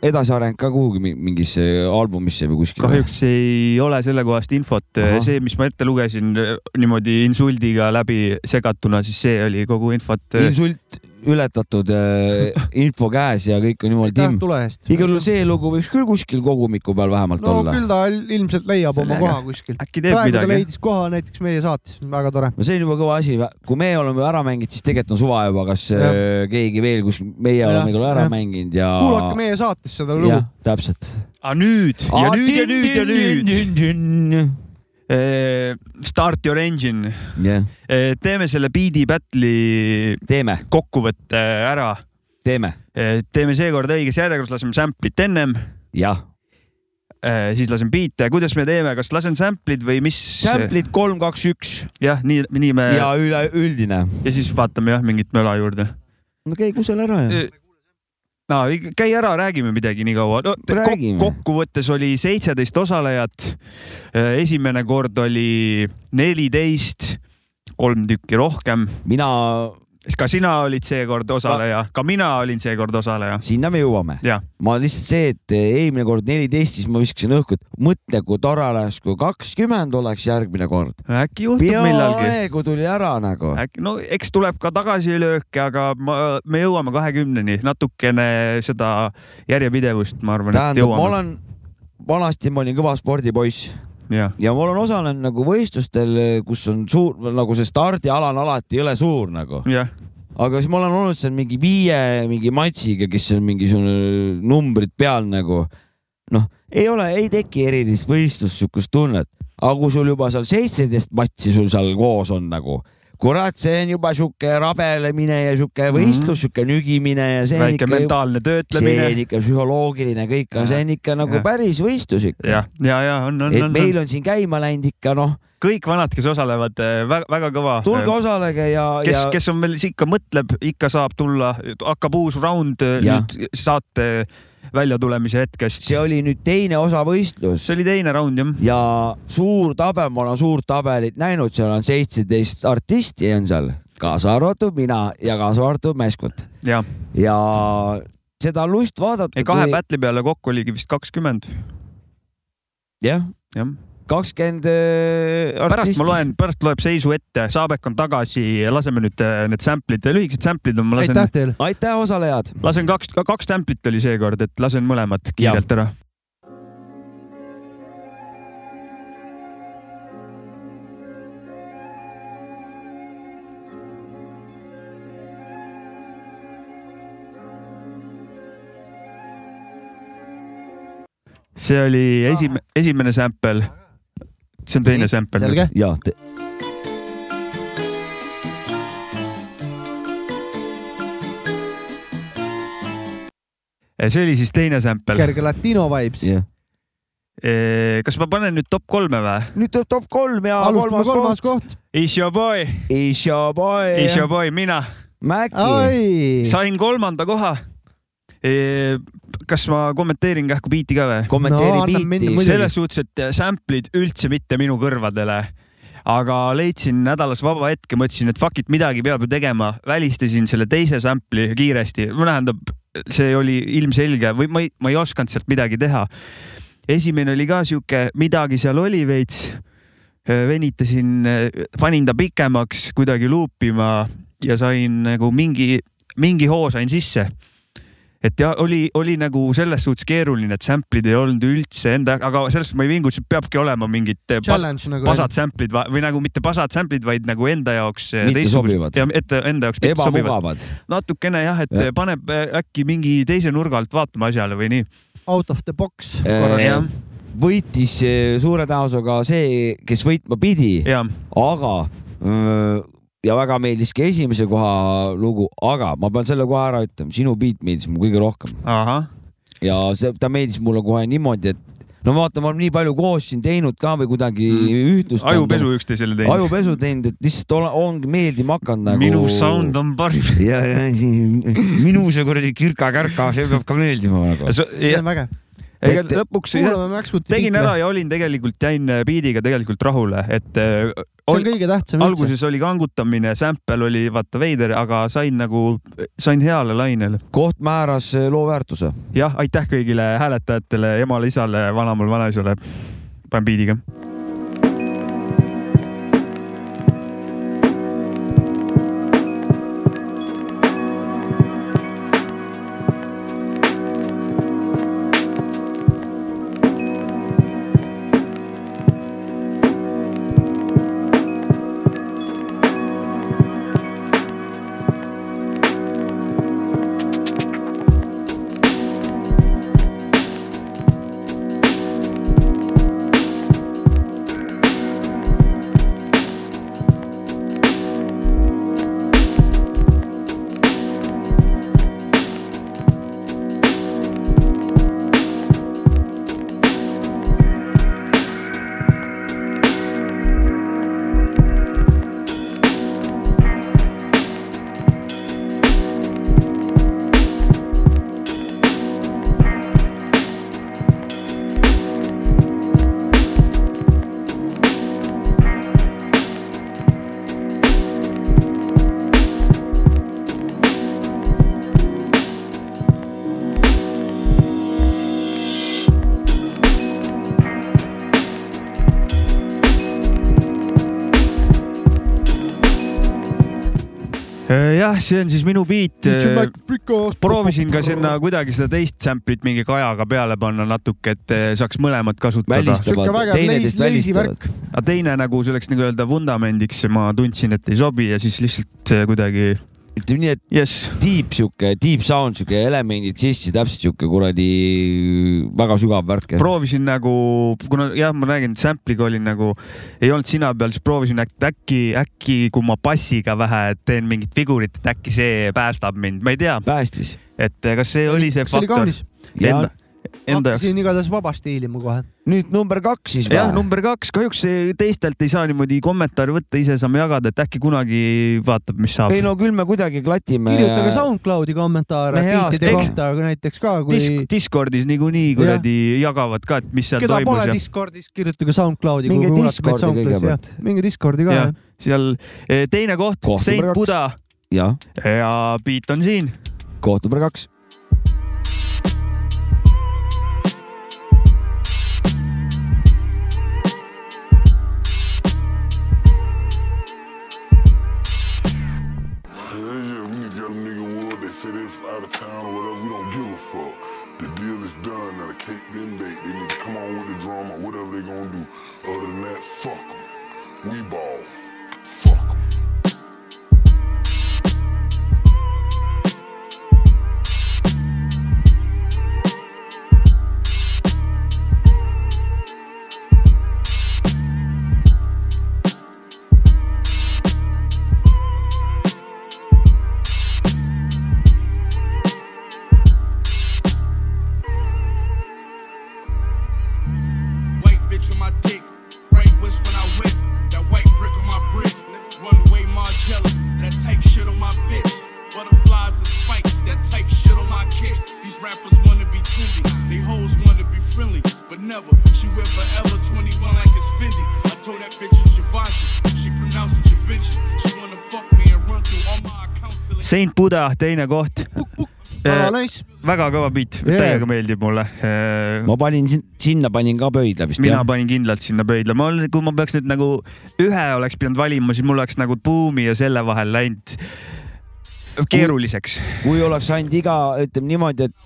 S2: edasiareng ka kuhugi mi- mingisse albumisse või kuskile .
S3: kahjuks ei ole sellekohast infot ,
S2: Ahah.
S3: see , mis ma ette lugesin eh, niimoodi insuldiga läbi segatuna , siis see oli kogu infot .
S1: eh.
S3: eh,
S2: insult ületatud äh, , info käes ja kõik on jumal timm
S1: aitäh . tule eest .
S2: igal juhul see lugu võiks küll kuskil kogumiku peal vähemalt
S1: no
S2: olla .
S1: küll ta ilmselt leiab oma
S3: Sellega.
S1: koha kuskil .
S3: äkki teeb
S1: praegu ta
S3: midagi ?
S1: leidis koha näiteks meie saates , väga tore .
S2: no see on juba kõva asi , kui me oleme ära mänginud , siis tegelikult on suva juba , kas
S1: Jah.
S2: äh, keegi veel kuskil , meie
S1: Jah,
S2: oleme küll ära
S1: jah.
S2: mänginud ja .
S1: kuulake meie saates seda lugu
S2: jah , täpselt .
S3: aga Ah, nüüd ja nüüd ja nüüd ja nüüd .
S2: nüüd .
S3: Eh, Start your engine ,
S2: jah ,
S3: teeme selle beat'i battle'i
S2: teeme ,
S3: kokkuvõtte ära .
S2: teeme ,
S3: teeme seekord õiges järjekorras , laseme sample'it ennem ,
S2: jah .
S3: siis laseme beat'e , kuidas me teeme , kas lasen sample'id või mis ?
S2: Sample'id kolm , kaks , üks
S3: jah , nii , nii me ja.
S2: ja üleüldine .
S3: ja siis vaatame jah mingit möla juurde .
S2: no käi kusagil ära ja .
S3: no käi ära , räägime midagi nii kaua no, .
S2: Räägime.
S3: kokkuvõttes oli seitseteist osalejat . esimene kord oli neliteist , kolm tükki rohkem .
S2: mina ,
S3: ka sina olid seekord osaleja , ka mina olin seekord osaleja .
S2: sinna me jõuame
S3: Jah. .
S2: ma lihtsalt see , et eh, eelmine kord neliteist , siis ma viskasin õhku , et mõtle , kui tore oleks , kui kakskümmend oleks järgmine kord .
S3: äkki juhtub millalgi .
S2: peaaegu tuli ära nagu .
S3: äkki , no eks tuleb ka tagasilööke , aga ma , me jõuame kahekümneni , natukene seda järjepidevust , ma arvan , et
S2: tähendab , ma
S3: jõuame .
S2: olen , vanasti ma olin kõva spordipoiss
S3: jah ,
S2: ja ma olen osalenud nagu võistlustel , kus on suur , nagu see stardiala on alati jõle suur nagu .
S3: jah ,
S2: aga siis ma olen olnud seal mingi viie mingi matsiga , kes on mingisugune numbrid peal nagu noh , ei ole , ei teki erilist võistlust , sihukest tunnet , aga kui sul juba seal seitseteist matsi sul seal koos on nagu , kurat , see on juba sihuke rabelemine ja sihuke võistlus mm , -hmm. sihuke nügimine ja see on
S3: Mhm. väike
S2: ikka ,
S3: mentaalne
S2: see on
S3: töötlemine .
S2: ikka psühholoogiline kõik on , see on ikka nagu
S3: Ja.
S2: ja. päris võistlus ikka .
S3: jah , ja , ja on , on ,
S2: et
S3: on , on
S2: meil . on siin käima läinud ikka noh ,
S3: kõik vanad , kes osalevad , väga, väga kõva .
S2: tulge osalege ja ,
S3: kes
S2: ja ,
S3: kes on veel ikka mõtleb , ikka saab tulla , hakkab uus round eh,
S2: Jah.
S3: nüüd saate väljatulemise hetkest .
S2: see oli nüüd teine osa võistlus .
S3: see oli teine round jah .
S2: ja suur tabel , ma olen suurt tabelit näinud , seal on seitseteist artisti on seal , kaasa arvatud mina ja kaasa arvatud Meskut
S3: ja ,
S2: ja seda lust vaadata .
S3: kahe kui... battle'i peale kokku oligi vist kakskümmend ,
S2: jah ,
S3: jah .
S2: kakskümmend äh,
S3: pärast
S2: artisti .
S3: ma loen , pärast loeb seisu ette , Saabek on tagasi , laseme nüüd eh, need sample'id , lühikesed sample'id on , ma lasen ,
S1: aitäh teile .
S2: aitäh , osalejad .
S3: lasen kaks , kaks sample'it oli seekord , et lasen mõlemad kiirelt ära .
S8: Thank
S3: see oli esimene , esimene sample . see on teine sample .
S1: selge.
S2: ja te... .
S3: see oli siis teine sample .
S1: kerge latino vibes .
S2: jah .
S3: kas ma panen nüüd top kolme või ?
S2: nüüd tuleb top kolm ja
S1: alustame kolmas
S2: kolmas koht .
S1: koht .
S3: It's your boy ,
S2: Is your boy
S3: it's your , boy , mina
S2: Mäki .
S1: oi ,
S3: sain kolmanda koha . kas ma kommenteerin kähku biiti ka või ?
S1: No,
S2: kommenteeri
S1: annab minna
S2: biiti
S1: muidugi. .
S3: selles suhtes , et sample'id üldse mitte minu kõrvadele , aga leidsin nädalas vaba hetke , mõtlesin , et fuck it , midagi peab ju tegema , välistasin selle teise sample'i kiiresti , tähendab , see oli ilmselge või ma ei , ma ei osanud sealt midagi teha . esimene oli ka sihuke , midagi seal oli veits , Äh, venitasin , panin ta pikemaks kuidagi luupima ja sain nagu mingi , mingi hoo sain sisse et ja oli , oli nagu selles suhtes keeruline , et sample'id ei olnud üldse enda , aga selles suhtes ma ei vinguta , peabki olema mingid äh, pas,
S1: challenge nagu .
S3: pasad sample'id va- või nagu mitte pasad sample'id , vaid nagu enda jaoks .
S2: Mitte sobivad.
S3: ja ette äh, enda jaoks mitte sobivad .
S2: ebamugavad .
S3: natukene jah , et
S2: Jah.
S3: ja. paneb äh, äkki mingi teise nurga alt vaatama asjale või nii .
S1: Out of the box .
S2: Jah. Äh, võitis eh, suure tõenäosusega see , kes võitma pidi ,
S3: ja ,
S2: aga öö, ja väga meeldis ka esimese koha lugu , aga ma pean selle kohe ära ütlema , sinu beat meeldis mulle kõige rohkem
S3: ahah ,
S2: ja see , ta meeldis mulle kohe niimoodi , et no vaata , me oleme nii palju koos siin teinud ka või kuidagi
S3: Mm.
S2: ühtlustanud .
S3: ajupesu üksteisele teinud .
S2: ajupesu teinud , et lihtsalt ole- ongi meeldima hakanud nagu .
S3: minu sound on parim .
S2: ja , ja minu see kuradi kirka-kärka , see peab ka meeldima nagu .
S1: see on vägev .
S3: ega
S2: et-
S3: lõpuks
S1: kuulame Maxwuti .
S3: tegin ära . ja olin tegelikult , jäin äh, beat'iga tegelikult rahule , et äh,
S1: see
S3: ol-
S1: on kõige tähtsam üldse .
S3: alguses oli kangutamine , sample oli vaata veider , aga sain nagu , sain heale lainele .
S2: koht määras eh, loo väärtuse .
S3: jah , aitäh kõigile hääletajatele , emale-isale , vanamal , vanaisale . panen biidiga . Äh, jah , see on siis minu biit . äh, proovisin ka sinna . kuidagi seda teist sample'it mingi kajaga peale panna natuke , et äh, saaks mõlemat kasutada .
S1: Sihuke
S2: välistavad ,
S1: väga leis-
S2: teineteist
S1: leisi
S2: välistavad .
S3: aga teine nagu selleks nii-öelda vundamendiks ma tundsin , et ei sobi ja siis lihtsalt äh, kuidagi
S2: ütleme nii , et
S3: jess ,
S2: deep sihuke , deep sound , sihuke elemendid sisse , täpselt sihuke kuradi väga sügav värk .
S3: proovisin nagu , kuna jah , ma räägin , sample'iga olin nagu , ei olnud sina peal , siis proovisin äk- äkki , äkki kui ma bassiga vähe teen mingit vigurit , et äkki see päästab mind , ma ei tea ,
S2: päästis .
S3: et eh, kas see oli see
S1: see oli
S3: faktor
S1: kaunis .
S3: enda , enda jaoks .
S1: hakkasin igatahes vabast hiilima kohe .
S2: nüüd number kaks siis
S3: jah ,
S2: või ?
S3: number kaks , kahjuks see teistelt ei saa niimoodi kommentaare võtta , ise saame jagada , et äkki kunagi vaatab , mis saab
S2: ei . no küll me kuidagi klatime .
S1: kirjutage SoundCloudi kommentaare
S2: No hea,
S1: biitide
S3: eks-
S1: kohta näiteks ka , kui
S3: Disk- , Discordis niikuinii kuradi jagavad ka , et mis seal
S1: keda
S3: toimus
S1: pole
S3: ja
S1: Discordis , kirjutage SoundCloudi .
S2: Minge Discordi kõigepealt. .
S1: minge Discordi ka
S3: Jah. . seal eh, teine koht,
S2: Koht
S3: koht , Saint
S2: number kaks.
S3: Buda
S2: jah ,
S3: ja beat on siin .
S2: koht number kaks .
S8: Yeah, yeah, we just got a nigga world. They say they from out of town or whatever. We don't give a fuck. The deal is done. Now the cake been baked. They need to come on with the drama, whatever they gonna do. Other than that, fuck 'em. We ball. Fuck 'em.
S9: my dick. Right wrist when I whip. That white brick on my brick. One way Margiela. That type shit on my bitch. Butterflies and spikes. That type shit on my kick. These rappers wanna be trendy. They hoes wanna be friendly. But never. She wear forever 21 like it's Fendi. I told that bitch it's Givenchy. She pronounced it Givenchy. She wanna fuck me and run through all my accounts till they
S3: Saint Buda teine koht .
S1: väga nice .
S3: väga kõva beat
S1: Yeah.
S3: yeah. , täiega meeldib mulle .
S2: ma panin sin- sinna , panin ka pöidla vist
S3: mina
S2: jah .
S3: panin kindlalt sinna pöidla , ma , kui ma peaks nüüd nagu ühe oleks pidanud valima , siis mul oleks nagu Boomi ja selle vahel läinud keeruliseks .
S2: kui oleks ainult iga , ütleme niimoodi , et ,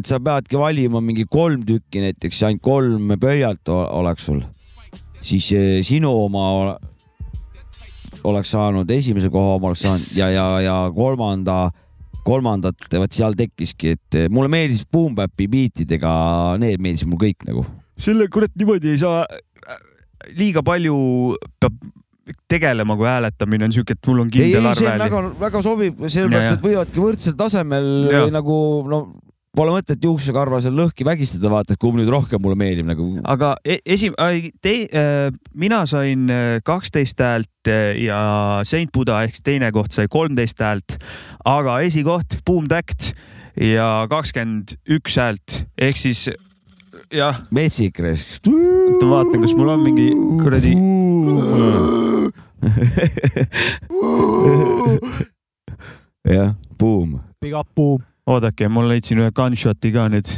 S2: et sa peadki valima mingi kolm tükki näiteks , ainult kolm pöialt o- oleks sul , siis eh, sinu oma ole- oleks saanud esimese koha , ma oleks saanud ja , ja , ja kolmanda , kolmandat , vot seal tekkiski , et eh, mulle meeldis Boom Bapi biitidega , need meeldisid mul kõik nagu .
S3: selle kurat niimoodi ei saa , liiga palju peab tegelema , kui hääletamine on siuke , et mul on
S2: ei , ei
S3: kindel ,
S2: see on
S3: arve .
S2: väga , väga sobib ,
S3: Ja,
S2: sellepärast
S3: ja.
S2: et võivadki võrdsel tasemel
S3: Ja.
S2: nagu no Pole mõtet juuksega arva seal lõhki vägistada , vaata , et kumb nüüd rohkem mulle meeldib nagu .
S3: aga e- esi- , te- , mina sain äh, kaksteist häält äh, ja Saint Buda ehk siis teine koht sai kolmteist häält , aga esikoht Boom Tact ja kakskümmend üks häält ehk siis jah ,
S2: metsik raisk .
S3: oota ma vaatan , kas mul on mingi kuradi ,
S2: jah , buum .
S1: Big up , boom .
S3: oodake , ma leidsin ühe gunshot'i ka nüüd .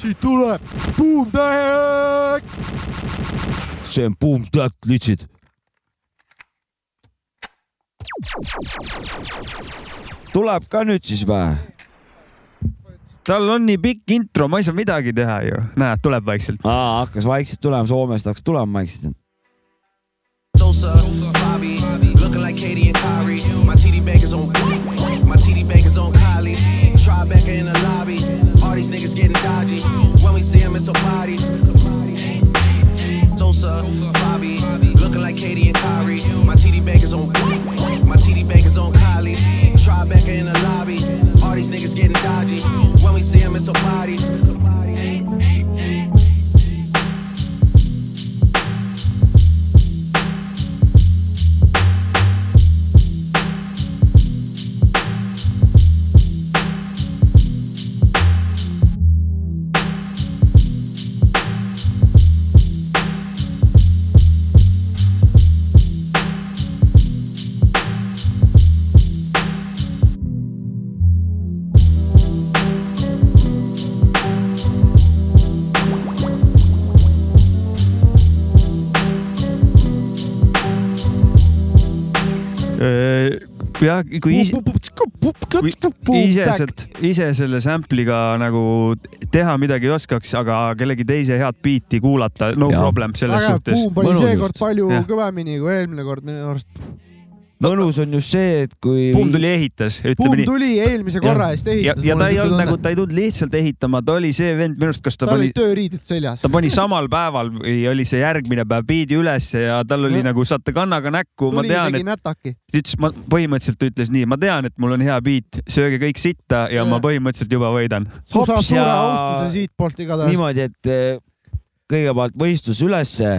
S1: siit tuleb , boom , tähek .
S2: see on buum täht , litsid . tuleb ka nüüd siis või ?
S3: tal on nii pikk intro , ma ei saa midagi teha ju , näed , tuleb vaikselt .
S2: aa , hakkas vaikselt tulema , Soomest hakkas tulema vaikselt .
S10: Dosa, Bobby, looking like Katie and Kyrie. My TD bank is on, my TD bank is on Kylie. Tribeca in the lobby, all these niggas getting dodgy. When we see 'em, it's a body. Dosa, Bobby, looking like Katie and Kyrie. My TD bank is on, my TD bank is on Kylie. Tribeca in the lobby, all these niggas getting dodgy. When we see 'em, it's a body.
S3: Äh, jah , kui is- , kui ise sealt , ise selle sample'iga nagu teha midagi ei oskaks , aga kellegi teise head biiti kuulata , no
S2: Jaa.
S3: ja. problem selles
S1: väga hea ,
S3: suhtes .
S1: boom pani
S2: Mõnus
S1: seekord
S2: just.
S1: palju
S3: Jah.
S1: kõvemini kui eelmine kord minu arust .
S2: mõnus on just see , et kui .
S3: Boom tuli ehitas ,
S1: boom
S3: ütleme nii .
S1: tuli eelmise korra eest
S3: ja ,
S1: ehitas .
S3: ja ta ei olnud nagu , ta ei tulnud lihtsalt ehitama , ta oli see vend minu arust , kas ta
S1: tal
S3: pani
S1: olid , tööriided seljas
S3: ta . pani samal päeval või oli see järgmine päev biidi ülesse ja tal oli
S1: Jah.
S3: nagu saate kannaga näkku , ma
S1: tuli
S3: tean ,
S1: tegi
S3: et
S1: nätaki .
S3: ta ütles , ma põhimõtteliselt ta ütles nii , ma tean , et mul on hea biit , sööge kõik sitta ja
S1: Jah.
S3: ma põhimõtteliselt juba võidan .
S1: sa saad
S2: Hops
S1: suure
S2: ja-
S1: austuse siitpoolt igatahes .
S2: niimoodi , et eh, kõigepealt võistlus ülesse ,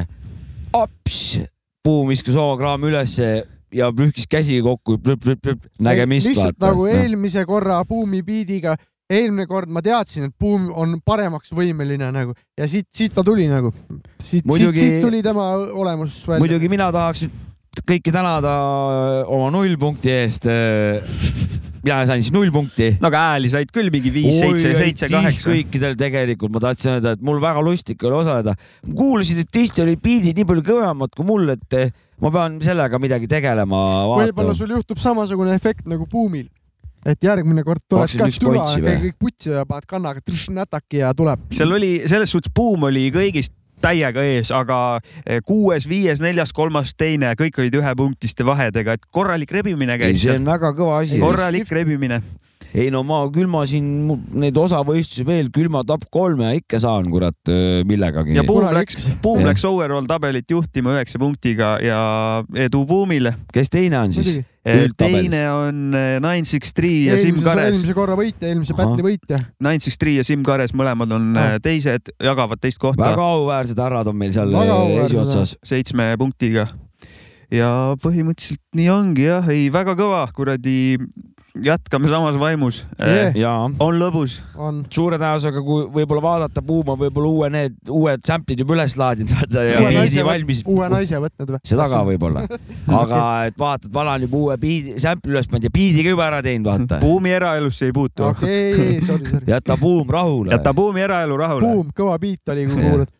S2: ops , Buum viskas oma kraami ülesse ja pühkis käsi kokku , nägemist . noh.
S1: lihtsalt nagu eelmise korra buumi biidiga , eelmine kord ma teadsin , et buum on paremaks võimeline nagu ja siit , siit ta tuli nagu . siit , siit ,
S2: Muidugi-
S1: siit tuli tema olemus välja .
S2: muidugi mina tahaks nüüd kõiki tänada äh, oma nullpunkti eest . mina sain siis null punkti .
S3: no aga hääli said küll mingi viis , seitse , seitse , kaheksa .
S2: kõikidel tegelikult ma tahtsin öelda , et mul väga lustik oli osaleda . ma kuulasin , et teistel olid biidid nii palju kõvemad kui mul , et eh, ma pean sellega midagi tegelema .
S1: võib-olla sul juhtub samasugune efekt nagu buumil . et järgmine kord tuled ka
S2: 21
S1: türa ,
S2: pointsi
S1: käid
S2: või?
S1: kõik putsi ja paned kannaga trš, nätaki ja tuleb .
S3: seal oli selles suhtes buum oli kõigist täiega ees , aga eh, kuues , viies , neljas , kolmas , teine , kõik olid ühepunktiste vahedega , et korralik rebimine
S2: ei ,
S3: käis
S2: see
S3: seal .
S2: on väga kõva asi .
S3: korralik rebimine .
S2: ei no ma , küll ma siin mu- neid osavõistlusi veel , küll ma top kolme ikka saan , kurat , millegagi
S3: ja . Buum
S1: Kunagi
S3: läks
S1: üks. ,
S3: Buum
S2: Jah.
S3: läks overall tabelit juhtima üheksa punktiga ja edu Buumile .
S2: kes teine on siis ?
S1: muidugi ,
S2: Üldtabelis.
S3: teine on eh, Nine Six Three ja Siim
S11: eelmise ,
S3: Kares .
S11: eelmise korra võitja , eelmise
S2: Ahah.
S11: battle'i võitja .
S3: Nine Six Three ja Siim Kares , mõlemad on
S2: Ah.
S3: eh, teised , jagavad teist kohta
S2: väga auväärsed härrad on meil seal
S11: Väga
S2: eh,
S11: auväärsed,
S2: esiotsas .
S3: seitsme punktiga . ja põhimõtteliselt nii ongi jah , ei väga kõva , kuradi , jätkame samas vaimus
S11: Yeah.
S3: yeah. .
S2: jaa ,
S3: on lõbus ,
S11: on ,
S2: suure tõenäosusega , kui võib-olla vaadata , Buum on võib-olla uue need , uued sample'id juba üles laadinud , vaata ja
S11: Uue
S2: biidi
S11: naise
S2: valmis .
S11: uue naise võtnud või ?
S2: seda ka võib-olla , aga et vaata , et vana on juba uue biidi , sample'i üles pannud ja biidi ka juba ära teinud , vaata .
S3: buumi eraelusse ei
S1: Ah,
S3: puutu okay. .
S11: okei , sorry , sorry .
S2: jäta Buum rahule .
S3: jäta buumi eraelu rahule .
S11: Buum , kõva biit oli , kui kuulad .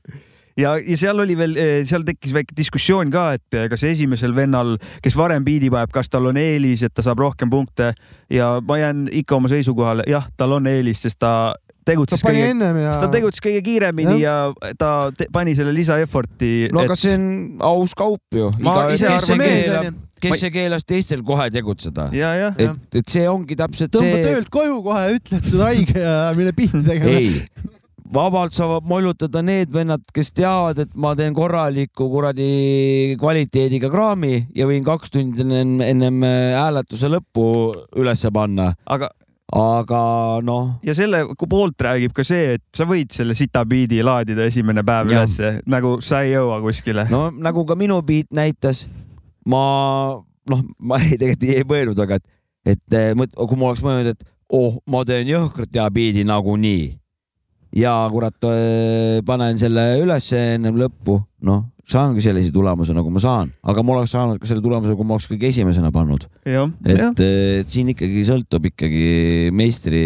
S3: ja , ja seal oli veel , seal tekkis väike diskussioon ka , et äh, kas esimesel vennal , kes varem biidi paneb , kas tal on eelis , et ta saab rohkem punkte ja ma jään ikka oma seisukohale , jah , tal on eelis , sest ta
S11: ta
S3: tegutses
S11: pani
S3: kõige ,
S11: ennem ja
S3: sest ta tegutses kõige kiiremini ja, ja ta te, pani selle lisa-effort'i .
S2: no aga see on aus kaup ju .
S3: Ma ise
S2: kes see
S3: arvan ka.
S2: keelab , kes see keelas teistel kohe tegutseda ?
S3: ja , jah ,
S2: et , et see ongi täpselt
S11: tõmba
S2: see .
S11: töölt koju kohe , ütle , et sa oled haige ja mine pihta tegema .
S2: ei , vabalt saavad molutada need vennad , kes teavad , et ma teen korraliku kuradi kvaliteediga kraami ja võin kaks tundi ennem, ennem äh, hääletuse lõppu ülesse panna ,
S3: aga
S2: aga noh ,
S3: ja selle poolt räägib ka see , et sa võid selle sita biidi laadida esimene päev
S2: Jah.
S3: ülesse , nagu sa ei jõua kuskile no. .
S2: no nagu ka minu beat näitas , ma noh , ma ei tegelikult ei mõelnud , aga et , et eh, mõt- kui ma oleks mõelnud , et oh , ma teen jõhkralt hea beat'i nagunii ja kurat eh, panen selle ülesse ennem lõppu , noh , saangi sellise tulemuse , nagu ma saan , aga ma oleks saanud ka selle tulemuse , kui ma oleks kõige esimesena pannud ,
S3: jah ,
S2: et
S3: jah .
S2: eh, siin ikkagi sõltub ikkagi meistri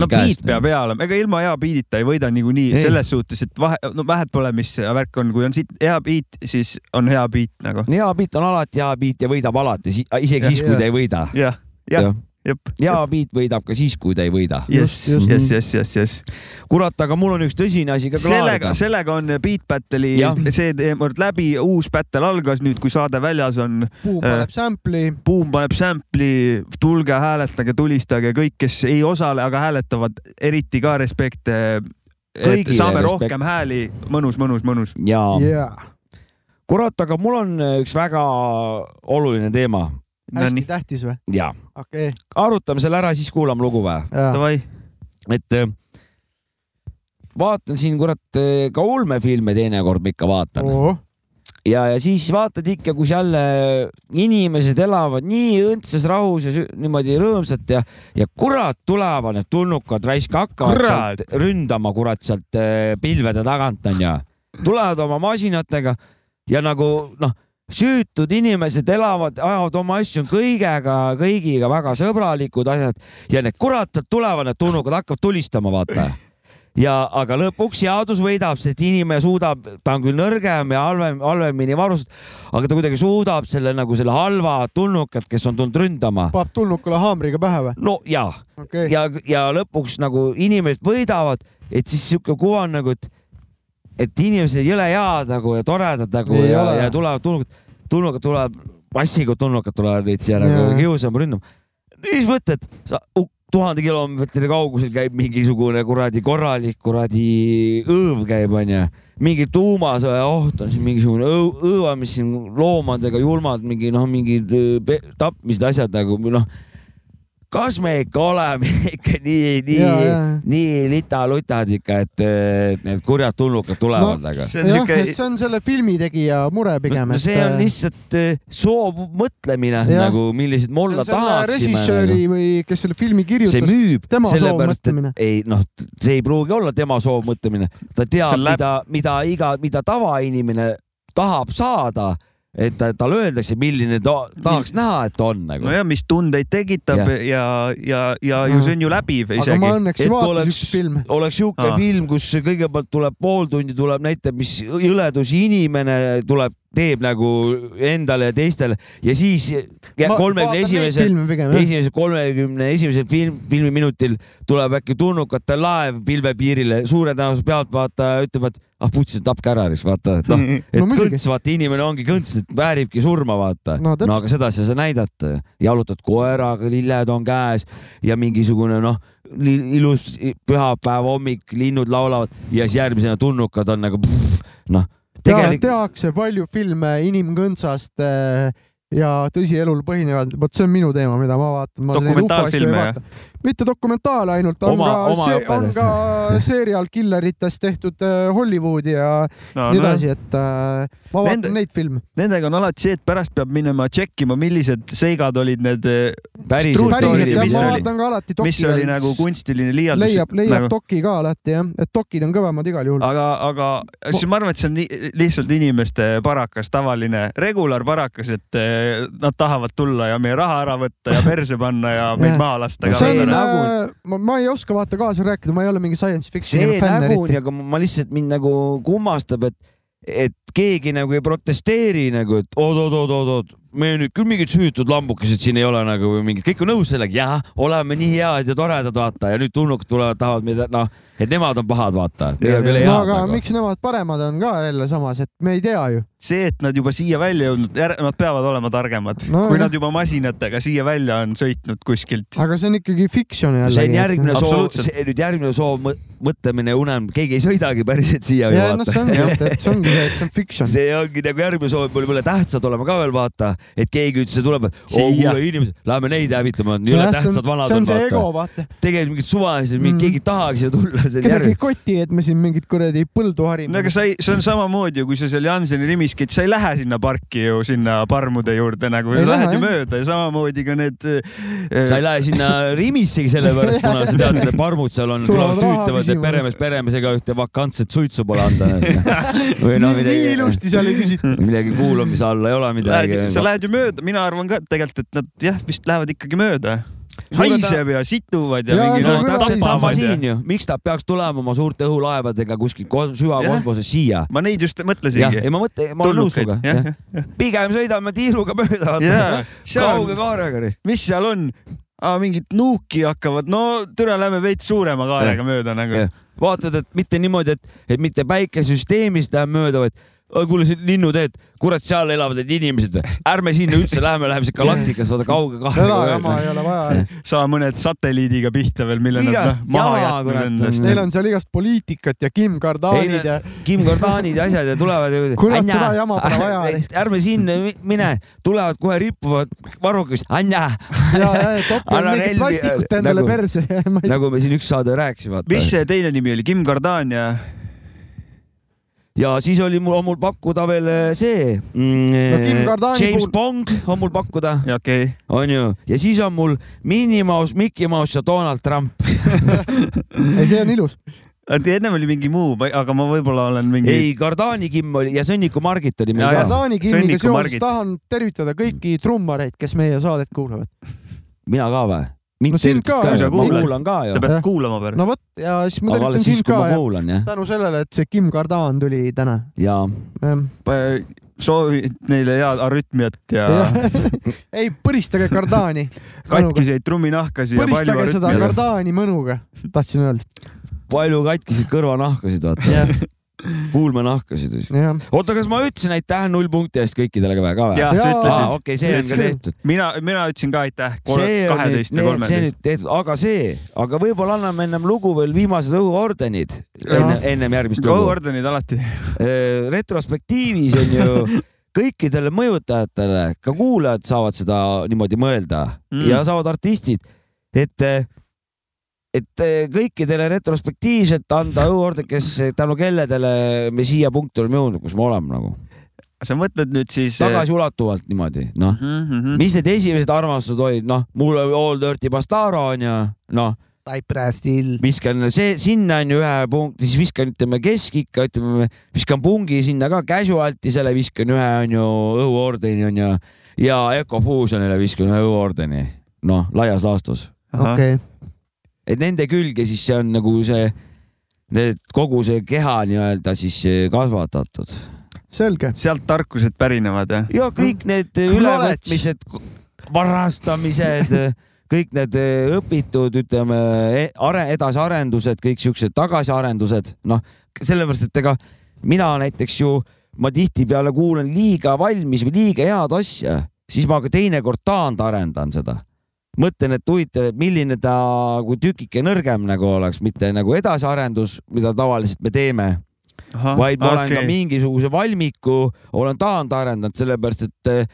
S3: no
S2: käest
S3: biit . peab hea olema , ega ilma hea biidita ei võida niikuinii
S2: Ei.
S3: selles suhtes , et vahe , no vähet pole , mis see värk on , kui on siit hea biit , siis on hea biit nagu .
S2: hea beat on alati hea beat ja võidab alati , isegi
S3: Jah,
S2: siis , kui
S11: jah.
S2: ta ei võida .
S3: jah , jah , jep .
S2: hea beat võidab ka siis , kui ta ei võida .
S3: jess ,
S11: just.
S3: jess , jess , jess , jess .
S2: kurat , aga mul on üks tõsine asi ka
S3: sellega
S2: klaarida ,.
S3: sellega on Beat Battle'i
S2: Jah.
S3: see teemant läbi , uus battle algas nüüd , kui saade väljas on .
S11: Buum
S2: Äh.
S11: paneb sample'i ,
S3: Buum paneb sample'i , tulge hääletage , tulistage , kõik , kes ei osale , aga hääletavad , eriti ka respekt . et
S2: Kõigile
S3: saame
S2: respekt.
S3: rohkem hääli , mõnus , mõnus , mõnus .
S2: ja
S11: jaa .
S2: kurat , aga mul on üks väga oluline teema
S11: hästi tähtis või ?
S2: ja
S11: okei ,
S2: arutame selle ära , siis kuulame lugu või ,
S11: jaa .
S3: davai .
S2: et eh, vaatan siin kurat eh, ka ulmefilme teinekord ma ikka vaatan ja , ja siis vaatad ikka , kus jälle inimesed elavad nii õndsas rahus ja sü- niimoodi rõõmsalt ja , ja kurat tulevad need tulnukad raisk hakkavad
S3: Kurat!
S2: sealt ründama kurat sealt eh, pilvede tagant onju . tulevad oma masinatega ja nagu noh , süütud inimesed elavad , ajavad oma asju kõigega , kõigiga väga sõbralikud asjad ja need kurat sealt tulevad need tulnukad hakkavad tulistama , vaata ja , aga lõpuks seadus võidab , sest inimene suudab , ta on küll nõrgem ja halvem , halvemini varustatud , aga ta kuidagi suudab selle nagu selle halva tulnukat , kes on tulnud ründama .
S11: paneb tulnukule haamriga pähe või ?
S2: no ja ,
S11: okei ,
S2: ja , ja lõpuks nagu inimesed võidavad , et siis sihuke kuva on nagu , et , et inimesed ei ole head nagu ja toredad nagu
S11: Ei
S2: ja
S11: ole. ,
S2: ja tulevad tulnukad , tulnukad tulevad , massiga tulnukad tulevad veits ja
S11: Jaa.
S2: nagu kiusama ründama . mis mõtted , sa uh, tuhande kilomeetri kaugusel käib mingisugune kuradi korralik kuradi õõv käib onju , mingi tuumasõja oht on siin mingisugune õõ- õõva , mis siin loomadega julmad mingi noh , mingid öö, pe- tapmised , asjad nagu noh . kas me ikka oleme ikka nii , nii
S11: Jaa, jaa. ,
S2: nii litalutad ikka , et öö, et need kurjad tulnukad tulevad
S11: No,
S2: no, aga .
S3: see on
S11: jah ,
S3: siuke
S11: et see on selle filmitegija mure pigem ,
S2: No,
S11: et . äh,
S2: see on lihtsalt öö, soovmõtlemine
S11: Jah.
S2: nagu , millised me olla
S11: selle
S2: tahaksime . nagu.
S11: režissööri või kes selle filmi
S2: see
S11: kirjutas ,
S2: müüb ,
S11: tema
S2: sellepärast
S11: soovmõtlemine.
S2: et ei noh , see ei pruugi olla tema soovmõtlemine , ta
S3: See
S2: teab ,
S3: on läb-
S2: mida , mida iga , mida tavainimene tahab saada , et ta, talle öeldakse , milline ta tahaks näha , et on nagu .
S3: nojah , mis tundeid tekitab ja , ja , ja, ja ju see on ju läbiv
S11: aga ma
S3: isegi .
S11: õnneks
S2: et
S11: vaatasin
S2: oleks-
S11: üks film .
S2: oleks sihuke
S3: Aa.
S2: film , kus kõigepealt tuleb pool tundi , tuleb näitab , mis jõledusi inimene tuleb , teeb nagu endale ja teistele ja siis kolmekümne esimesel
S11: esimesel .
S2: esimese kolmekümne esimesel film , filmiminutil tuleb äkki tulnukate laev pilvepiirile , suure tõenäosus pealtvaataja ütleb , et ah putsi , tapke ära , eks vaata , et noh , et
S11: No
S2: no,
S11: muidugi.
S2: kõnts , vaata inimene ongi kõnts , et vääribki surma , vaata
S11: No
S2: no, .
S11: täpselt.
S2: no aga seda sa ei saa näidata , jalutad koeraga , lilled on käes ja mingisugune noh , ilus pühapäeva hommik , linnud laulavad ja siis järgmisena tulnukad on nagu pff, noh , tegelikult
S11: tehakse palju filme inimkõndsast äh,
S1: eh, ja tõsielul põhinevad , vot see on minu teema , mida ma vaatan .
S3: Dokumentaalfilme, jah? ?
S1: mitte dokumentaal ainult , on
S3: Oma- oma
S1: ka , on
S3: õpetest.
S1: ka serial killeritest tehtud äh, Hollywoodi ja
S3: No,
S1: no, nii
S3: no.
S1: edasi , et äh, ma vaatan
S3: Nende-
S1: Nende... neid filme .
S3: Nendega on alati see , et pärast peab minema tšekkima , millised seigad olid need .
S2: Päriselt
S1: olid, jah,
S3: mis
S1: ma
S3: oli
S1: vaatan ka alati ,
S3: mis
S1: doki
S3: oli
S1: veel.
S3: nagu kunstiline liialdus .
S1: leiab , leiab nagu... doki ka alati jah , et dokid on kõvemad igal juhul .
S3: aga , aga siis ma arvan , et see on nii- lihtsalt inimeste parakas , tavaline regular parakas , et eh, nad tahavad tulla ja meie raha ära võtta ja perse panna ja meid
S1: Jah.
S3: maha lasta .
S1: see on nagu , ma , ma ei oska vaata kaasa rääkida , ma ei ole mingi science fiction'i
S2: see
S1: fänn
S2: nägu on
S1: eriti .
S2: ja ma ma lihtsalt mind nagu kummastab , et , et keegi nagu ei protesteeri nagu , et oot-oot-oot-oot-oot , me nüüd küll mingid süütud lambukesed siin ei ole nagu või mingid , kõik on nõus sellega , jah , oleme nii head ja toredad , vaata ja nüüd tulnukad tulevad , tahavad meid , noh , et nemad on pahad , vaata .
S1: no aga nagu. miks nemad paremad on ka jälle samas , et me ei tea ju .
S3: see , et nad juba siia välja jõudnud , nad peavad olema targemad no,
S1: No ,
S3: kui
S1: jah.
S3: nad juba masinatega siia välja on sõitnud kuskilt .
S1: aga see on ikkagi fiction jälle .
S2: see on järgmine soov , see nüüd järgmine soov , mõtlemine , unelm , keegi ei sõidagi päriselt siia ju
S1: jah , noh , see ongi , et ,
S2: vaata .
S1: et see ongi see , et see on fiction .
S2: see ongi nagu järgmine soov , et me oleme tähtsad olema ka veel vaata , et keegi üldse tuleb , et oo
S3: Siia.
S2: kuule inimesed , lähme neid hävitama , nii ole
S1: Jah, see on-
S2: tähtsad vanad
S1: see
S2: on
S1: on see ego ,
S2: vaata .
S1: vaata .
S2: tegelikult mingid suvalised , mingi keegi ei tahagi siia tulla , see on
S1: kedagi
S2: järg
S1: ei . koti , et me siin mingit kuradi põldu harime
S3: no . aga sa ei , see on samamoodi ju , kui sa seal Janseni Rimis käid , sa ei lähe sinna parki ju sinna parmude juurde nagu ,
S1: Ei
S3: sa
S1: lähe,
S3: lähed ju
S1: jah.
S3: mööda ja samamoodi ka need . eh,
S2: sa ei lähe sinna Rimissegi sellepärast , kuna sa tead , et need parmud seal on ,
S1: Tulevad
S2: tulevad
S1: raha
S2: tüütavad , et
S1: küsima.
S2: peremees peremesega ühte vakantset suitsu pole anda . või noh ,
S1: nii
S2: midagi ,
S1: ilusti seal ei küsita .
S2: midagi kuulamise alla ei ole midagi . noh.
S3: Lähed, sa lähed ju mööda , mina arvan ka et tegelikult , et nad jah , vist lähevad ikkagi mööda .
S2: Suure ta-
S3: haiseb ja situvad ja,
S1: Jaa,
S3: mingi
S1: see on
S3: no,
S1: küll
S3: tapavad
S1: siis
S2: tapama
S3: ja-
S2: siin ju , miks ta peaks tulema oma suurte õhulaevadega kuskilt kos- süvakosmoses siia ?
S3: ma neid just
S2: jah ,
S3: mõtlesingi
S2: ei . ma mõtlen , ma olen nõus sinuga . pigem sõidame tiiruga mööda ,
S3: Jaa,
S2: vaata .
S3: seal on-
S2: kauge kaarega .
S3: mis seal on ? mingit nuuki hakkavad , no türa lähme veits suurema kaarega
S2: Jah.
S3: mööda nagu .
S2: vaatad , et mitte niimoodi , et , et mitte päikesüsteemist läheb mööda , vaid oi kuule , see on linnuteed , kurat , seal elavad need inimesed , ärme sinna üldse läheme , läheme siit galaktikasse , vaata kauge
S1: seda jama ei
S2: kaarega .
S1: ole vaja .
S3: saa mõned satelliidiga pihta veel , mille nad
S2: Igast
S3: noh, maha
S2: jama,
S3: jätnud
S2: kurat,
S3: endast .
S1: Neil on seal igast poliitikat ja Kim
S2: Ei,
S1: Kardanid
S2: no-
S1: ja
S2: Kim Kardanid ja asjad ja tulevad .
S1: Kurat, seda jama pole vaja lihtsalt.
S2: ärme sinna mi- mine , tulevad kohe rippuvad varrukas , Anja ,
S1: ja , ja topivad
S2: Anna relvi,
S1: mingit plastikut
S2: äh,
S1: endale
S2: nagu-
S1: perse .
S2: nagu me siin üks saade rääkisime .
S3: mis see teine nimi oli , Kim Kardan ja
S2: ja siis oli mul , on mul pakkuda veel äh, see
S1: Kim
S2: mm,
S1: Kardani
S2: James
S1: puhul-
S2: Bond on mul pakkuda ,
S3: ja okei okay. ,
S2: onju , ja siis on mul Minnie Mouse , Mickey Mouse ja Donald Trump .
S1: ei , see on ilus .
S3: oota ennem oli mingi muu , aga ma võib-olla olen mingi
S2: ei , Kardani Kim oli ja Sõnniku Margit oli meil
S3: Ja, ja.
S2: ka .
S1: Kardani Kimiga
S3: Sõnniku
S1: seoses
S3: Margit.
S1: tahan tervitada kõiki trummareid , kes meie saadet kuulavad .
S2: mina ka või ? mind
S1: No sind
S2: tervitas
S1: ka,
S2: ka
S3: sa
S2: ju , ma
S3: kuulad.
S2: kuulan ka
S3: sa
S2: ju .
S3: pead
S1: Jah.
S3: kuulama pärast no. .
S1: no vot ja siis ma
S2: aga
S1: tervitan
S2: alles siis ,
S1: sind
S2: kui
S1: ka
S2: ma
S1: ja
S2: kuulan jah .
S1: tänu sellele , et see Kim Kardan tuli täna . Ehm,
S2: ja
S3: soovid neile head arütmiat ja, ja.
S1: ei , põristage Kardani .
S3: katkiseid trumminahkasi ja palju
S1: põristage seda
S3: arütmiat .
S1: Kardani mõnuga , tahtsin öelda .
S2: palju katkisid kõrvanahkasid , vaata ,
S1: jah ,
S2: kuulmenahkasid .
S1: jah .
S2: oota , kas ma ütlesin aitäh null punkti eest kõikidele ka või- ka või ?
S3: jah , sa
S1: Jaa.
S2: aa ,
S3: ütlesid ,
S2: okei , see on ka
S1: Yes,
S2: tehtud .
S3: mina , mina ütlesin ka aitäh ,
S2: see on nüüd,
S3: kaheteist
S2: need,
S3: ja
S2: see
S3: kolmeteist .
S2: nüüd tehtud , aga see , aga võib-olla anname ennem lugu veel viimased õhuordenid
S3: Jaa.
S2: enne , ennem järgmist lugu .
S3: Go-ordenid Nagu alati .
S2: retrospektiivis on ju kõikidele mõjutajatele , ka kuulajad saavad seda niimoodi mõelda
S3: Mm.
S2: mm. ja saavad artistid , et , et kõikidele retrospektiivselt anda õhuorden , kes , tänu kelledele me siia punkti oleme jõudnud , kus me oleme nagu
S3: sa mõtled nüüd siis . eh, Mhm,
S2: tagasiulatuvalt niimoodi , noh .
S3: Mm.
S2: mis need esimesed armastused olid , noh , mul oli All Dirty Bastaro onju , noh ,
S1: Still .
S2: viskan see sinna onju ühe punkti , siis viskan , ütleme keskikka , ütleme , viskan pungi sinna ka , casualti selle viskan ühe onju , õhuordeni onju ja Ecofusionile viskan ühe õhuordeni , noh , laias laastus ,
S1: okei ,
S2: et nende külge siis see on nagu see , need kogu see keha nii-öelda siis eh, kasvatatud
S1: selge .
S3: sealt tarkused pärinevad jah ?
S2: ja kõik need ülevõtmised , varastamised , kõik need eh, õpitud , ütleme , are- , edasiarendused , kõik siuksed tagasiarendused , noh , sellepärast , et ega mina näiteks ju , ma tihtipeale kuulan liiga valmis või liiga head asja , siis ma ka teinekord taandarendan seda mõtlen , et huvitav , et milline ta kui tükike nõrgem nagu oleks , mitte nagu edasiarendus , mida tavaliselt me teeme , vaid ma olen ka mingisuguse valmiku , olen taandarendanud , sellepärast et eh,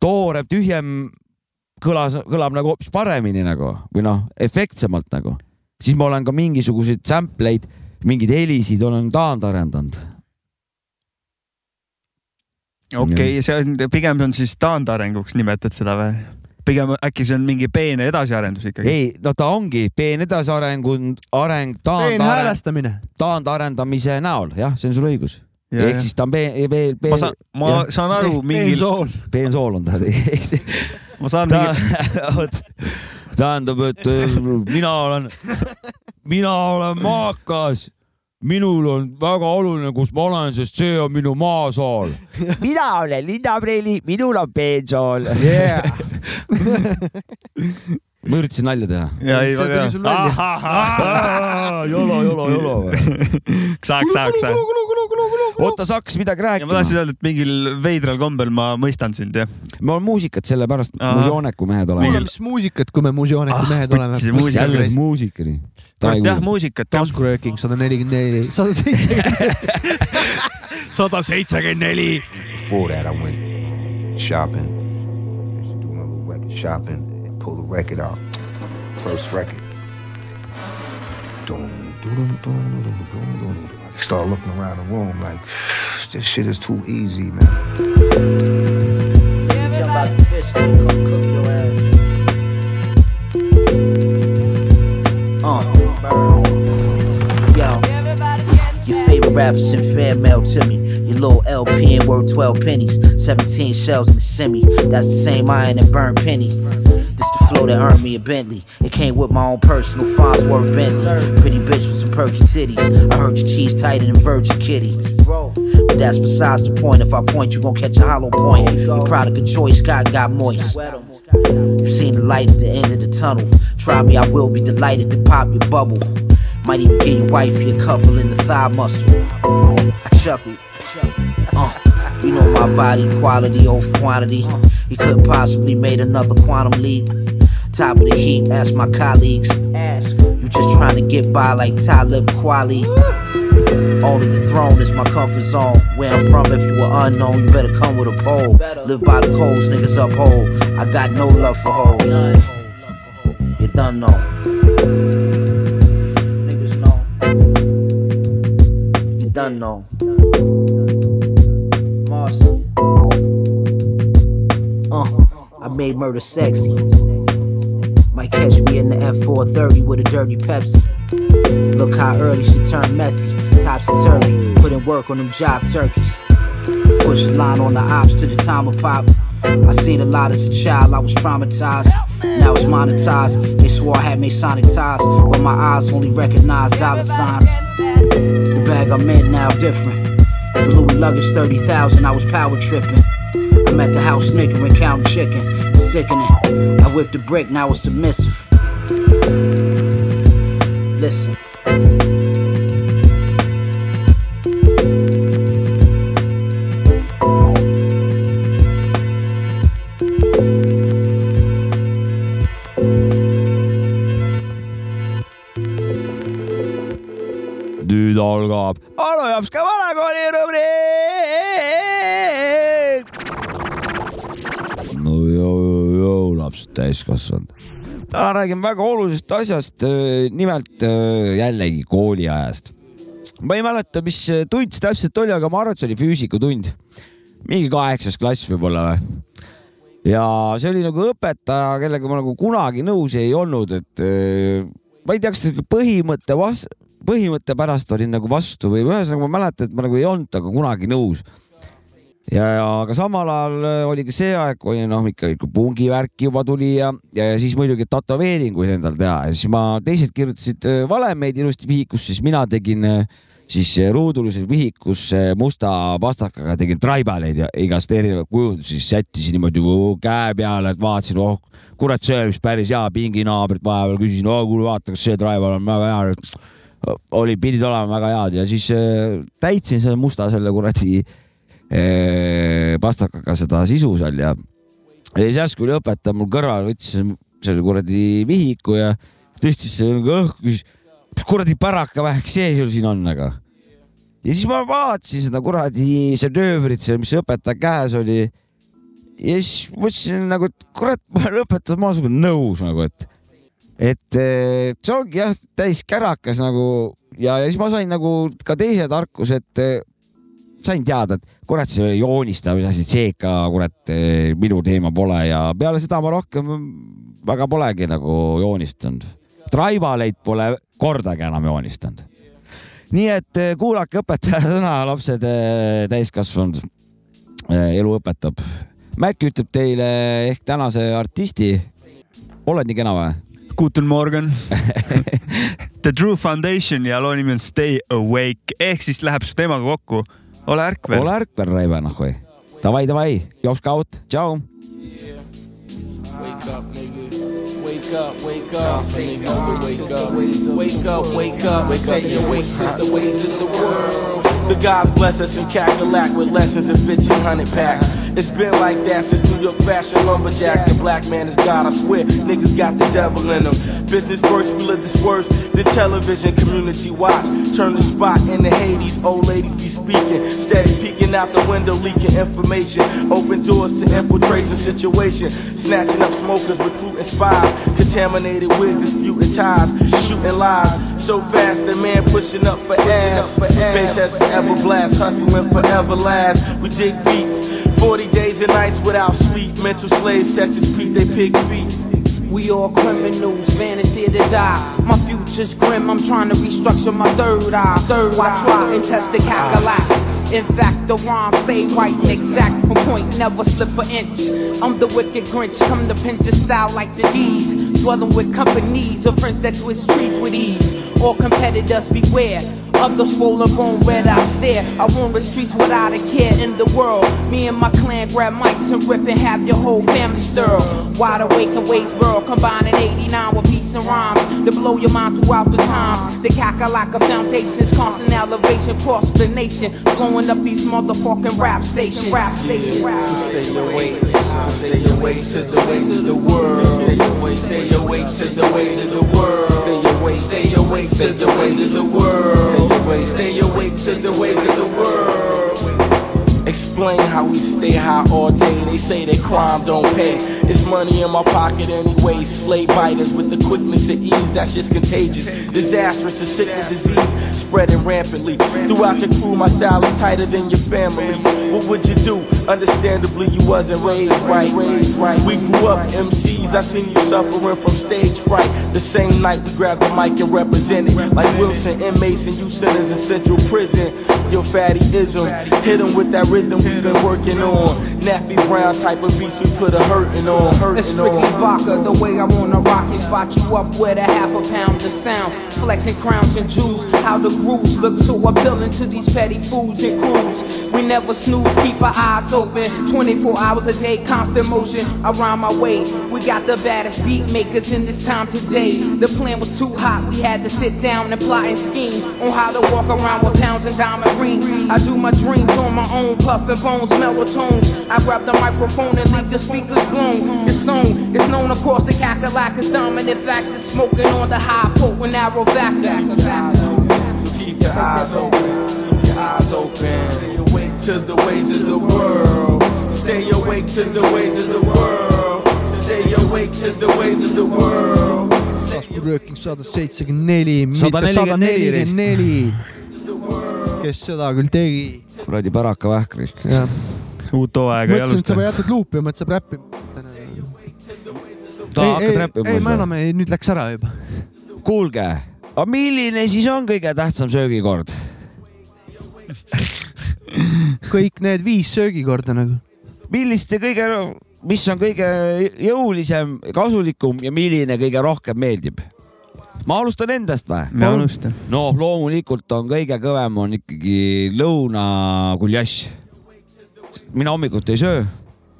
S2: toorem , tühjem kõlas , kõlab nagu hoopis paremini nagu või noh , efektsemalt nagu , siis ma olen ka mingisuguseid sample eid , mingeid helisid olen taandarendanud .
S3: okei , see on , pigem on siis taandarenguks nimetad seda või ? pigem äkki see on mingi peene edasiarendus ikkagi ?
S2: ei , no ta ongi peen edasiareng , areng , taandarend ,
S11: peenhäälestamine .
S2: taandarendamise näol , jah , see on sul õigus .
S3: Jaa,
S2: ehk
S3: jah.
S2: siis ta on peen , peen ,
S3: ma saan , ma
S2: jah.
S3: saan aru
S11: Peen-
S3: mingil ,
S11: peensool.
S2: peensool on ta Eesti
S3: ma saan
S2: ta
S3: mingi ,
S2: tähendab , et äh, mina olen , mina olen maakas , minul on väga oluline , kus ma olen , sest see on minu maasaal . mina olen linnapreili , minul on peensaal yeah. . ma üritasin nalja teha .
S3: ja ei
S11: see
S3: väga
S11: tuli
S3: hea .
S11: sul välja .
S2: jolo , jolo , jolo .
S3: saaks , saaks , saaks .
S2: oota , sa hakkasid midagi
S3: ja ma tahtsin
S2: rääkima .
S3: öelda , et mingil veidral kombel ma mõistan sind jah .
S2: me oleme muusikat sellepärast ,
S3: Ahah.
S2: muusiooniku mehed
S3: Kuule,
S1: kuule ,
S2: oleme .
S1: mis muusikat , kui me muusiooniku mehed
S3: võtsi,
S1: oleme .
S3: muusi-
S2: Ah, jälle muusikani .
S3: kurat jah , muusikat .
S1: taskurööking sada nelikümmend neli , sada seitsekümmend .
S3: sada seitsekümmend neli .
S12: Before that, I went shopping. Used to do my little record shopping and pull the record out. First record. Dum, dum, dum, dum, dum, dum, dum. I just started looking around the room like, this shit is too easy, man.
S13: Jump out the fish, go come cook your ass. Uh, burn. Yo. Your favorite rappers and fan mail to me. Your little LP and worth 12 pennies. 17 shells in the semi. That's the same iron and burn penny. This the flow that earned me a Bentley. It came with my own personal Farnsworth Bentley. Pretty bitch with some perky titties. I heard your cheese tighter than Virgin Kitty. But that's besides the point. If I point, you gon' catch a hollow point. Your product of choice, Scott got moist. You seen the light at the end of the tunnel. Try me, I will be delighted to pop your bubble. Might even get your wife your couple in the thigh muscle. I chuckled. Uh, you know my body quality over quantity. You could possibly made another quantum leap. Top of the heap, ask my colleagues. Ask. You just trying to get by like Talib Kweli. Only the throne is my comfort zone. Where I'm from, if you were unknown, you better come with a pole. Live by the codes, niggas uphold. I got no love for hoes. You done know. Niggas know. You done know. Marcy. Uh, I made murder sexy. Might catch me in the F430 with a dirty Pepsi. Look how early she turned messy. Topsy turvy, putting work on them job turkeys. Push the line on the ops to the time of pop. I seen a lot as a child, I was traumatized. Now it's monetized. They swore I had me sanitized, but my eyes only recognize dollar signs. The bag I'm in now different. The Louis luggage 30,000, I was power tripping. I'm at the house snickering, counting chicken. It's sickening. I whipped a brick, now it's submissive. Listen.
S2: nüüd algab Anu Jopska vanakooli rubriik . no jõu , jõu lapsed täiskasvanud . täna räägime väga olulisest asjast , nimelt öö, jällegi kooliajast . ma ei mäleta , mis äh, tund see täpselt oli , aga ma arvan , et see oli füüsikatund . mingi kaheksas klass võib-olla või ja see oli nagu õpetaja , kellega ma nagu kunagi nõus ei olnud , et öö, ma ei tea , kas see põhimõte vas- , põhimõtte pärast olin nagu vastu või ühesõnaga ma mäletan , et ma nagu ei olnud temaga kunagi nõus . ja , ja aga samal ajal öö, oli ka see aeg , kui noh , ikka ikka pungivärk juba tuli ja , ja siis muidugi tätoveeringuid endal teha ja siis ma , teised kirjutasid öö, valemeid ilusti vihikusse , siis mina tegin öö, siis öö, ruudulises vihikus öö, musta pastakaga tegin traibaleid ja igast erinevaid kujundusi , siis sättisin niimoodi võ- käe peale , et vaatasin , oh kurat , see oli vist päris hea , pinginaabrit vahepeal küsisin , oh kuule vaata , kas see traival on väga hea . oli , pidid olema väga head ja siis äh, täitsin selle musta selle kuradi äh, pastakaga seda sisu seal ja , ja siis järsku oli õpetaja mul kõrval , võttis selle kuradi vihiku ja tõstis selle nagu õhku , küsis , mis kuradi päraka vähk see sul siin on , aga . ja siis ma vaatasin seda kuradi šedöövrit seal , mis õpetaja käes oli ja siis mõtlesin nagu , et kurat , ma lõpetan , ma olen sinuga nõus nagu , et , et eh, see ongi jah , täis kärakas nagu ja , ja siis ma sain nagu ka teise tarkuse , et eh, sain teada , et kurat , see joonistamise asi , see ikka kurat eh, minu teema pole ja peale seda ma rohkem väga polegi nagu joonistanud . Traivaleid pole kordagi enam joonistanud . nii et eh, kuulake õpetaja sõna , lapsed , täiskasvanud . elu õpetab . Mac ütleb teile ehk tänase artisti . oled nii kena või ?
S3: Guten Morgen . The True Foundation ja loo nimi on Stay Awake ehk siis läheb su teemaga kokku . ole ärkvel .
S2: ole ärkvel , Raivo , noh või . Davai , davai , jops kaut , tšau .
S14: Wake up, nigga. Wake up, wake up, nigga. Wake up, wake up, wake up. Wake up, you wake to the ways of the world. The gods bless us in Cackalack with lessons in 1500 packs. It's been like that since New York fashion lumberjacks. The black man is God, I swear. Niggas got the devil in them. Business first, we live this worst. The television community watch. Turn the spot into Hades. Old ladies be speaking. Steady peeking out the window, leaking information. Open doors to infiltration situation. Snatching up smokers, recruiting spies. Contaminated wigs, disputing ties. Shooting lies. So fast, the man pushing up for ass. Bass has forever blast. Hustling forever last. We dig beats. 40 days and nights without sleep. Mental slaves, Texas Pete, they pig feet.
S15: We all criminals, vanity to die. My future's grim, I'm trying to restructure my third eye. Third eye, try and test the cackalack. In fact, the rhyme stay right and exact. From point, never slip an inch. I'm the wicked Grinch, come to pinch a style like the D's. Dwelling with companies of friends that twist trees with ease. All competitors beware. Other swollen bone red I stare. I roam the streets without a care in the world. Me and my clan grab mics and rip and have your whole family stirred. Wide awake and Waysboro combining 89 with beats and rhymes to blow your mind throughout the times. The Kakalaka foundations, constant elevation across the nation, blowing up these motherfucking rap stations. Rap stations.
S14: Stay awake, stay awake to the ways of the world. Stay awake, stay awake to the ways of the world. Stay awake, stay awake to the ways of the world. Stay awake, stay awake to the ways of the world. Explain how we stay high all day. They say that crime don't pay. It's money in my pocket anyway. Slave biters with the quickness and ease. That shit's contagious. Disastrous to sickness disease spreading rampantly. Throughout your crew, my style is tighter than your family. What would you do? Understandably, you wasn't raised right. Raised right. We grew up MCs. I seen you suffering from stage fright. The same night we grabbed the mic and represented. Like Wilson and Mason, you sinners in central prison. Your fatty ism. Hit 'em with that rhythm we've been working on. Nappy Brown type of beats we put a hurtin' on.
S15: It's
S14: Hurtin'
S15: strictly
S14: on.
S15: vodka, the way I wanna rock it. Spot you up with a half a pound of sound. Flexing crowns and jewels, how the grooves look so appealing to these petty fools and crews. We never snooze, keep our eyes open. 24 hours a day, constant motion around my way. We got the baddest beat makers in this time today. The plan was too hot, we had to sit down and plot and scheme on how to walk around with pounds and diamond rings. I do my dreams on my own, puffin' bones, melatonin. I grab the microphone and leave the speakers blown. It's known, it's known across the cackalack as dominant factor, smoking on the high potent arrow factor.
S14: Keep your eyes open. Keep your eyes open. Stay awake to the ways of the world. Stay awake to the ways of the world. Stay awake to the ways of the world.
S1: taskurööking sada seitsekümmend neli , mitte sada
S2: 144.
S1: nelikümmend neli . kes seda küll tegi ?
S2: kuradi päraka vähkrisk .
S3: uut hooaega
S1: mõtlesin , et sa jätad luupima , et saab räppima .
S2: Ta hakkad räppima
S1: ei ,
S2: siis
S1: me
S2: või?
S1: anname , nüüd läks ära juba .
S2: kuulge , aga milline siis on kõige tähtsam söögikord ?
S1: kõik need viis söögikorda nagu .
S2: milliste kõige , mis on kõige jõulisem , kasulikum ja milline kõige rohkem meeldib ? ma alustan endast või ?
S3: Me alustan. .
S2: no loomulikult on kõige kõvem on ikkagi lõunakuljass . mina hommikuti ei söö ,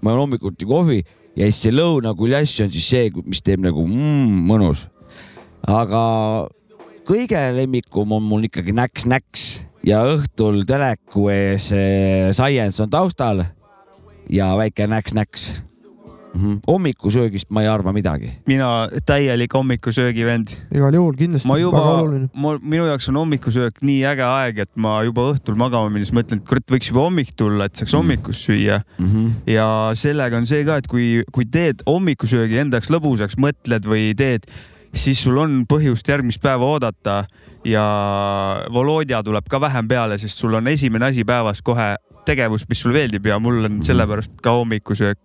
S2: ma joon hommikuti kohvi ja siis see lõunakuljass on siis see , mis teeb nagu mm, mõnus . aga kõige lemmikum on mul ikkagi näks-näks ja õhtul teleku ees eh, Science on taustal ja väike näks-näks . hommikusöögist ma ei arva midagi .
S3: mina täielik hommikusöögivend .
S1: igal juhul kindlasti
S3: ma juba
S1: väga oluline .,
S3: minu jaoks on hommikusöök nii äge aeg , et ma juba õhtul magama minnes mõtlen , et kurat , võiks juba hommik tulla , et
S1: Mhm.
S3: saaks hommikus süüa
S2: mm . -hmm.
S3: ja sellega on see ka , et kui , kui teed hommikusöögi enda jaoks lõbusaks , mõtled või teed , siis sul on põhjust järgmist päeva oodata ja Volodja tuleb ka vähem peale , sest sul on esimene asi päevas kohe tegevus , mis sulle meeldib ja mul
S1: Mhm.
S3: on sellepärast ka hommikusöök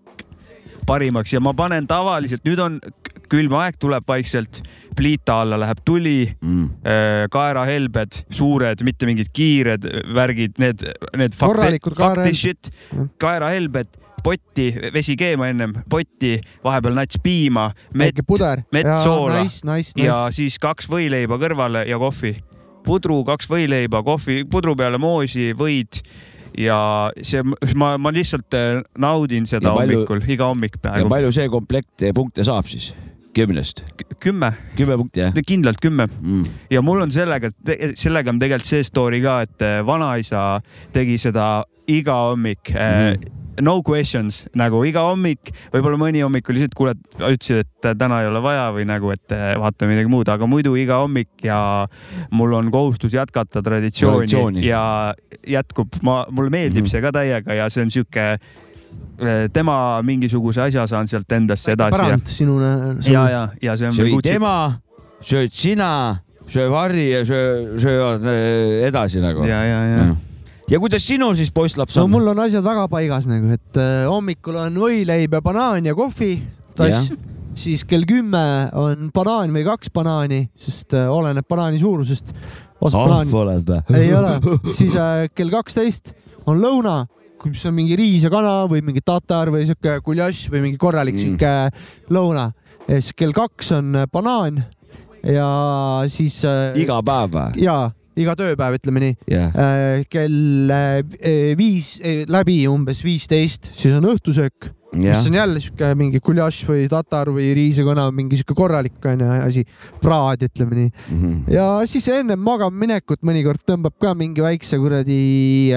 S3: parimaks ja ma panen tavaliselt , nüüd on k- külm aeg , tuleb vaikselt , pliita alla läheb tuli
S2: Mhm.
S3: mm. , kaerahelbed suured , mitte mingid kiired äh, värgid , need , need
S1: Korralikud kaerahelbed. Mm.
S3: shit , kaerahelbed , potti , vesi keema ennem , potti , vahepeal nats piima , mett
S1: väike , puder .
S3: mett soola
S1: nice , nice ,
S3: ja
S1: nice .
S3: siis kaks võileiba kõrvale ja kohvi . pudru , kaks võileiba , kohvi , pudru peale moosi , võid ja see , ma , ma lihtsalt eh, naudin seda
S2: Ja palju-
S3: hommikul , iga hommik
S2: ja
S3: peaaegu .
S2: palju see komplekt eh, punkte saab siis kümnest ?
S3: kümme .
S2: kümme punkti jah ?
S3: kindlalt kümme
S2: mm. .
S3: ja mul on sellega , sellega on tegelikult see story ka , et eh, vanaisa tegi seda iga hommik mm. . No questions nagu iga hommik , võib-olla mõni hommik oli see , et kuule , ütlesid , et äh, täna ei ole vaja või nagu , et eh, vaatame midagi muud , aga muidu iga hommik ja mul on kohustus jätkata traditsiooni,
S2: Traditsiooni.
S3: traditsiooni. ja jätkub , ma , mulle meeldib mm -hmm. see ka täiega ja see on sihuke , tema mingisuguse asja saan sealt endasse edasi ja
S16: pärand , sinune .
S3: ja , ja , ja see on .
S2: sööd tema , sööd sina , sööb Harri ja söö , söövad eh, edasi nagu .
S3: ja , ja , ja .
S2: ja kuidas sinul siis poisslaps
S1: no
S2: on ?
S1: mul on asjad väga paigas nagu , et äh, hommikul on võileib ja banaan ja kohvi , tass
S2: Jah. .
S1: siis kell kümme on banaan või kaks banaani , sest äh, oleneb banaani suurusest .
S2: ahv oled või ?
S1: ei ole , siis äh, kell kaksteist on lõuna , kus on mingi riis ja kana või mingi tatar või sihuke guljaš või mingi korralik mm. sihuke lõuna . ja siis kell kaks on äh, banaan ja siis .
S2: iga päev või ?
S1: ja iga tööpäev , ütleme nii
S2: Jah.
S1: Äh, kell äh, viis eh, läbi umbes viisteist , siis on õhtusöök ,
S2: Jah.
S1: mis on jälle sihuke mingi guljaš või tatar või riis ja kana , mingi sihuke korralik onju asi , praad ütleme nii
S2: mm . -hmm
S1: ja siis ennem magama minekut mõnikord tõmbab ka mingi väikse kuradi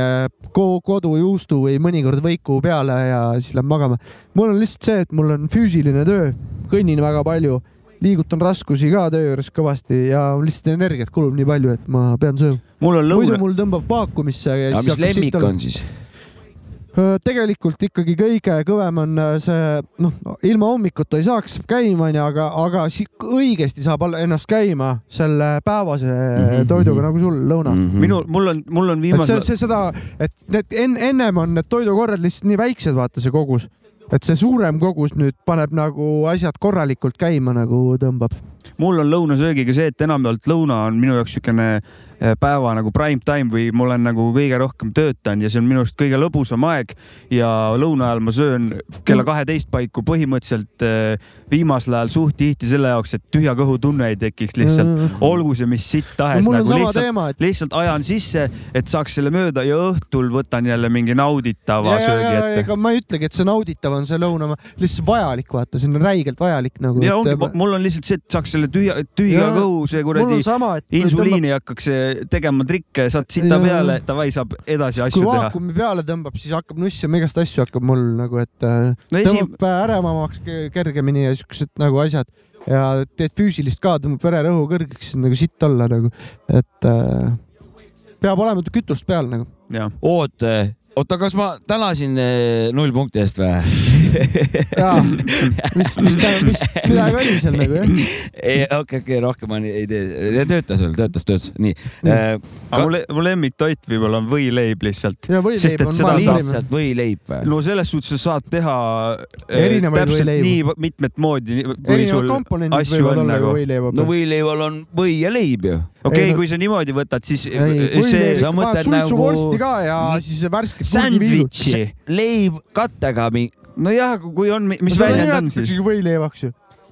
S1: äh, ko- kodujuustu või mõnikord võiku peale ja siis läheb magama . mul on lihtsalt see , et mul on füüsiline töö , kõnnin väga palju , liigutan raskusi ka töö juures kõvasti ja lihtsalt energiat kulub nii palju , et ma pean sööma .
S3: mul on
S1: muidu
S3: lõuna ,
S1: mul tõmbab vaakumisse .
S2: aga mis lemmik on ? siis ?
S1: tegelikult ikkagi kõige kõvem on äh, see , noh , ilma hommikuta ei saaks käima , onju , aga , aga si- õigesti saab all- ennast käima selle päevase mm -hmm. toiduga nagu sul lõuna mm . -hmm.
S3: minul , mul on , mul on
S1: et see ,
S3: viimasel
S1: see seda , et need en, ennem on need toidukorrad lihtsalt nii väiksed , vaata see kogus , et see suurem kogus nüüd paneb nagu asjad korralikult käima nagu tõmbab .
S3: mul on lõunasöögiga see , et enamjaolt lõuna on minu jaoks niisugune päeva nagu prime time või ma olen nagu kõige rohkem töötanud ja see on minu arust kõige lõbusam aeg ja lõuna ajal ma söön
S1: Mm.
S3: kella kaheteist paiku põhimõtteliselt eh, viimasel ajal suht tihti selle jaoks , et tühja kõhu tunne ei tekiks
S1: Mhm.
S3: lihtsalt , olgu see mis sitt tahes
S1: No mul on
S3: nagu
S1: sama
S3: lihtsalt
S1: teema, ,
S3: lihtsalt ajan sisse , et saaks selle mööda ja õhtul võtan jälle mingi nauditava söögi ette .
S1: ega ma ei ütlegi , et see nauditav on see lõuna , lihtsalt vajalik , vaata , see on räigelt vajalik nagu .
S3: ja ongi , mul on lihtsalt see , et saaks selle tühja , tühja
S1: Jaa.
S3: kõhu , see
S1: Mul
S3: kuradi
S1: on sama, et kui
S3: insuliini tõmbab... hakkaks eh, tegema trikke , saad sita
S1: Jaa.
S3: peale , davai , saab edasi
S1: kui
S3: asju teha .
S1: vaakumi peale tõmbab , siis hakkab nussima igast asju hakkab mul nagu , et äh,
S3: No esi-
S1: tõmbab äh, ärevamaks ke- kergemini ja siuksed nagu asjad ja teed füüsilist ka , tõmbab vererõhu kõrgeks , siis on nagu sitt olla nagu , et äh, peab olema kütust peal nagu .
S2: oot , oota , kas ma tänasin eh, null punkti eest või ?
S1: jaa , mis , mis , mis , midagi oli seal nagu jah .
S2: okei , okei , rohkem ma nii ei tee . töötas veel , töötas , töötas , nii . äh,
S3: aga mu le- , mu lemmiktoit võib-olla on võileib lihtsalt .
S1: Jaa, võileib on maailma parim.
S3: lihtsalt
S2: võileib või ?
S3: no selles suhtes sa saad teha eh,
S1: Erinevaid
S3: täpselt
S1: võileibu.
S3: nii va- mitmet moodi .
S1: Erinevad komponendid võivad olla
S3: nagu-
S1: ju võileiva peal. No
S2: võileival on või ja leib ju .
S3: okei
S1: Ei, , no-
S3: kui sa niimoodi võtad , siis eh,
S1: ei ,
S3: see .
S2: Sa mõtled nagu-
S1: sultsuvorsti ka ja siis värsket
S3: Sandwichi .
S2: leib kattega .
S3: nojah , kui on , mis
S1: seda
S3: väljend on siis ?
S1: nimetataksegi võileivaks ju .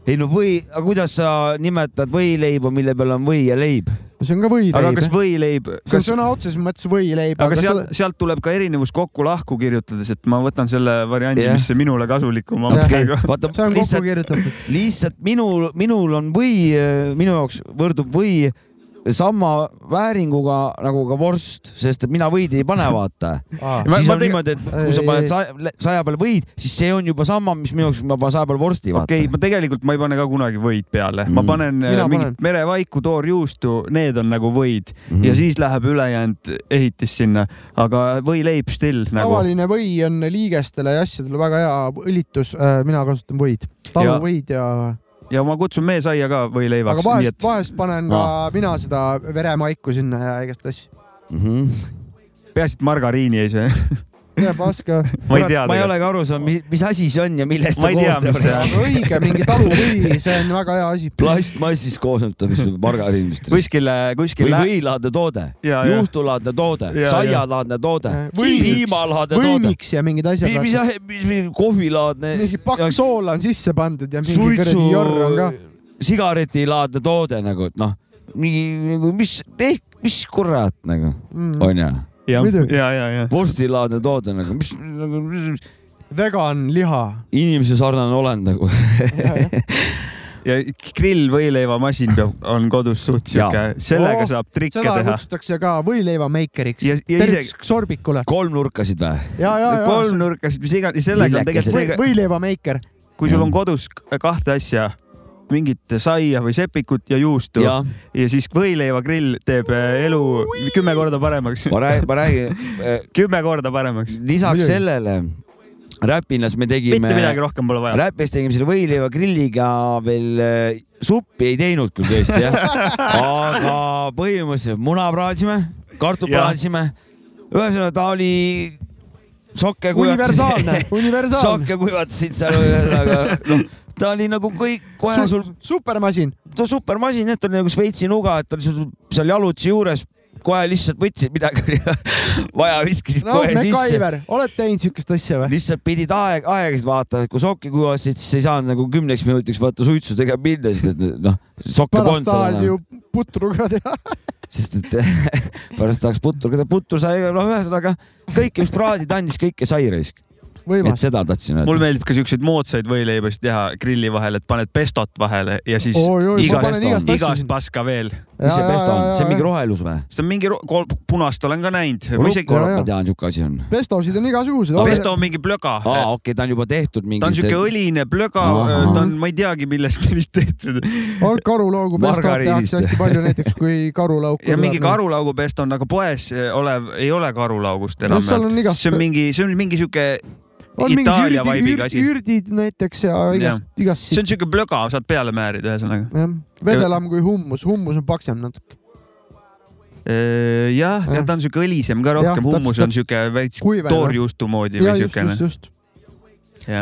S2: ei no või , aga kuidas sa nimetad võileiba , mille peal on või ja leib ?
S1: see on ka võileib .
S3: aga kas võileib ,
S1: see on
S3: kas ,
S1: sõna otseses mõttes võileib ,
S3: aga
S1: aga
S3: seal
S1: seda ,,
S3: sealt tuleb ka erinevus kokku-lahku kirjutades , et ma võtan selle variandi
S2: Jah.
S3: yeah. , mis minule kasulikum on
S2: Okei,
S3: praegu .
S2: vaata
S1: see on kokku
S2: lihtsalt ,
S1: kirjutatud .
S2: lihtsalt minul , minul on või , minu jaoks võrdub või sama vääringuga nagu ka vorst , sest et mina võid ei pane , vaata
S1: Aa.
S2: siis
S1: Ma- ma
S2: on
S1: tege-
S2: niimoodi , et kui sa
S1: Ei, ei.
S2: paned saja , saja peale võid , siis see on juba sama , mis minu jaoks , ma panen saja peale vorsti , vaata .
S3: okei , ma tegelikult ma ei pane ka kunagi võid peale , ma panen
S2: Mina
S3: äh,
S2: panen.
S3: mingit merevaiku , toorjuustu , need on nagu võid mm -hmm. ja siis läheb ülejäänud ehitis sinna , aga võileib still nagu .
S1: tavaline või on liigestele ja asjadele väga hea õlitus , mina kasutan võid , taluvõid ja,
S3: ja ma kutsun meesaia ka
S1: ja , aga
S3: võileivaks , nii
S1: vahest
S3: et
S1: et... , vahest panen ka no. mina seda veremaiku sinna ja igast asju .
S2: mm -hmm.
S3: peaasi , et margariini ei söö .
S1: jääb paska .
S3: Ma ei tea
S2: ma ei
S3: tegelikult.
S2: ole ka aru saanud , mis , mis asi see on ja millest ta
S3: Ma ei tea, mis see
S2: koosneb .
S1: õige , mingi taluvõi , see on väga hea asi .
S2: plastmassist koosneb ta , mis margariin vist .
S3: kuskile ,
S2: või
S3: kuskile .
S2: võilaadne toode ,
S3: Ja, ja.
S2: juustulaadne toode
S3: Ja, , ja.
S2: saialaadne toode , piimalaadne toode ,
S1: võimiks ja mingid asjad .
S2: mis , mis , mis kohvilaadne ,
S1: mingi pakk soola on sisse pandud ja mingi
S2: suitsu
S1: kuradi jorr on ka .,
S2: sigaretilaadne toode nagu , et noh , mingi nagu mis , mis kurat nagu
S1: Mm.
S2: onju .
S3: ja , ja , ja, ja. .
S2: vorstilaadne toode nagu , mis nagu, mis-
S1: vegan liha .
S2: inimese sarnane olend nagu .
S3: ja grillvõileivamasin peab , on kodus suht sihuke , sellega
S1: Oo,
S3: oh, saab trikke
S1: seda
S3: teha .
S1: kutsutakse ka võileivameikeriks .
S3: Ja- ja
S1: tervituseks
S3: isegi-
S1: Sorbikule .
S2: kolmnurkasid või ?
S1: ja , ja , ja .
S3: kolmnurkasid , mis iganes , sellega on tegelikult see ka ,
S1: võileivameiker .
S3: kui sul on kodus k- kahte asja , mingit saia või sepikut ja juustu
S2: Ja.
S3: ja, ja siis võileivagrill teeb äh, elu kümme korda paremaks .
S2: ma räägin , ma räägin ,
S3: kümme korda paremaks .
S2: lisaks sellele Räpinas me tegime .
S3: Mitte midagi rohkem pole vaja.
S2: Räpis tegime selle võileiva grilliga veel äh, suppi ei teinud küll tõesti jah , aga põhimõtteliselt muna praadisime , kartul
S3: Jah.
S2: praadisime , ühesõnaga ta oli sokke
S1: Universaalne, universaalne.
S2: sokke kuivatasid seal ühesõnaga , noh , ta oli nagu kõik kohe sul
S1: supermasin .
S2: ta supermasin , et ta oli nagu Šveitsi nuga , et ta oli sul seal jalutsi juures , kohe lihtsalt võtsid midagi oli vaja , viskasid
S1: no
S2: kohe sisse .
S1: MacGyver , oled teinud siukest asja või ?
S2: lihtsalt pidid aeg , aegasid vaatama , et kui sokki kuivasid , siis ei saanud nagu kümneks minutiks vaata suitsu tegema minna , sest et noh , sokke
S1: pärast
S2: polnud seal
S1: tahad ju
S2: enam ,
S1: putru ka teha .
S2: nagu- sest et pärast tahaks putru , putru sai , noh , ühesõnaga kõike , mis praadid andis , kõike sai raisk . et
S1: võimas .
S2: seda tahtsin
S3: mul
S2: öelda .
S3: meeldib ka siukseid moodsaid võileibasid teha grilli vahel , et paned pestot vahele ja siis
S1: Oi, oi, ma
S3: igast
S1: panen igast , asju
S3: igast
S1: sinna.
S3: paska veel .
S2: mis see
S1: Jaa,
S2: pesto
S1: jaa,
S2: on
S1: jaa, ,
S2: see on mingi
S1: jaa.
S2: rohelus või ?
S3: see on mingi , punast olen ka näinud .
S2: rukkolat ma tean , siuke asi on .
S1: pestosid on igasuguseid .
S3: pesto on mingi plöga .
S2: aa , okei okay, , ta on juba tehtud mingi .
S3: ta on siuke õline plöga
S2: Ahah. ,
S3: ta on , ma ei teagi , millest vist tehtud .
S1: on karulaugu pestot
S2: Margariinist.
S1: tehakse hästi palju , näiteks kui nagu- karulauku .
S3: ja mingi . karulaugupesto on , aga poes eh, olev ei ole karulaugust
S1: No
S3: enam .
S1: Noh, seal on igast-
S3: see on mingi , see on mingi siuke
S1: on
S3: Itaalia
S1: mingid
S3: vibe'iga
S1: ürdid ,
S3: asi .
S1: ürdid näiteks ja igast , igast
S3: see
S1: siit .
S3: on siuke plöga , saad peale määrida , ühesõnaga .
S1: jah , vedelam kui hummus , hummus on paksem natuke .
S3: jah , ja ta on siuke õlisem ka
S1: Jah,
S3: rohkem , hummus on
S1: täpselt-
S3: siuke väikse
S1: Kuivem, jah.
S3: toorjuustu moodi
S1: ja
S3: või
S1: just ,
S3: siukene
S1: just ,. just .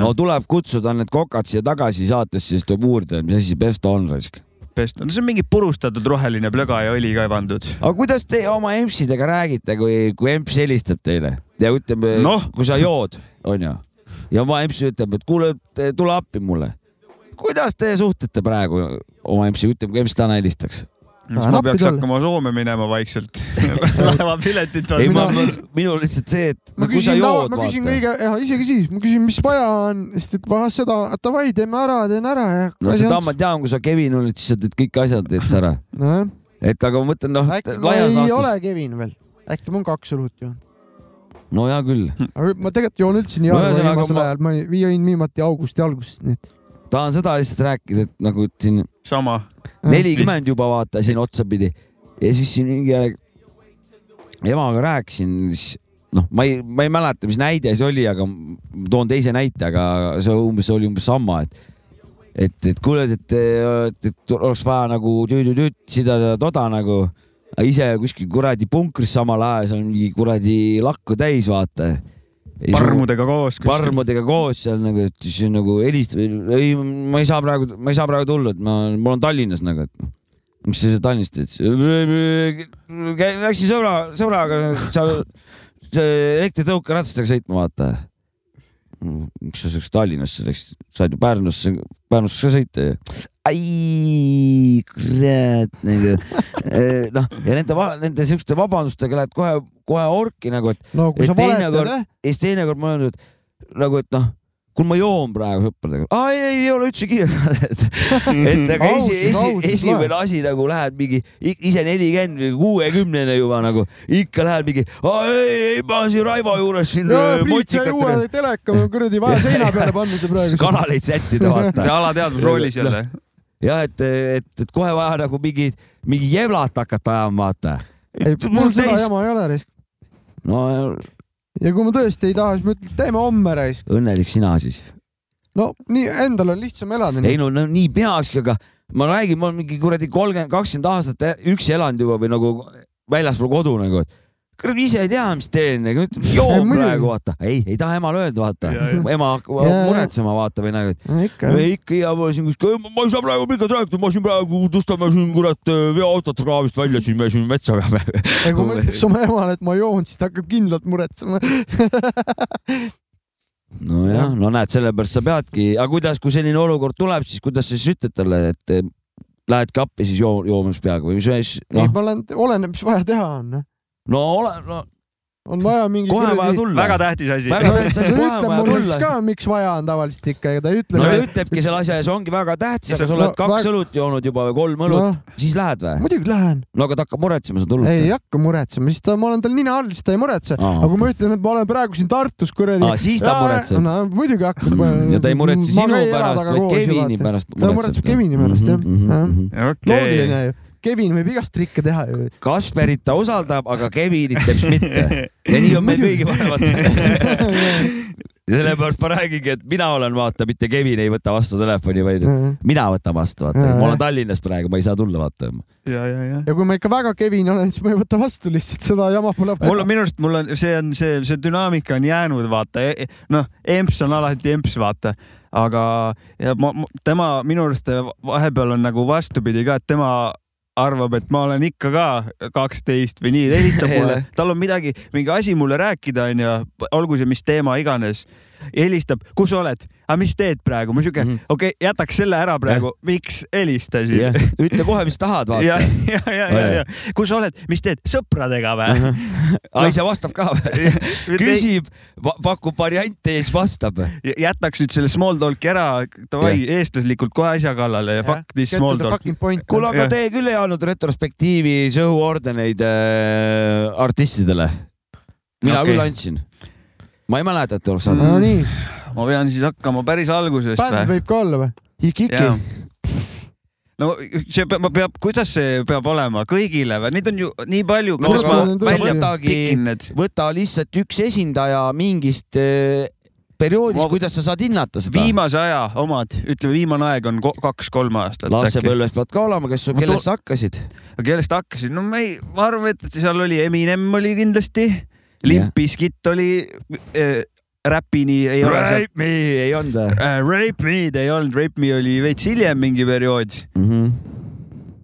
S2: no tuleb kutsuda need kokad siia tagasi saatesse , siis tuleb uurida , mis asi see pesto on raisk .
S3: pesto , no see on mingi purustatud roheline plöga ja õli ka pandud .
S2: aga kuidas te oma empsidega räägite , kui , kui emps helistab teile ja ütleb
S3: Noh. ,
S2: kui sa jood , onju , ja oma emps ütleb , et kuule , tule appi mulle . kuidas te suhtlete praegu oma empsiga , ütleme , kui emps täna helistaks ?
S3: siis
S1: Vähe
S3: ma
S1: nappi
S3: peaks
S1: talle.
S3: hakkama Soome minema vaikselt . laevapiletit
S2: ei , ma ,
S3: vaatama .
S2: minul lihtsalt see , et
S1: ma
S2: kui sa
S1: küsin ,
S2: jood ,
S1: ma küsin
S2: vaata .
S1: kõige , isegi siis , ma küsin , mis vaja on , sest et vahest seda , davai , teeme ära , teen ära ja .
S2: no seda ma tean , kui sa Kevin oled , siis sa teed kõik asjad , teed sa ära .
S1: Nojah.
S2: et aga ma mõtlen , noh ,
S1: äkki ma
S2: laias
S1: ei ole
S2: laastus .
S1: Kevin veel , äkki ma olen kaks õlut joonud .
S2: no hea küll
S1: aga ma tegelikult joon üldse nii
S2: No
S1: harva
S2: ühesõnaga
S1: viimasel
S2: ma-
S1: ajal , ma ei- jõin viimati augusti algusest , nii et
S2: tahan seda lihtsalt rääkida , et nagu et siin
S3: sama .
S1: Mm.
S2: nelikümmend juba vaata siin otsapidi ja siis siin mingi aeg emaga rääkisin , siis noh , ma ei , ma ei mäleta , mis näide see oli , aga m- toon teise näite , aga see umbes oli umbes sama , et et , et kuule , et, et , et oleks vaja nagu tüütüütüüt , seda ja toda nagu , ise kuskil kuradi punkris samal ajal , seal on mingi kuradi lakku täis , vaata .
S3: parmudega koos .
S2: parmudega koos seal nagu , et siis nagu helistab , ei , ma ei saa praegu , ma ei saa praegu tulla , et ma , ma olen Tallinnas nagu , et mis sa seal Tallinnas teed ? Läksin sõbra , sõbraga seal see elektritõukeratastega sõitma , vaata . miks sa selleks Tallinnasse läksid , said ju Pärnusse , Pärnusse ka sõita ju . ai , kurat , nagu Eh, noh , ja nende , nende siukeste vabandustega lähed kohe , kohe orki nagu , et
S1: no kui
S2: et
S1: sa valetad ,
S2: teinekord ,
S1: jah ,
S2: ja siis teinekord ma olen , et nagu , et noh , kuule , ma joon praegu sõpradega . aa , ei , ei , ei ole üldse kiire , et ,
S11: Mhm.
S2: et aga esi ,
S17: Aus,
S2: esi
S17: aus, ,
S2: esimene asi nagu lähed mingi i- ise nelikümmend või kuuekümnene juba nagu ikka lähed mingi , aa ei , ei ma siin Raivo juures siin
S11: jaa ,
S2: äh,
S11: Priit sai uue
S2: motikatega
S11: teleka , kuradi vaja seina peale panna see praegu .
S2: kanaleid sättida , vaata .
S3: See alateadvus roolis jälle. .
S2: jah , et , et , et kohe vaja nagu mingi , mingi jevlat hakata ajama , vaata .
S11: ei , mul seda jama ei ole raisk .
S2: no
S11: ja kui ma tõesti ei taha , siis ma ütlen , teeme homme raisk .
S2: õnnelik sina siis .
S11: no nii , endal on lihtsam elada .
S2: ei no, no nii peakski , aga ma räägin , ma olen mingi kuradi kolmkümmend , kakskümmend aastat e- üksi elanud juba või nagu väljaspool kodu nagu , et kuradi ise ei tea , mis teen , joon
S11: muidugi.
S2: praegu vaata , ei , ei taha emale öelda , vaata , ema hakkab
S11: Jaa, jaa.
S2: muretsema , vaata või nagu , et
S11: ikka
S2: no, ikka ja ma siin kuskil , ma ei saa praegu pikalt rääkida , ma siin praegu tõstame siin kurat eh, veoautot kraavist välja , siin me siin metsa peame .
S11: ja kui ma ütleks oma emale , et ma joon , siis ta hakkab kindlalt muretsema
S2: Noh. nojah , no näed , sellepärast sa peadki , aga kuidas , kui selline olukord tuleb , siis kuidas sa siis ütled talle , et eh, lähedki appi siis joo- , joomas peaaegu või mis siis
S11: ei ,
S2: noh ,
S11: ma olen , oleneb , mis vaja teha on .
S2: no ole , no
S11: on vaja mingi .
S2: kohe on vaja tulla . väga tähtis asi , kohe on
S11: ütleb
S2: vaja
S11: mulle siis
S2: tulla .
S11: ka , miks vaja on tavaliselt ikka , ega ta ei ütle
S2: no ta . ütlebki selle asja ees , ongi väga tähtis , aga sa
S11: No,
S2: oled kaks
S11: väga-
S2: õlut joonud juba või kolm õlut , siis lähed või ?
S11: noh, muidugi lähen .
S2: no aga ta hakkab muretsema , sa tulnud .
S11: ei hakka muretsema , siis ta , ma olen tal nina all , siis ta ei muretse .
S2: Aa.
S11: aga kui ma ütlen , et ma olen praegu siin Tartus kuradi
S2: Aa, siis ta muretseb. Mm,
S11: no muidugi hakkab .
S2: ja ta ei muretse
S11: Ma ka
S2: sinu
S11: ei ela
S2: pärast ,
S11: temaga
S2: vaid
S11: koos ju,
S2: Kevini
S11: vaata. ta muretseb Kevini
S2: pärast Mhm,
S11: pärast jah . loogiline
S2: okei .
S11: ju . Kevin võib igast trikke teha ju .
S2: Kasperit ta usaldab , aga Kevinit teeb siis mitte . ja nii on meil kõigi vanemad . ja sellepärast ma räägingi , et mina olen , vaata , mitte Kevin ei võta vastu telefoni , vaid
S11: Mhm.
S2: mina võtan vastu , vaata . ma olen Tallinnas praegu , ma ei saa tulla , vaata .
S3: ja , ja , ja .
S11: ja kui ma ikka väga Kevin olen , siis ma ei võta vastu lihtsalt seda jama pole
S3: mul
S11: vaja
S3: on . minu arust , mul on , see on see , see dünaamika on jäänud , vaata , noh , emps on alati emps , vaata , aga ja ma, ma- tema minu arust vahepeal on nagu vastupidi ka , et tema arvab , et ma olen ikka ka kaksteist või nii , ta helistab mulle , tal on midagi , mingi asi mulle rääkida , onju , olgu see mis teema iganes , helistab , kus sa oled , aga mis teed praegu , ma siuke , okei , jätaks selle ära praegu , miks helistasid
S2: Jah. ütle kohe , mis tahad , vaata.
S3: ja , ja , ja , ja , ja , kus sa oled , mis teed , sõpradega või ?
S2: aa , ise vastab ka või ? küsib , pakub variante ja siis vastab .
S3: jätaks nüüd selle small talk'i ära , davai , eestlaslikult kohe asja kallale ja fuck this small talk .
S2: kuule , aga te küll ei andnud retrospektiivi sõhuordeneid äh, artistidele . mina
S3: Okei.
S2: küll andsin . ma ei mäleta , et oleks
S11: no
S2: andnud .
S11: nii ,
S3: ma pean siis hakkama päris algusest
S11: bänd
S3: või ?
S11: võib ka olla või ? Ikiki .
S3: no see peab , peab , kuidas see peab olema kõigile või , neid on ju nii palju .
S2: no ma väljatagi , võta lihtsalt üks esindaja mingist äh, perioodist , kuidas sa saad hinnata seda .
S3: viimase aja omad , ütleme , viimane aeg on ko- kaks-kolm aastat .
S2: lapsepõlves pead ka olema , kes ,
S3: Ma
S2: kellest
S3: tun-
S2: sa hakkasid ?
S3: kellest hakkasid , no ma ei , ma arvan , et seal oli Eminem oli kindlasti , Limp Bizkit oli äh, , Räpini ei ole seal .
S2: Rape me ei olnud või ?
S3: äh, . Rape Me'd ei olnud , Rape Me oli veits hiljem mingi periood
S2: mm . -hmm.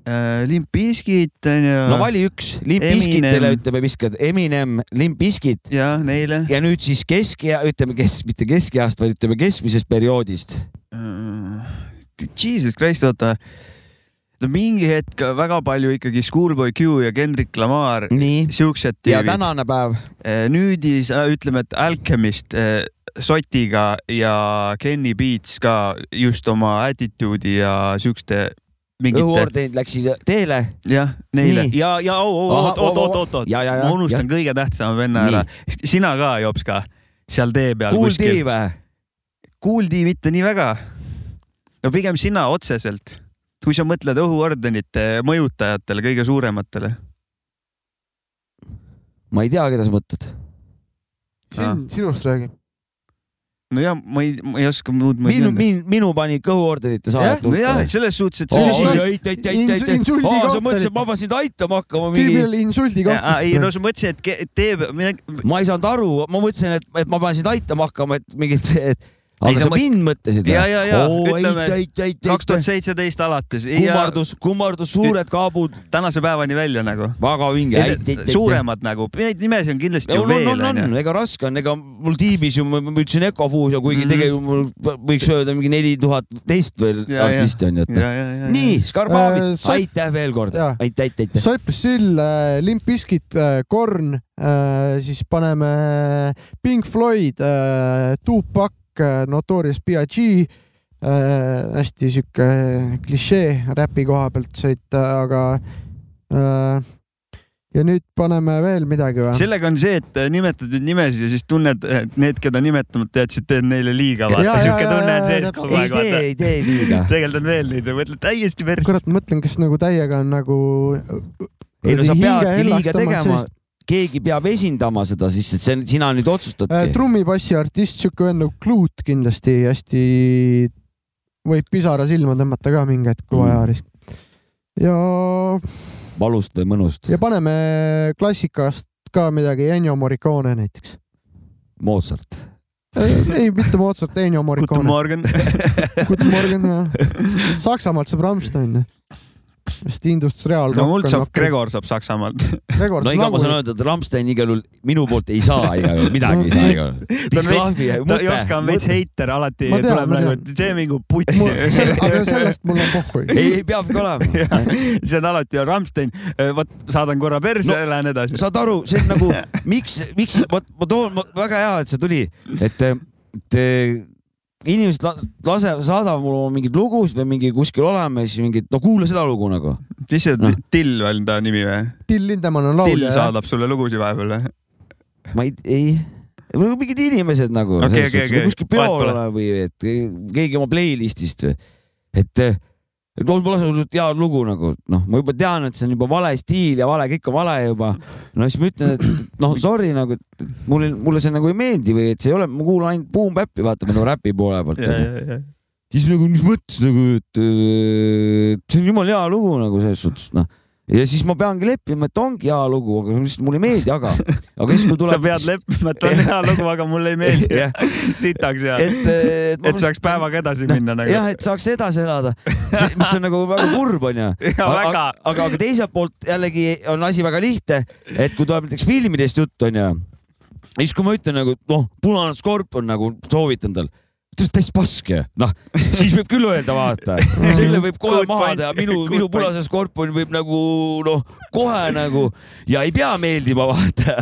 S3: Äh, Limp Bizkit onju .
S2: no vali üks , Limp Bizkitele . ütleme , viskad Eminem , Limp Bizkit .
S3: ja neile .
S2: ja nüüd siis keski , ütleme kes , mitte keskeast , vaid ütleme keskmisest perioodist .
S3: Jesus Christ , oota . no mingi hetk väga palju ikkagi Schoolboy Q ja Kendrick Lamar . siuksed
S2: Ja
S3: tüübid.
S2: tänane päev.
S3: Äh, nüüd siis äh, ütleme , et Alchemist äh, Sotiga ja Kenny Beats ka just oma attitude'i ja siukeste mingite
S2: õhuordenid läksid teele .
S3: jah , neile
S2: Nii.
S3: ja , ja au , au ,
S2: Ahah,
S3: oot , oot ,
S2: oo,
S3: oot ,
S2: oo.
S3: oot , oot ,
S2: Ja, ja, ja,
S3: ma unustan
S2: jah.
S3: kõige tähtsama venna
S2: Nii.
S3: ära . sina ka , Jops ka , seal tee peal
S2: Kool D või ?
S3: Kuuldi mitte nii väga . no pigem sina otseselt , kui sa mõtled õhuordenite mõjutajatele , kõige suurematele .
S2: ma ei tea , keda sa mõtled .
S11: sinust räägin .
S3: nojah , ma ei , ma ei oska muud
S2: minu , minu , minu pani kõhuordenite saajad
S3: nojah , selles suhtes , et
S2: selles suhtes . ei , ei , ei , ei , ei , ei , aa , sa mõtlesid , et ma pean sind aitama hakkama mingi .
S3: Jaa, ei no sa mõtlesid , et ke- teeb midagi .
S2: ma ei saanud aru , ma mõtlesin , et , et ma pean sind aitama hakkama , et mingit , et
S3: Ei,
S2: aga
S3: sa
S2: sa
S3: mõt-
S2: mind mõtlesid
S3: ja , ja , ja ütleme kaks tuhat
S2: ütleme .
S3: seitseteist alates .
S2: Kummardus- , kummardus , suured kaabud .
S3: tänase päevani välja nagu .
S2: väga vinge,
S3: Ja
S2: ei,
S3: se-
S2: ei, ei, ei.
S3: suuremad nagu , neid nimesi on kindlasti ju
S2: on ,
S3: veel
S2: on , on , on , ega raske on , ega mul tiimis ju , ma ma ütlesin Ecofuusia , kuigi mm -hmm.
S3: Mhm.
S2: tegelikult mul võiks öelda mingi neli tuhat teist veel
S3: Ja, ja.
S2: artisti on ju , et noh.
S3: Ja, ja, ja, ja.
S2: nii , Skarbavid
S11: Äh,
S2: äh, ,
S11: Sot-
S2: aitäh veel kord ,
S11: Jaa.
S2: aitäh , aitäh , aitäh .
S11: Cypress Hill , Limp Bizkit , äh, Korn , siis paneme Pink Floyd , äh, Tupac , Rock , Notorious B.I.G , äh, hästi sihuke klišee räpi koha pealt sõita , aga äh, ja nüüd paneme veel midagi või ?
S3: sellega on see , et äh, nimetad neid nimesid ja siis tunned , et need , keda nimetamata jätsid , teed neile liiga , vaata
S11: Jaa, jaa,
S3: siuke
S11: jaa,
S3: tunne on
S11: jaa,
S3: sees
S11: täpselt.
S3: kogu aeg .
S11: Ei tee, ei tee liiga.
S3: tegeldad veel neid ja mõtled täiesti päris .
S11: kurat , ma mõtlen , kas nagu täiega on nagu .
S2: ei no sa peadki liiga tegema , keegi peab esindama seda siis , et see , sina nüüd
S3: Äh,
S2: otsustadki .
S11: trummipassi äh, artist , siuke vend nagu Clute kindlasti hästi , võib pisara silma tõmmata ka mingi hetk , kui
S2: Mm.
S11: vaja oleks . ja ,
S2: valust või mõnust ,
S11: ja paneme klassikast ka midagi , Ennio Morricone näiteks .
S2: Mozart .
S11: ei, ei , mitte Mozart , Ennio Morricone .
S3: Morgan .
S11: Guten Morgen , jah . Saksamaalt saab Rammstein . vist industriaal .
S3: no mult saab , Gregor saab Saksamaalt .
S11: Gregor
S2: no ega ma saan öelda , et Rammstein igal juhul minu poolt ei saa igal juhul , midagi ei saa igal juhul . disklaafi ,
S3: ta ei oska , on veits
S2: mõte .
S3: heiter alati ,
S2: Ma tean,
S3: tuleb
S2: ma
S3: nagu
S2: tean. ,
S3: see mingu putsi .
S2: aga sellest
S11: mul on pohhu .
S2: ei , ei peabki olema .
S3: see on alati on Rammstein , vot saadan korra perse ja lähen edasi .
S2: saad aru , see on nagu , miks , miks , vot ma toon , väga hea , et see tuli , et , et inimesed la- lase , saadavad mulle mingeid lugusid või mingi kuskil oleme , siis mingid , no kuula seda lugu nagu .
S3: mis see no. Till on ta nimi või ?
S11: Till Lindemann on
S3: Till
S11: laulja .
S3: saadab sulle lugusid vahepeal või ?
S2: ma ei , ei , või mingid inimesed nagu
S3: Okei,
S2: selles
S3: okei,
S2: suhtes, või
S3: okei.
S2: kuskil peol
S3: Vahet pole.
S2: ole või et keegi oma playlist'ist või , et et noh, mul pole sulle hea lugu nagu , noh , ma juba tean , et see on juba vale stiil ja vale , kõik on vale juba . no siis ma ütlen , et noh , sorry nagu , et et mulle , mulle see nagu ei meeldi või et see ei ole , ma kuulan ainult Boom Bap'i , vaata minu räpi poole pealt
S3: ja ,
S2: onju.
S3: ja , ja .
S2: siis nagu , mis mõttes nagu , et äh, see on jumala hea lugu nagu selles suhtes , noh . ja siis ma peangi leppima , et ongi hea lugu , aga lihtsalt mulle ei meeldi , aga , aga siis kui tuleb .
S3: sa pead leppima , et on hea lugu , aga mulle ei meeldi
S2: Jah. .
S3: sitaks ja .
S2: Et, eh, et ma
S3: et saaks päevaga edasi minna nagu .
S2: jah , et saaks edasi elada , mis on nagu väga kurb , onju .
S3: Jaa, väga.
S2: aga , aga aga teiselt poolt jällegi on asi väga lihtne , et kui tuleb näiteks filmidest jutt , onju , siis kui ma ütlen nagu , noh , punane skorpion nagu soovitan tal , ta on täis paske , noh , siis võib küll öelda , vaata , selle võib kohe
S3: Good
S2: maha
S3: point.
S2: teha , minu ,
S3: Good
S2: minu
S3: point.
S2: punase skorpion võib nagu noh , kohe nagu ja ei pea meeldima , vaata ,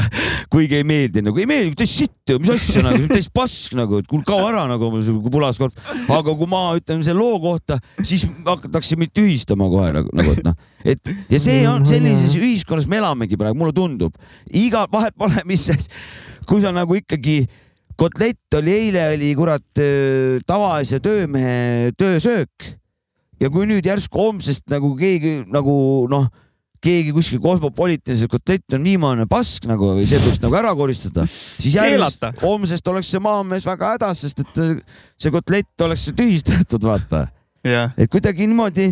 S2: kuigi ei meeldi nagu , ei meeldi , täis sitt ju , mis asja nagu , täis pask nagu , et kuule kao ära nagu kui punase skorpion , aga kui ma ütlen selle loo kohta , siis hakatakse mind tühistama kohe nagu , nagu et noh , et ja see on sellises ühiskonnas me elamegi praegu , mulle tundub , iga vahet pole , mis , kui sa nagu ikkagi kotlett oli eile oli kurat öö, tavalise töömehe töösöök ja kui nüüd järsku homsest nagu keegi nagu noh , keegi kuskil kosmopoliitilises kotlett on viimane pask nagu või see tuleks nagu ära koristada , siis järgmist
S3: Keelata. ,
S2: homsest oleks see maamees väga hädas , sest et see kotlett oleks tühistatud , vaata . et kuidagi niimoodi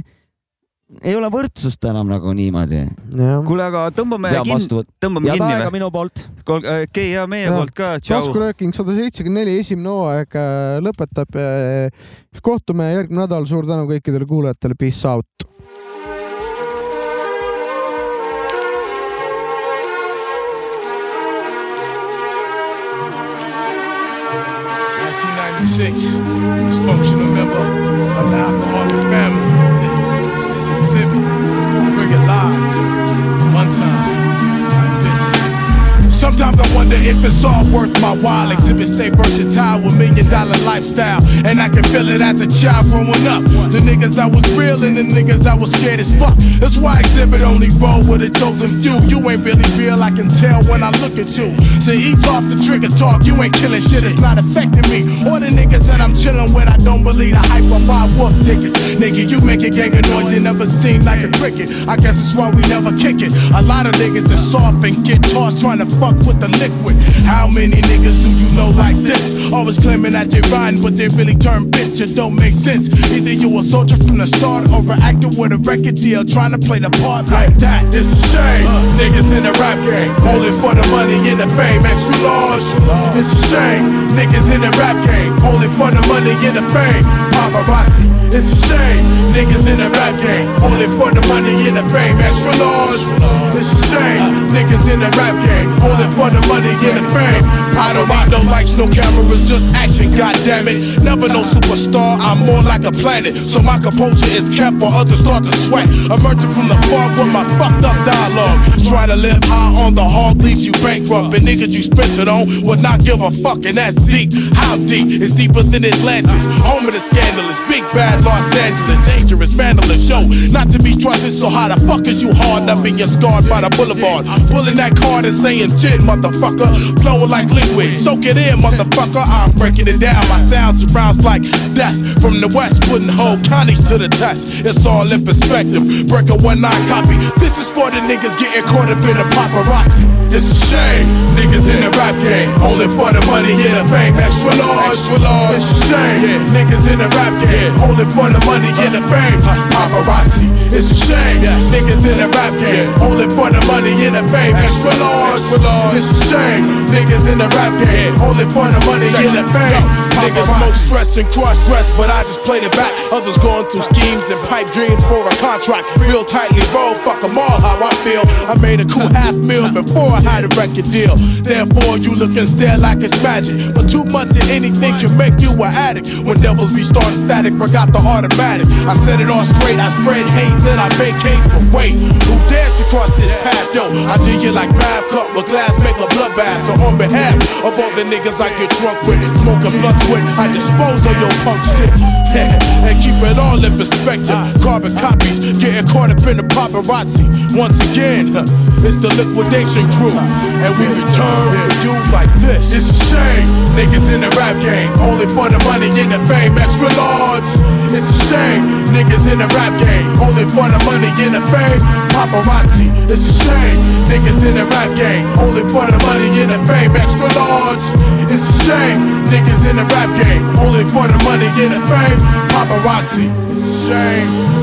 S2: ei ole võrdsust enam nagu niimoodi .
S3: kuule , aga tõmbame
S2: Pean vastu
S3: kinni
S2: võt- ,
S3: tõmbame
S2: Head
S3: kinni
S2: aega minu poolt .
S3: okei , ja meie poolt ka , tšau .
S11: taskurööking sada seitsekümmend neli , esimene hooaeg äh, lõpetab . kohtume järgmine nädal , suur tänu kõikidele kuulajatele , peace out .
S9: dysfunctional member of the alcoholic family. This exhibit, bring it live, one time, like this.
S17: Sometimes I wonder if it's all worth my while. Exhibit stay versatile with million dollar lifestyle. And I can feel it as a child growing up. The niggas I was real and the niggas I was scared as fuck. That's why exhibit only roll with a chosen few. You ain't really real, I can tell when I look at you. So ease off the trigger talk, you ain't killing shit, it's not affecting me. Or the niggas that I'm chilling with, I don't believe the hype on buy wolf tickets. Nigga, you make a gang of noise, it never seemed like a cricket. I guess that's why we never kick it. A lot of niggas is soft and get tossed trying to fuck with the liquid. How many niggas do you know like this? Always claiming that they riding, but they really turn bitch. It don't make sense. Either you a soldier from the start or an actor with a record deal trying to play the part like that. It's a shame. Niggas in the rap game, only for the money and the fame. Extra large. It's a shame. Niggas in the rap game, only for the money and the fame. Paparazzi. It's a shame, niggas in the rap game, only for the money and the fame. As for laws, it's a shame, niggas in the rap game, only for the money and the fame. I don't want no lights, no cameras, just action, goddammit. Never no superstar, I'm more like a planet. So my composure is kept while others start to sweat. Emerging from the fog with my fucked up dialogue. Try to live high on the hog leaves you bankrupt. And niggas you spent it on would not give a fuck, and that's deep. How deep? It's deeper than Atlantis. Home of the scandalous, big bad Los Angeles. Dangerous, vandalous, yo. Not to be trusted, so how the fuck is you hard up and you're scarred by the boulevard? Pulling that card and saying shit, motherfucker. Blowing like liquid, soak it in, motherfucker. I'm breaking it down. My sound surrounds like death from the west, putting whole counties to the test. It's all in perspective. Break a one nine copy. This is for the niggas getting caught up in the paparazzi. It's a shame, niggas in the rap game, only for the money and the fame. Extra large, extra large. It's a shame, niggas in the rap game, only for the money and the fame. Paparazzi. It's a shame, niggas in the rap game, only for the money and the fame. Extra large, extra large. It's a shame, niggas in the rap game, only for the money and the fame. Niggas no stress and cross dress, but I just played it back. Others going through schemes and pipe dreams for a contract. Real tightly roll, fuck 'em all how I feel. I made a cool half mil before I had a record deal. Therefore, you look and stare like it's magic. But two months of anything can make you an addict. When devils be starting static, forgot the automatic. I said it all straight, I spread hate, then I vacate. But wait, who dares to cross this path? Yo, I do you like Rav Cup with glass, make a bloodbath. So on behalf of all the niggas I get drunk with, smoking blunts with, I dispose of your punk shit. and keep it all in perspective. Carbon copies, getting caught up in the paparazzi. Once again, it's the liquidation crew. And we return for you like this. It's a shame, niggas in the rap game, only for the money and the fame. Extra large. It's a shame, niggas in the rap game, only for the money and the fame. Paparazzi. It's a shame, niggas in the rap game, only for the money and the fame. Extra large. It's a shame, niggas in the rap game, only for the money and the fame. Paparazzi. It's a shame.